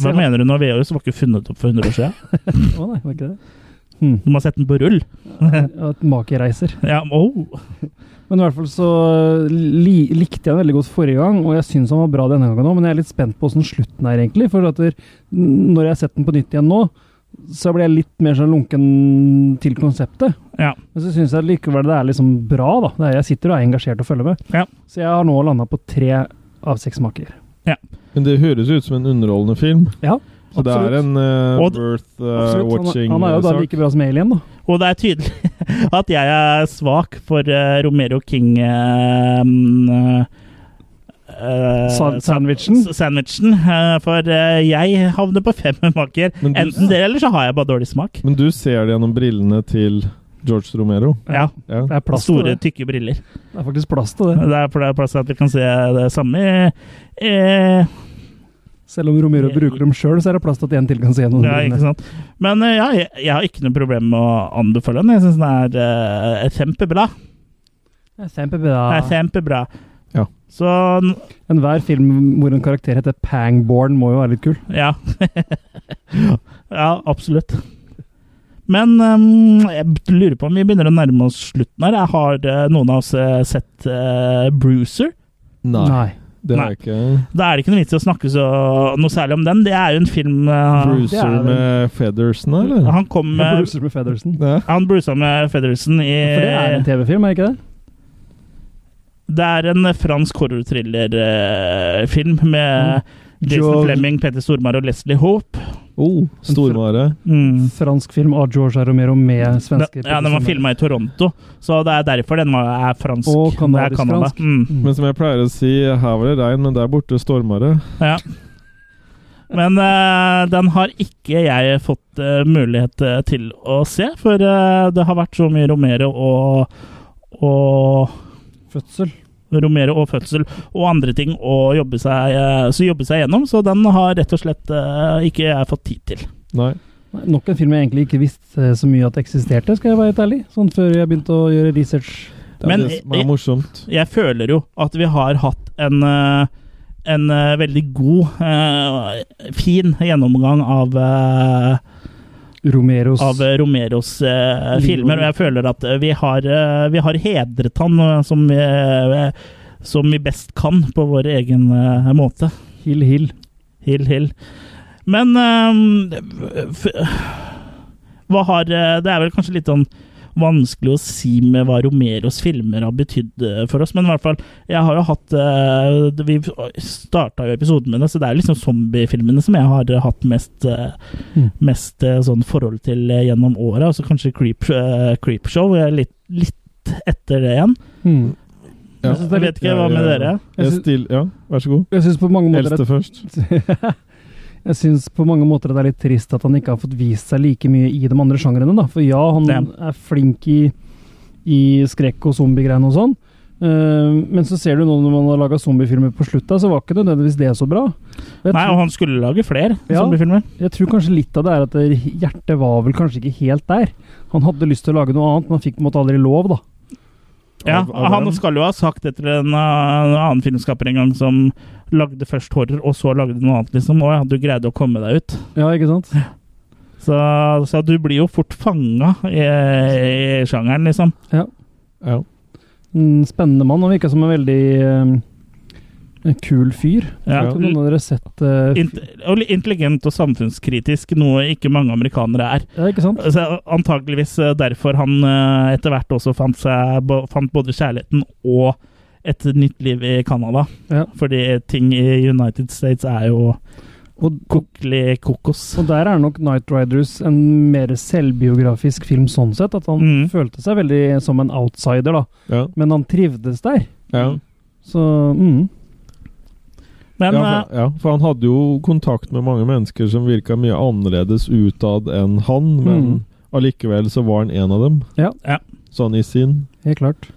Hva mener du når VHS var ikke funnet opp for 100 år siden?
Å nei, var ikke det?
Du må ha sett den på rull.
Ja, Et makereiser.
Ja, oh.
Men i hvert fall så eh, li likte jeg den veldig godt forrige gang, og jeg syns den var bra denne gangen òg, men jeg er litt spent på åssen slutten er, egentlig. For at der, n- når jeg har sett den på nytt igjen nå, så blir jeg litt mer sånn lunken til konseptet.
Ja.
Men så syns jeg likevel det er liksom bra, da. Det er, jeg sitter og er engasjert og følger med. Så jeg har nå landa på tre av seks maker.
Men det høres ut som en underholdende film.
Ja,
Så det
absolutt.
er en eh,
Og-
worth eh,
Absolutt. Han er-
watching. eh,
eh,
Han er jo da
sak.
like bra som Alien, da.
Og det er tydelig at jeg er svak for eh, Romero King eh, eh,
Sa-
sandwichen? sandwichen eh, for eh, jeg havner på fem maker. Enten det, eller så har jeg bare dårlig smak.
Men du ser det gjennom brillene til George Romero?
Ja.
Ja.
Det er plass til
Store,
det.
tykke briller.
Det er faktisk plass til det.
Det er, for det er plass til at vi kan se det samme. Eh,
Selv om Romero bruker dem sjøl, så er det plass til at en til kan se gjennom
ja, ikke sant? Men eh, ja, jeg, jeg har ikke noe problem med å anbefale den. Jeg syns den er eh, kjempebra. Den er
sant?
kjempebra.
Ja.
Så n-
Enhver film hvor en karakter heter Pangborn, må jo være litt kul.
ja. ja, absolutt. Men ehm, jeg b- lurer på om vi begynner å nærme oss slutten her. Jeg har eh, noen av oss eh, sett eh, Bruiser.
Nei.
Nei.
Det
Nei.
er ikke
Da er det ikke noe vits i å snakke så, noe særlig om den. Det er jo en film eh,
Bruiser med Feathersen, eller?
Han kom
Med
med
Bruiser med Feathersen.
Ja.
Han brusa med Federsen i
For det
Eh.
er en TV-film, er det ikke det?
Det er en fransk horror-thriller-film
Mm.
med Jason
George-
Fleming, Petter Stormare og Leslie Hope.
Oh, Stormare.
Mm.
Fransk film av George Romero med svenske
ja, den var filma i Toronto, så det er derfor den var, er fransk.
Og
Det er
kanadisk
Canada.
fransk.
Mm.
Men som jeg pleier å si, her var det regn, men der borte stormare.
Ja. Men eh, den har ikke jeg fått eh, mulighet eh, til å se, for eh, det har vært så mye Romero og, og
Fødsel.
Romero og fødsel og andre ting å jobbe seg, eh, så jobbe seg gjennom, så den har rett og slett eh, ikke jeg fått tid til.
Nei.
Nei, Nok en film jeg egentlig ikke visste eh, så mye at eksisterte, skal jeg være helt ærlig. Sånn før jeg begynte å gjøre research.
Det er
Men-
det som er morsomt.
Jeg føler jo at vi har hatt en, eh, en eh, veldig god, eh, fin gjennomgang av eh,
Romeros
av Romeros eh,
Liv og-
filmer, og jeg føler at eh, vi har, eh, vi har hedret han eh, som vi, eh, som vi best kan på vår egen eh, måte.
Hill Hill.
Hill, hill. Men eh, f- hva har eh, Det er vel kanskje litt sånn vanskelig å si med hva Romeros filmer har betydd eh, for oss, men i hvert fall Jeg har jo hatt eh, Vi starta jo episoden med det, så det er jo liksom zombiefilmene som jeg har eh, hatt mest, eh,
Mm.
mest eh, sånn forhold til eh, gjennom året. Altså kanskje Creep, eh, Creepshow eh, litt, litt etter det igjen.
Mm.
Ja.
Jeg synes det er
Jeg vet
litt- eh,
ikke hva med dere.
Jeg still, ja, vær så god.
Jeg syns på mange måter at
Eldste først.
Jeg synes på mange måter at det er litt trist at han ikke har fått vist seg like mye i de andre sjangrene. da. For ja, han
Ja.
er flink i, i skrekk og zombiegreiene og sånn. Eh, men så ser du nå når man har laga zombiefilmer på slutta, så var ikke nødvendigvis det så bra. Jeg
Nei, og
tror,
han skulle lage flere
Ja.
zombiefilmer.
jeg tror kanskje litt av det er at det- hjertet var vel kanskje ikke helt der. Han hadde lyst til å lage noe annet, men han fikk på en måte aldri lov, da.
Ja,
Av- av
han
hvem?
skal jo ha sagt etter en uh, annen filmskaper en gang som lagde først horror, og så lagde noe annet, liksom. Å ja, du greide å komme deg ut.
Ja, ikke sant?
Så, så du blir jo fort fanga i, i sjangeren, liksom.
Ja.
En spennende mann. Han virka som en veldig eh, en kul fyr.
Ja.
Jeg vet ikke om Noen av dere har sett eh, fi-
Int og litt intelligent og samfunnskritisk, noe ikke mange amerikanere er.
Ja, ikke sant?
Så antakeligvis Altså, eh, derfor han uh, etter hvert også fant, seg, bo- fant både kjærligheten og et nytt liv i Canada.
Ja.
Fordi ting i United States er jo
Og,
kokelig kokos.
og der er nok Night Riders en mer selvbiografisk film sånn sett. At han
Mm.
følte seg veldig som en outsider, da.
Ja.
Men han trivdes der.
Ja.
Så mm.
Men
ja,
eh,
for, ja, for han hadde jo kontakt med mange mennesker som virka mye annerledes utad enn han, men
Mm.
allikevel så var han en av dem.
Ja.
Ja.
Sånn i sin.
Helt klart.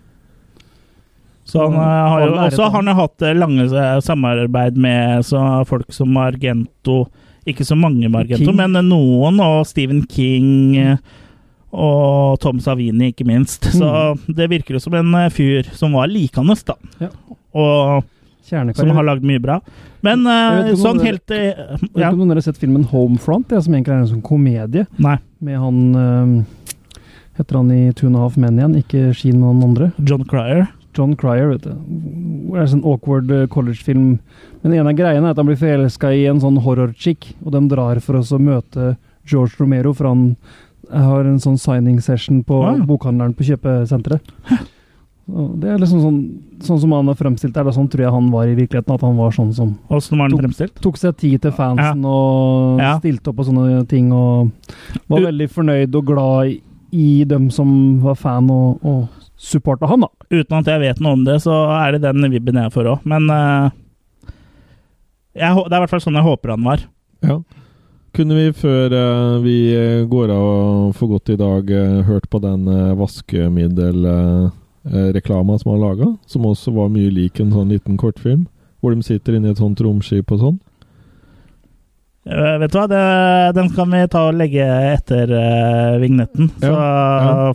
Så
Mm.
han eh, har jo
Alle er et
også har han jo hatt eh, lange eh, samarbeid med så folk som Argento Ikke så mange med Argento,
King.
men eh, noen, og Stephen King eh, og Tom Savini, ikke minst. Så det virker jo som en eh, fyr som var likende, da.
Mm. Ja.
Og som har
Kjernekarriere.
lagd mye bra. Men eh,
Jeg vet ikke om
sånn
det-
helt eh,
Jeg vet
ja,
ikke om dere har sett filmen Homefront, ja, som egentlig er en sånn komedie
Nei.
med han eh, Heter han i Two and a Half Men igjen? Ikke Sheen og han andre.
John Cryer.
John Cryer, vet du. Det er en sånn awkward eh, collegefilm. Men en av greiene er at han blir forelska i en sånn horrorchick, og de drar for oss å møte George Romero, for han har en sånn signing session på
Ah.
bokhandleren på kjøpesenteret. Og Det er liksom sånn, sånn som han har fremstilt det, eller sånn tror jeg han var i virkeligheten. At han var sånn som
Åssen var den
To-
fremstilt?
tok seg tid til fansen og
Ja.
stilte opp og sånne ting, og var
U-
veldig fornøyd og glad i, i dem som var fan og, og supporta han, da.
Uten at jeg vet noe om det, så er det den vibben jeg får òg. Men eh, jeg, hå- det er i hvert fall sånn jeg håper han var.
Ja. Kunne vi, før eh, vi eh, går av for godt i dag, eh, hørt på den vaskemiddelreklama som han laga? Som også var mye lik en sånn liten kortfilm? Hvor de sitter inni et sånt romskip og sånn?
Eh, vet du hva, det, den kan vi ta og legge etter eh, vignetten. Så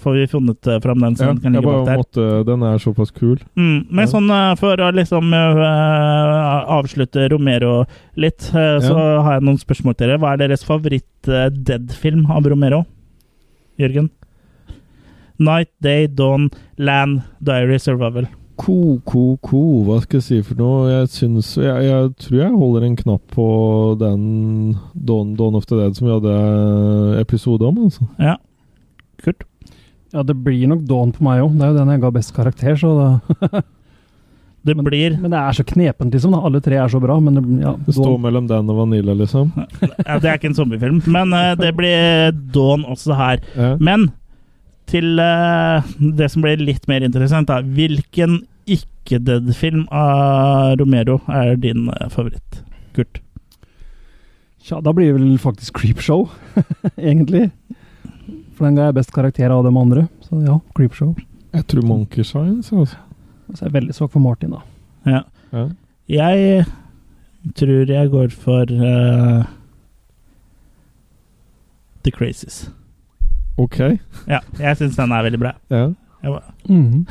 får vi funnet eh, fram den som
Ja,
kan
jeg
ligge bak
bare
der.
måtte, eh, den er såpass kul.
Mm, men sånn eh, for å liksom eh, avslutte Romero litt, eh, så
Ja.
har jeg noen spørsmål til dere. Hva er deres favoritt-dead-film av Romero? Jørgen? Night, Day, Dawn, Land, Diary, Survival.
Ko, ko, ko, hva skal jeg si for noe? Jeg syns Jeg, jeg tror jeg holder en knapp på den Dawn, Dawn of the Dead som vi hadde episode om, altså.
Ja.
Ja, det blir nok Dawn på meg òg. Det er jo den jeg ga best karakter, så da
Det blir
Men det er så knepent, liksom. da. Alle tre er så bra, men det, ja,
Det står
Dawn-
mellom den og Vanilla, liksom.
Ja, det er ikke en zombiefilm, men eh, det blir Dawn også her. Men til eh, det som blir litt mer interessant, da. Hvilken ikke-dead-film av Romero er din eh, favoritt? Kurt?
Tja, da blir det vel faktisk Creepshow, egentlig. For den ga jeg best karakter av dem andre, så ja, Creepshow.
Jeg tror Monkey Shines, altså.
Og så er jeg veldig svak for Martin, da.
Ja. Jeg tror jeg går for eh, The Crazies.
Ok.
Ja, jeg syns den er veldig bra.
Ja.
Jeg var-
Mhm.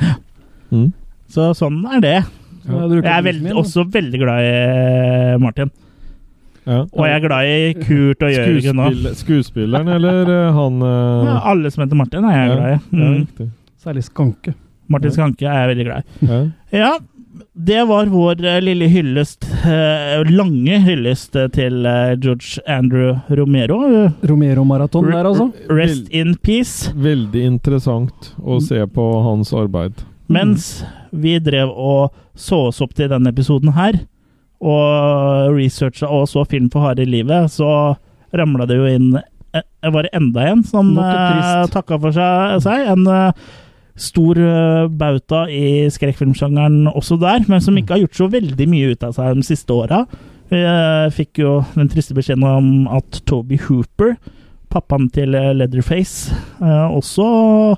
Mm.
Så sånn er det.
Ja, jeg
jeg,
bruker
er
bilen
veldig,
min, da.
også veldig glad i eh, Martin. Og jeg er glad i Kurt og Jørgen òg.
Skuespill- Skuespilleren eller eh, han eh,
Ja, alle som heter Martin, er jeg
Ja,
glad i.
ja,
Mm.
riktig.
Særlig Skanke.
Martin Skanke er jeg veldig glad i.
Ja.
Ja, det var vår eh, lille hyllest, eh, lange hyllest eh, til eh, George Andrew Romero.
Romero-maraton der, altså.
Rest in peace.
Veldig interessant å se på hans arbeid.
Mens vi drev og så oss opp til denne episoden her, og researcha og så film på harde livet, så ramla det jo inn eh, Var det enda en som
Nok et
eh,
trist.
takka for seg? seg en eh, stor eh, bauta i skrekkfilmsjangeren også der, men som ikke har gjort så veldig mye ut av seg de siste åra. Vi eh, fikk jo den triste beskjeden om at Toby Hooper, pappaen til eh, Leatherface, eh, også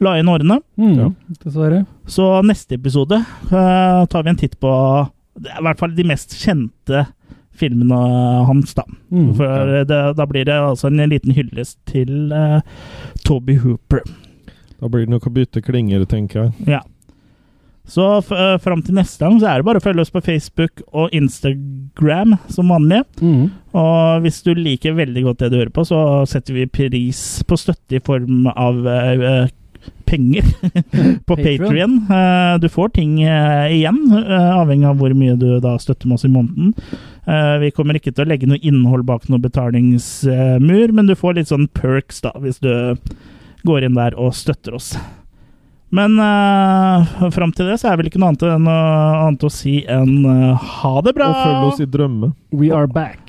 la inn årene.
Ja, Mm, dessverre.
Så neste episode eh, tar vi en titt på det er i hvert fall de mest kjente filmene hans, da.
Mm.
For det, da blir det altså en liten hyllest til eh, Toby Hooper.
Da blir det nok å bytte klinger, tenker jeg.
Ja. Så f eh, fram til neste gang så er det bare å følge oss på Facebook og Instagram som vanlig.
Mm.
Og hvis du liker veldig godt det du hører på, så setter vi pris på støtte i form av eh, eh, penger på Patrion.
Patreon.
du får ting eh, igjen, eh, avhengig av hvor mye du da støtter med oss i måneden. Eh, vi kommer ikke til å legge noe innhold bak noen betalingsmur, men du får litt sånn perks da, hvis du går inn der og støtter oss. Men uh, fram til det så er vel ikke noe annet, enn, å- annet å si enn eh, ha det bra!
Og følg oss i drømme.
We are back.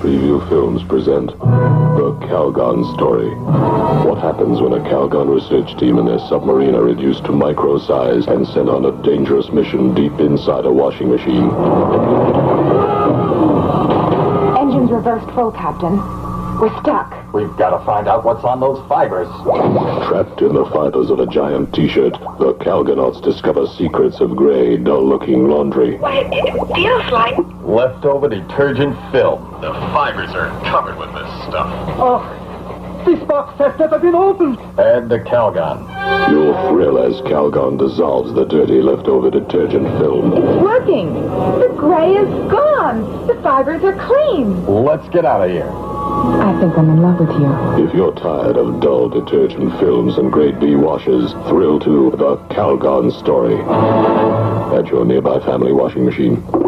Preview Films present The Calgon Story. What happens when a Calgon research team and their submarine are reduced to micro size and sent on a dangerous mission deep inside a washing machine?
Engines reversed full, Captain. We're stuck.
We've got to find out what's on those fibers. Trapped in the fibers of a giant t shirt, the Calgonauts discover secrets of gray, dull looking laundry.
It, it feels like.
Leftover detergent film. The fibers are covered with this stuff.
Oh, this box has never been opened.
Add the Calgon. You'll thrill as Calgon dissolves the dirty leftover detergent film.
It's working. The gray is gone. The fibers are clean.
Let's get out of here.
I think I'm in love with you.
If you're tired of dull detergent films and grade B washes, thrill to The Calgon Story at your nearby family washing machine.